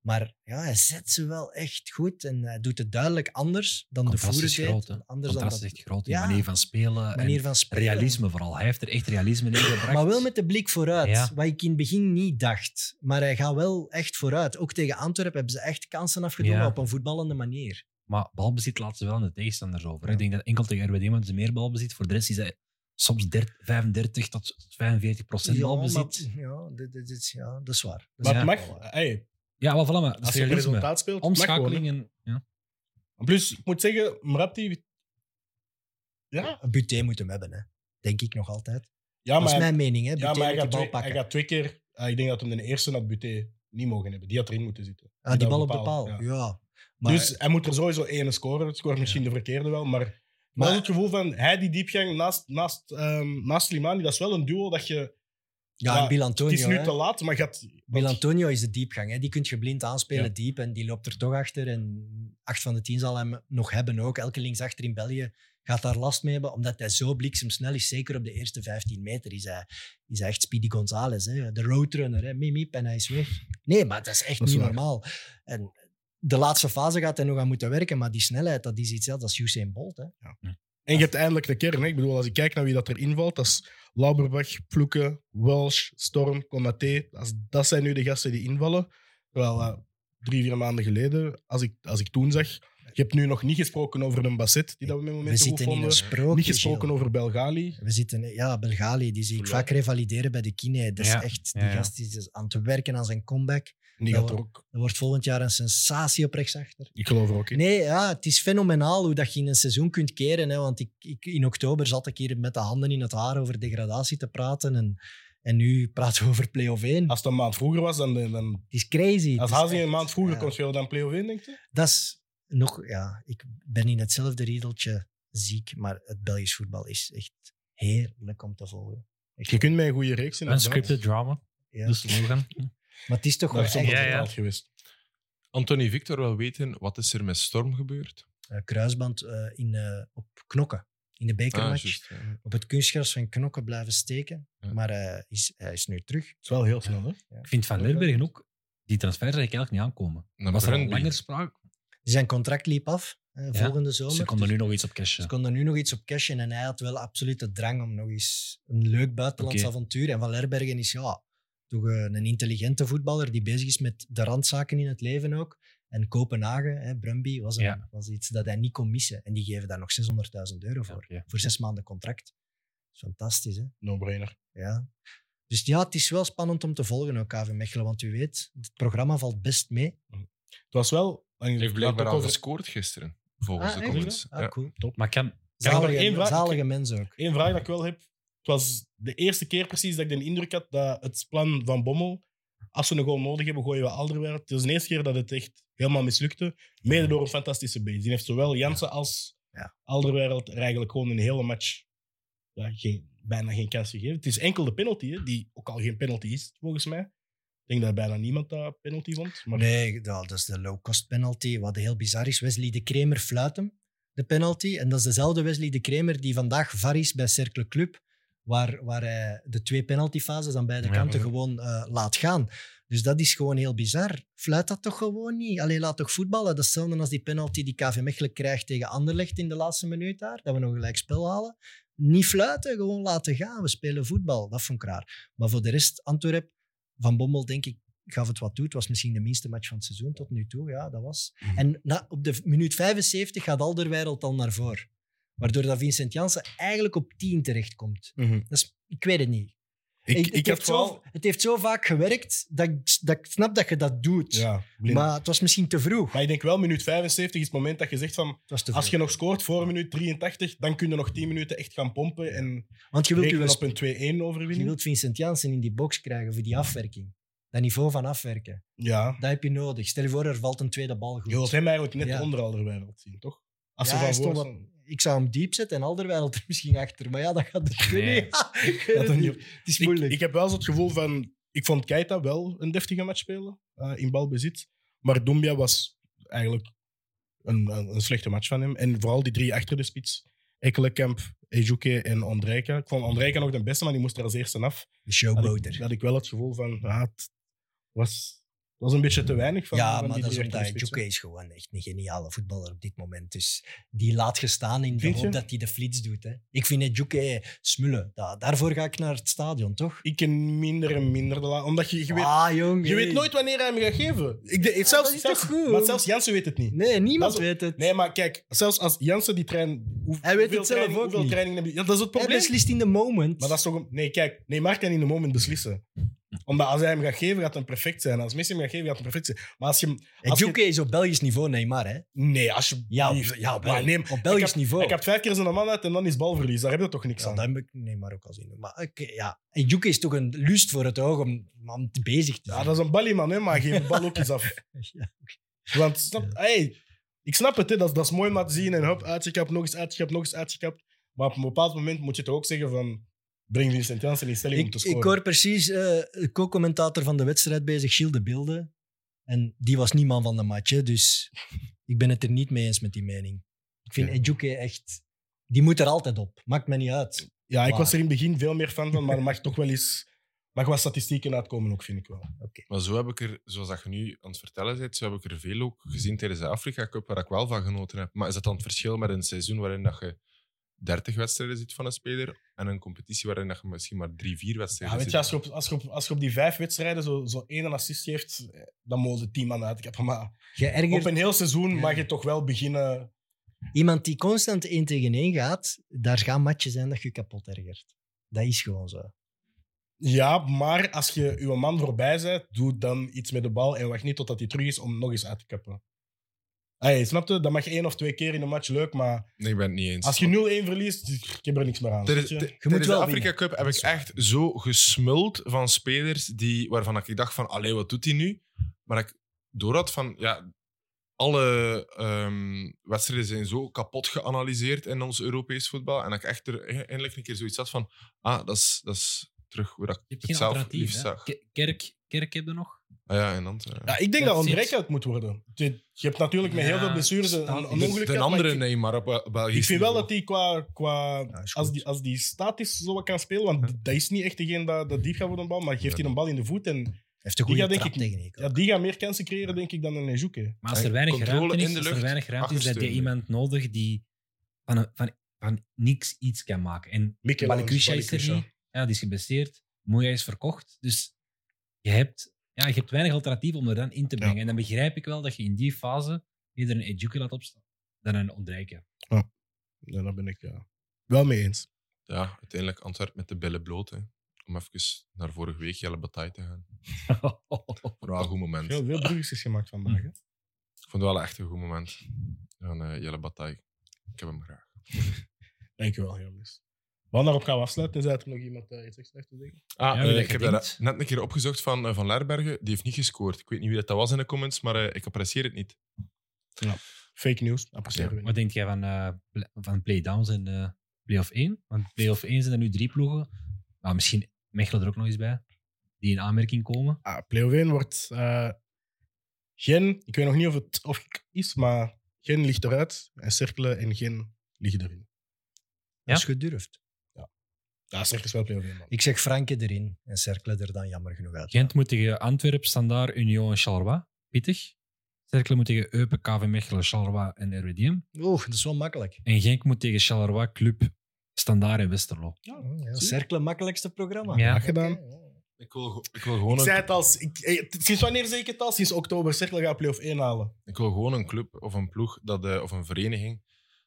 Maar ja, hij zet ze wel echt goed en hij doet het duidelijk anders dan de
Contrast
voerder
is groot, hè.
deed. Anders dan
Contrast
dat
is echt groot. Die
Ja.
manier van spelen
manier
en
van spelen.
realisme vooral. Hij heeft er echt realisme in gebracht.
Maar wel met de blik vooruit.
Ja.
Wat ik in het begin niet dacht. Maar hij gaat wel echt vooruit. Ook tegen Antwerpen hebben ze echt kansen afgedwongen
Ja.
op een voetballende manier.
Maar balbezit laten ze wel aan de tegenstanders over. hè.
Ja.
Ik denk dat enkel tegen RWD hebben ze meer balbezit. Voor de rest is hij soms 30, 35 tot 45 procent
Ja,
al
maar-
bezit.
Ja, dit, dit, dit- Dus ja, dat is waar. Dat is
Maar het
waar.
mag. Hey,
Ja, wel voilà, maar dat
als
is
je een
realisme.
resultaat speelt, het mag gewoon, hè.
Omschakelingen. Ja.
En Plus, ik moet zeggen, Mrapti... Ja,
Een buté moet hem hebben, hè. denk ik nog altijd.
ja
dat is
maar,
mijn mening, hè.
ja,
Buté
maar hij,
moet de
gaat
bal
twee,
pakken.
hij gaat twee keer... ah, ik denk dat hem de eerste naar het buté niet mogen hebben. Die had erin moeten zitten.
Ah, die
dat
bal op
op
de
de
paal,
paal,
ja. Maar,
dus hij moet er sowieso één scoren. Het scoort misschien de verkeerde wel, maar... Maar,
Maar-
dat is het gevoel van, hij die diepgang naast, naast, ehm, naast Slimani, dat is wel een duo dat je...
ja,
ja,
en Bill
Het is
Antonio,
nu te
hè.
laat, maar gaat...
Bill
want-
Antonio is de diepgang. Hè. Die kun je blind aanspelen
Ja.
diep en die loopt er toch achter. En acht van de tien zal hem nog hebben ook. Elke linksachter in België gaat daar last mee hebben, omdat hij zo bliksemsnel is. Zeker op de eerste 15 meter is hij, is hij echt Speedy Gonzales. Hè. De roadrunner, hè. Miep, miep, en hij is weg. Nee, maar dat is echt
Dat is
niet
waar.
normaal. En de laatste fase gaat hij nog aan moeten werken, maar die snelheid, dat is iets zelfs als Usain Bolt. Hè.
En je hebt eindelijk de kern. Hè? Ik bedoel, als ik kijk naar wie dat er invalt, dat is Lauberbach, Ploeken, Welsh, Storm, Comaté. Dat, is- dat zijn nu de gasten die invallen. Terwijl eh, drie, vier maanden geleden, als ik, als ik toen zag... Je hebt nu nog niet gesproken over een Basset, die dat we met
We
momenten goed
zitten in
vonden.
een sprookje.
Niet gesproken
Gilles.
over Belgali.
We zitten, eh, ja, Belgali, die zie ik
Ja.
vaak revalideren bij de kine. Dat is
Ja,
echt, die
ja, ja.
gast is aan het werken aan zijn comeback.
En die
Ja,
gaat er
hoor.
ook...
Er wordt volgend jaar een sensatie op rechtsachter.
Ik geloof er ook in.
Nee, ja, het is fenomenaal hoe dat je in een seizoen kunt keren. Hè, want ik, ik, in oktober zat ik hier met de handen in het haar over degradatie te praten. En, en nu praten we over play-off 1.
Als het een maand vroeger was, dan... dan
het is crazy. Het
als
is
Hazing een
echt-
maand vroeger
ja.
kon spelen dan play-off in, denk je?
Dat is nog, ja, ik ben in hetzelfde riedeltje ziek. Maar het Belgisch voetbal is echt heerlijk om te volgen.
Je kunt mij een goede reeks in.
Unscripted drama,
Ja.
de slogan.
Maar het is toch
Dat
wel
is
echt...
zonder
Ja, ja.
betaald geweest.
Anthony Victor wil weten, wat is er met Storm gebeurd?
eh, kruisband eh, in, eh, op knokken. In de
Ah,
bekermatch.
juist, ja.
op het kunstgras van knokken blijven steken.
Ja.
Maar eh, is, hij is nu terug.
Het is wel heel snel, hè?
Ik vind Van Leerbergen ook, die transfer zag ik eigenlijk niet aankomen.
Naar
was er al
Brøndby.
langer sprake?
Zijn contract liep af eh,
Ja.
volgende zomer.
Ze
dus
konden nu nog iets op cashen.
Ze konden nu nog iets op cashen. En hij had wel absoluut de drang om nog eens een leuk buitenlands
Oké.
avontuur. En Van Lerbergen is ja, toch eh, een intelligente voetballer die bezig is met de randzaken in het leven ook. En Kopenhagen, hè, Brumby, was, een-
Ja.
was iets dat hij niet kon missen. En die geven daar nog 600.000 euro voor.
Oké.
Voor zes maanden contract. Fantastisch, hè?
No-brainer.
Ja. Dus ja, het is wel spannend om te volgen ook, KV Mechelen. Want u weet, het programma valt best mee.
Het was wel... en
Hij heeft
laat
blijkbaar
ook
al
over-
gescoord gisteren, volgens
Oh,
Ah,
de
echt?
comments.
Ah,
Ja.
cool.
Maar kan,
Kan ik nog één
Zalige,
vraag-
zalige mens ook.
Eén vraag dat ik wel heb. Het was de eerste keer precies dat ik de indruk had dat het plan van Bommel, als we een goal nodig hebben, gooien we Alderweireld. Het is de eerste keer dat het echt helemaal mislukte. Mede door een fantastische base. Die heeft zowel Jansen als
Ja.
Alderweireld er eigenlijk gewoon een hele match ja, geen, bijna geen kans gegeven. Het is enkel de penalty, hè, die ook al geen penalty is, volgens mij. Ik denk dat bijna niemand dat penalty vond. Maar
Nee, dat dat is de low-cost penalty. Wat heel bizar is, Wesley de Kremer fluit hem, de penalty. En dat is dezelfde Wesley de Kremer die vandaag var is bij Cercle Club, waar, waar hij de twee penaltyfases aan beide
Ja.
kanten gewoon eh, laat gaan. Dus dat is gewoon heel bizar. Fluit dat toch gewoon niet? Allee, laat toch voetballen? Dat is hetzelfde als die penalty die KV Mechelen krijgt tegen Anderlecht in de laatste minuut daar, dat we nog gelijk spel halen. Niet fluiten, gewoon laten gaan. We spelen voetbal. Dat vond ik raar. Maar voor de rest, Antwerp, Van Bommel, denk ik, gaf het wat toe. Het was misschien de minste match van het seizoen tot nu toe. Ja, dat was. En na, op de v- minuut 75 gaat Alderweireld al naar voren. Waardoor dat Vincent Janssen eigenlijk op 10 terechtkomt.
Mhm.
Dat is, ik weet het niet.
ik, ik,
het, heeft
had
zo,
wel...
het heeft zo vaak gewerkt dat ik, dat ik snap dat je dat doet.
Ja, blind. Maar,
maar het was misschien te vroeg.
ik denk wel, minuut 75 is het moment dat je zegt van...
Het was te vroeg.
Als je nog scoort voor minuut 83, dan kun je nog 10 minuten echt gaan pompen en
Want je wilt,
rekenen
uw
op
sp-
een 2-1
je
overwinning.
wilt Vincent Janssen in die box krijgen voor die afwerking. Dat niveau van afwerken.
Ja.
Dat heb je nodig. Stel je voor, er valt een tweede bal goed.
Je wilt hem eigenlijk net
Ja.
onder Alderweireld zien, toch? Als
Ja,
ze
hij
van voor
stond ik zou hem diep zetten en Alderweireld er misschien achter. Maar ja, dat gaat dus
Nee.
niet. Ik weet
Dat
het
dan
niet.
niet.
Het is
ik,
moeilijk.
ik heb wel zo het gevoel van... Ik vond Keita wel een deftige match spelen eh, in balbezit. Maar Dumbia was eigenlijk een, een, een slechte match van hem. En vooral die drie achter de spits. Ekkelenkamp, Ejuke en Andrijka. Ik vond Andrijka nog de beste, maar die moest er als eerste af.
de
Had ik,
showboater.
had ik wel het gevoel van... ah, het was was een beetje te weinig van
ja,
van
maar
die
dat is
directe
omdat
spits,
Juke
hè.
is gewoon echt een geniale voetballer op dit moment. Dus die laat gestaan in de
Vind je?
hoop dat hij de flits doet. Hè. Ik vind het Juke smullen. Da- daarvoor ga ik naar het stadion, toch?
Ik ken minder en minder. de la- Omdat je, je, weet,
ah, jong.
je
hey.
weet nooit wanneer hij hem gaat geven. Ik denk,
Ja,
zelfs,
dat is
zelfs-
toch goed?
Maar zelfs Jansen weet het niet.
Nee, niemand
Dat is-
weet het.
Nee, maar kijk, zelfs als Jansen die trein. hoe-
Hij weet
hoeveel
het zelf
training-
ook
hoeveel
niet.
trainingen heb je- Ja, dat is het
Hij
probleem.
beslist in de moment.
Maar dat is toch... een- Nee, kijk. Neymar kan in de moment beslissen. Omdat als hij hem gaat geven, gaat hem perfect zijn. Als Messi hem gaat geven, gaat hem perfect zijn. Maar als je hem...
En
als je-
Juke Eh, is op Belgisch niveau Neymar, hè?
Nee, als je...
Ja,
Nee,
ja,
maar
wel.
nee,
op Belgisch
heb-
niveau.
Ik heb vijf keer zijn man uit en dan is balverlies. Daar heb je toch niks
Ja,
aan.
dat heb ik Neymar ook al zien. doen. Maar oké, ja. En Juke is toch een lust voor het oog om, om te bezig te
Ja,
zijn.
Ah, dat is een balieman, hè, maar geef de bal ook eens af.
Ja.
Want snap, hey, ik snap het, hè, dat, dat is mooi om dat te zien. En hop, uitgekapt, nog eens uitgekapt, nog eens uitgekapt. Maar op een bepaald moment moet je toch ook zeggen van... Breng Vincent Janssen in stelling om
Ik,
te
ik
scoren.
hoor precies eh, de co-commentator van de wedstrijd bezig, Gilles de Beelden. En die was niet man van de match, hè, dus ik ben het er niet mee eens met die mening. Ik vind
Ja.
Ejuke echt... Die moet er altijd op. Maakt me niet uit.
Ja, ik
Waar.
was er in het begin veel meer fan van, maar er mag toch wel eens... Mag wat statistieken uitkomen ook, vind ik wel.
Maar zo heb ik er, zoals dat je nu aan het vertellen bent, zo heb ik er veel ook gezien tijdens de Afrika Cup, waar ik wel van genoten heb. Maar is dat dan het verschil met een seizoen waarin dat je 30 wedstrijden ziet van een speler en een competitie waarin dat je misschien maar 3, 4
Ja,
wedstrijden
weet je,
ziet?
als je op, als je op, als je op die vijf wedstrijden zo, zo één assist geeft, eh, dan mogen de tien man uitkappen. Maar
Je ergert
op een heel seizoen
Ja.
mag je toch wel beginnen...
iemand die constant één tegen één gaat, daar gaan matchen zijn dat je kapot ergert. Dat is gewoon zo.
Ja, maar als je je man voorbij bent, doe dan iets met de bal en wacht niet totdat hij terug is om nog eens uit te kappen. Hey, snap je? Dat mag één of twee keer in een match leuk, maar
Nee, ik ben het niet eens.
als je 0-1 verliest, ik heb er niks meer aan.
Tijdens,
weet eh, je?
tijdens
wel
de
winnen.
Afrika Cup heb ik echt zo gesmuld van spelers die, waarvan ik dacht van, allee, wat doet hij nu? Maar ik door had van, ja, alle ehm, wedstrijden zijn zo kapot geanalyseerd in ons Europees voetbal. En dat ik echt er e- eindelijk een keer zoiets had van, ah, dat is, dat is terug hoe dat
Je
ik
hebt
het
geen
zelf liefst
alternatief. hè.
zag.
Ke- Kerk, kerk heb je nog.
Ah, ja, en dan, eh.
Ja, ik denk
Dat
dat
zit.
André uit moet worden. Je je hebt natuurlijk met heel
Ja,
veel blessures een,
staat-
een
De-
ongeluk
de,
gehad, maar
andere
ik-
nee, maar op eh, Belgisch
Ik vind wel
niveau.
dat hij qua, qua
Ja, is
als,
goed.
die, als die statisch zo wat kan spelen, want d- dat is niet echt degene dat, dat diep gaat voor een bal, maar geeft hij een bal in de voet en
Heeft een
Die
goede
gaat denk
trap
ik-
tegen één.
ja, die gaat meer kansen creëren, denk ik, dan een Nejuke.
Maar als er
Ja,
weinig
controle
ruimte
in
is,
de
als er
lucht,
weinig ruimte is, heb je
achtersteun.
iemand nodig die van, een- van, van niks iets kan maken. En
Mikel
Balikwisha
Lawrence,
is er
Balikwisha.
niet. Ja, die is geblesseerd. Moeja is verkocht. Dus je hebt, ja, je hebt weinig alternatief om er dan in te brengen. En dan begrijp ik wel dat je in die fase eerder een Ejuke laat opstaan dan een Ondrijken.
Ja, daar ben ik ja, wel mee eens.
Ja, uiteindelijk Antwerp met de billen bloot. Hè. Om even naar vorige week Jelle Bataille te gaan. Maar wel een goed moment.
Heel veel bruggetjes gemaakt vandaag. hè.
Ik vond het wel echt een goed moment van eh, Jelle Bataille. Ik heb hem graag.
Dankjewel, jongens. Maar daarop gaan we afsluiten. Zijn er nog iemand eh, iets extra te zeggen?
Ah,
Ja, wie dat
ik heb
gedenkt.
dat net een keer opgezocht van, eh, van Lerbergen. Die heeft niet gescoord. Ik weet niet wie dat, dat was in de comments, maar eh, ik apprecieer het niet.
Fake news, appreciëren we
Wat
niet.
denk jij van, eh, pla- van playdowns en eh play-off 1? Want play-off 1 zijn er nu drie ploegen. Nou, misschien Mechelen er ook nog eens bij. Die in aanmerking komen.
Ah, Play-off 1 wordt eh, Gen, ik weet nog niet of het of het is, maar Gen ligt eruit en Cerkelen en Gen liggen erin.
Als je durft.
Ja, Cerkelen is wel Play-off 1, man.
Ik zeg Franke erin en Cercle er dan jammer genoeg uit.
Gent moet tegen Antwerpen, Standaard, Union en Charleroi. Pittig. Cercle moet tegen Eupen, KV Mechelen, Charleroi en RWDM.
Oeh, dat is wel makkelijk.
En Genk moet tegen Charleroi, Club, Standaard en Westerlo.
Oh, ja. Cercle, makkelijkste programma.
Ja.
Graag gedaan.
Oké, ja.
Ik wil, go- ik wil gewoon
Ik
een,
zei het al. Ik, eh, t- sinds wanneer zeg ik het al? Sinds oktober. Cercle gaat play-off 1 halen.
ik wil gewoon een club of een ploeg dat, eh, of een vereniging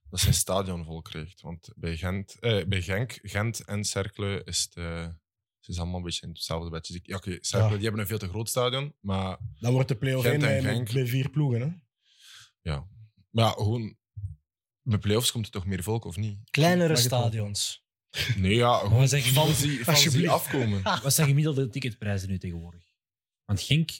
dat zijn stadion vol krijgt. Want bij, Gent, eh, bij Genk, Gent en Cercle is het, eh, het is allemaal een beetje in hetzelfde bedje. Dus Ja, oké, Cercle,
Ja.
die hebben een veel te groot stadion, maar
Dan wordt de play-off
Gent
1
en
met, met-
Genk.
met vier ploegen. Hè?
Ja. Maar ja, gewoon... Met playoffs komt er toch meer volk, of niet?
Kleinere
Mag het wel.
stadions.
Nee, ja.
Maar
Gewoon
wat, zijn
fans
gemiddelde,
die, fans die
Alsjeblieft.
afkomen.
wat zijn gemiddelde ticketprijzen nu tegenwoordig? Want Genk...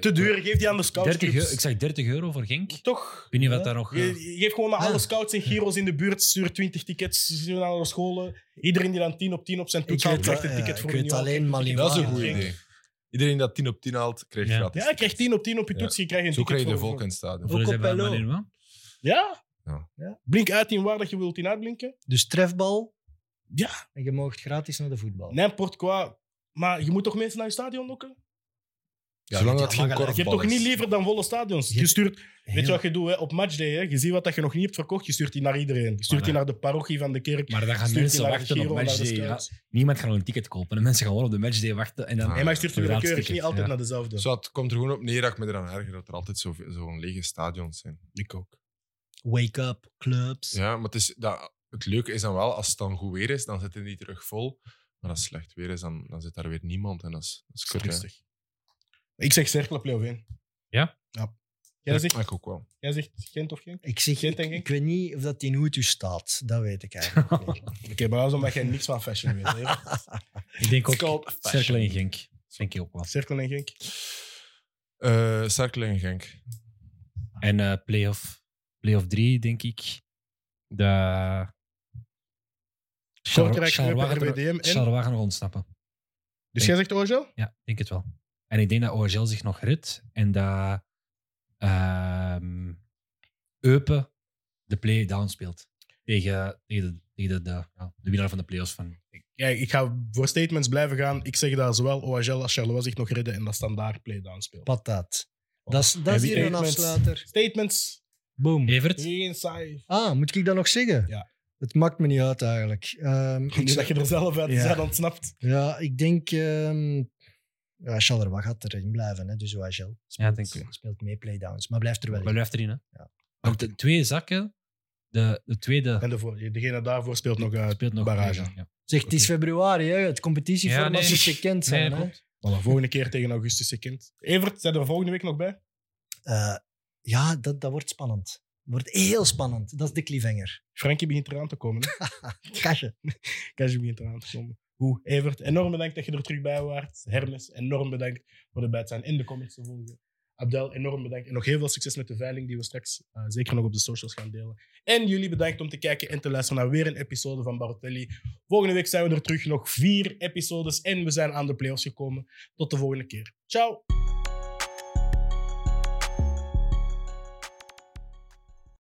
Te duur. Geef die aan de scouts.
30 euro, ik zeg 30 euro voor Genk. Ik
Toch?
weet niet wat
Ja.
daar nog... eh,
Je- je Geef gewoon naar alle
Ah.
scouts en gyro's in de buurt. Stuur 20 tickets stuur naar alle scholen. Iedereen die dan 10 op 10 op zijn toets
Ik
haalt,
weet
krijgt
dat,
een
ja.
ticket
Ik
voor
weet
een jaar.
alleen Malinois.
Dat is een
Ja.
goed idee. Iedereen dat 10 op 10 haalt, krijgt
Ja.
gratis.
Ja, je krijgt 10 op 10 op je
Ja.
toets. Je krijgt een
Zo
ticket
krijg je de
voor-
volk in het stadion.
hoeveel
ook
is
op
dat bij
LO.
Malinois?
Ja?
Ja.
Ja. Blink uit in waar dat je wilt in uitblinken.
Dus trefbal.
Ja.
En je mag gratis naar de voetbal.
N'importe quoi. Maar je moet toch mensen naar je stadion lokken?
Zolang dat
ja,
geen
maar gelijk.
Je hebt
korfbal
toch
is.
niet liever dan volle stadions? Je
Je-
stuurt, weet je
Heel-
wat je doet hè? op matchday? Hè? Je ziet wat dat je nog niet hebt verkocht, je stuurt die naar iedereen. Je stuurt
Maar
die naar de parochie van de kerk.
Maar dan gaan
Stuurt die
mensen
naar
wachten
Giro,
op
naar de
matchday. ja.
scouts.
Niemand gaat nog een ticket kopen. En mensen gaan gewoon op de matchday wachten. En dan,
Ah.
Nee, maar je stuurt die naar de kerk,
Raadsticket,
niet altijd
ja.
naar dezelfde.
Zo, het komt er gewoon op neer dat ik me eraan erger dat er altijd zo- zo'n lege stadions zijn.
Ik ook.
Wake up, clubs.
Ja, maar het, is, dat, het leuke is dan wel, als het dan goed weer is, dan zitten die terug vol. Maar als het slecht weer is, dan, dan zit daar weer niemand. En dat is, dat is kut, hè.
Rustig. Ik zeg cerkelen play-off één.
Ja?
Ja. Jij
Ja,
zegt,
ik ook wel.
jij zegt Gent of Genk?
Ik, zeg,
Gent,
ik,
denk ik.
ik weet niet of dat in Hutu staat. Dat weet ik eigenlijk niet.
Oké, maar dat is omdat jij niks van fashion weet. hè.
Ik denk
It's
ook
called fashion.
Cirkel en Genk. Denk ik ook wel.
Cerkelen en Genk.
Eh Cercle en Genk.
En eh playoff, playoff 3, denk ik. De...
Kortrijk,
Charleroi gaat er-
RWDM en...
Charleroi gaat nog ontsnappen.
Dus jij zegt Ojo?
Ja, ik denk het wel. En ik denk dat OHL zich nog redt en dat ehm Eupen de play-down speelt tegen, tegen, de, tegen de, de, ja, de winnaar van de playoffs van
Ja, ik ga voor statements blijven gaan. Ik zeg dat zowel OHL als Charleroi zich nog redden en dat standaard play-down speelt.
Patat. Dat is, dat is
Heavy
hier een
Oh. statements.
afsluiter.
Statements.
Boom.
Evert.
Geen saai.
Ah, moet ik dat nog zeggen?
Ja.
Het maakt me niet uit eigenlijk. Ehm, ik
Nu
zeg-
dat je er zelf uit
Ja.
zijn ontsnapt.
Ja, ik denk... ehm ja, Charleroi gaat erin blijven, hè, dus OHL.
Ja, denk ik.
Speelt mee playdowns, maar blijft er wel
Maar
in.
blijft erin, hè?
Ja.
Want de twee zakken, de, de tweede
En de voor, degene daarvoor speelt nog uit.
speelt nog
barrage.
Ja.
Zeg, het is februari, hè? het competitieformat
Ja, nee.
moet gekend zijn.
Nee,
hè.
klopt.
Voilà, volgende keer tegen augustus kind. Evert, zijn er volgende week nog bij?
Eh, ja, dat, dat wordt spannend. Wordt heel spannend. Dat is de cliffhanger.
Frankie begint eraan te komen. hè.
Kasje.
Cassie begint eraan te komen. Hoe, Evert, enorm bedankt dat je er terug bij was. Hermes, enorm bedankt voor erbij te zijn in de comments te volgen. Abdel, enorm bedankt. En nog heel veel succes met de veiling die we straks eh, zeker nog op de socials gaan delen. En jullie bedankt om te kijken en te luisteren naar weer een episode van Barotelli. Volgende week zijn we er terug. Nog vier episodes en we zijn aan de playoffs gekomen. Tot de volgende keer. Ciao!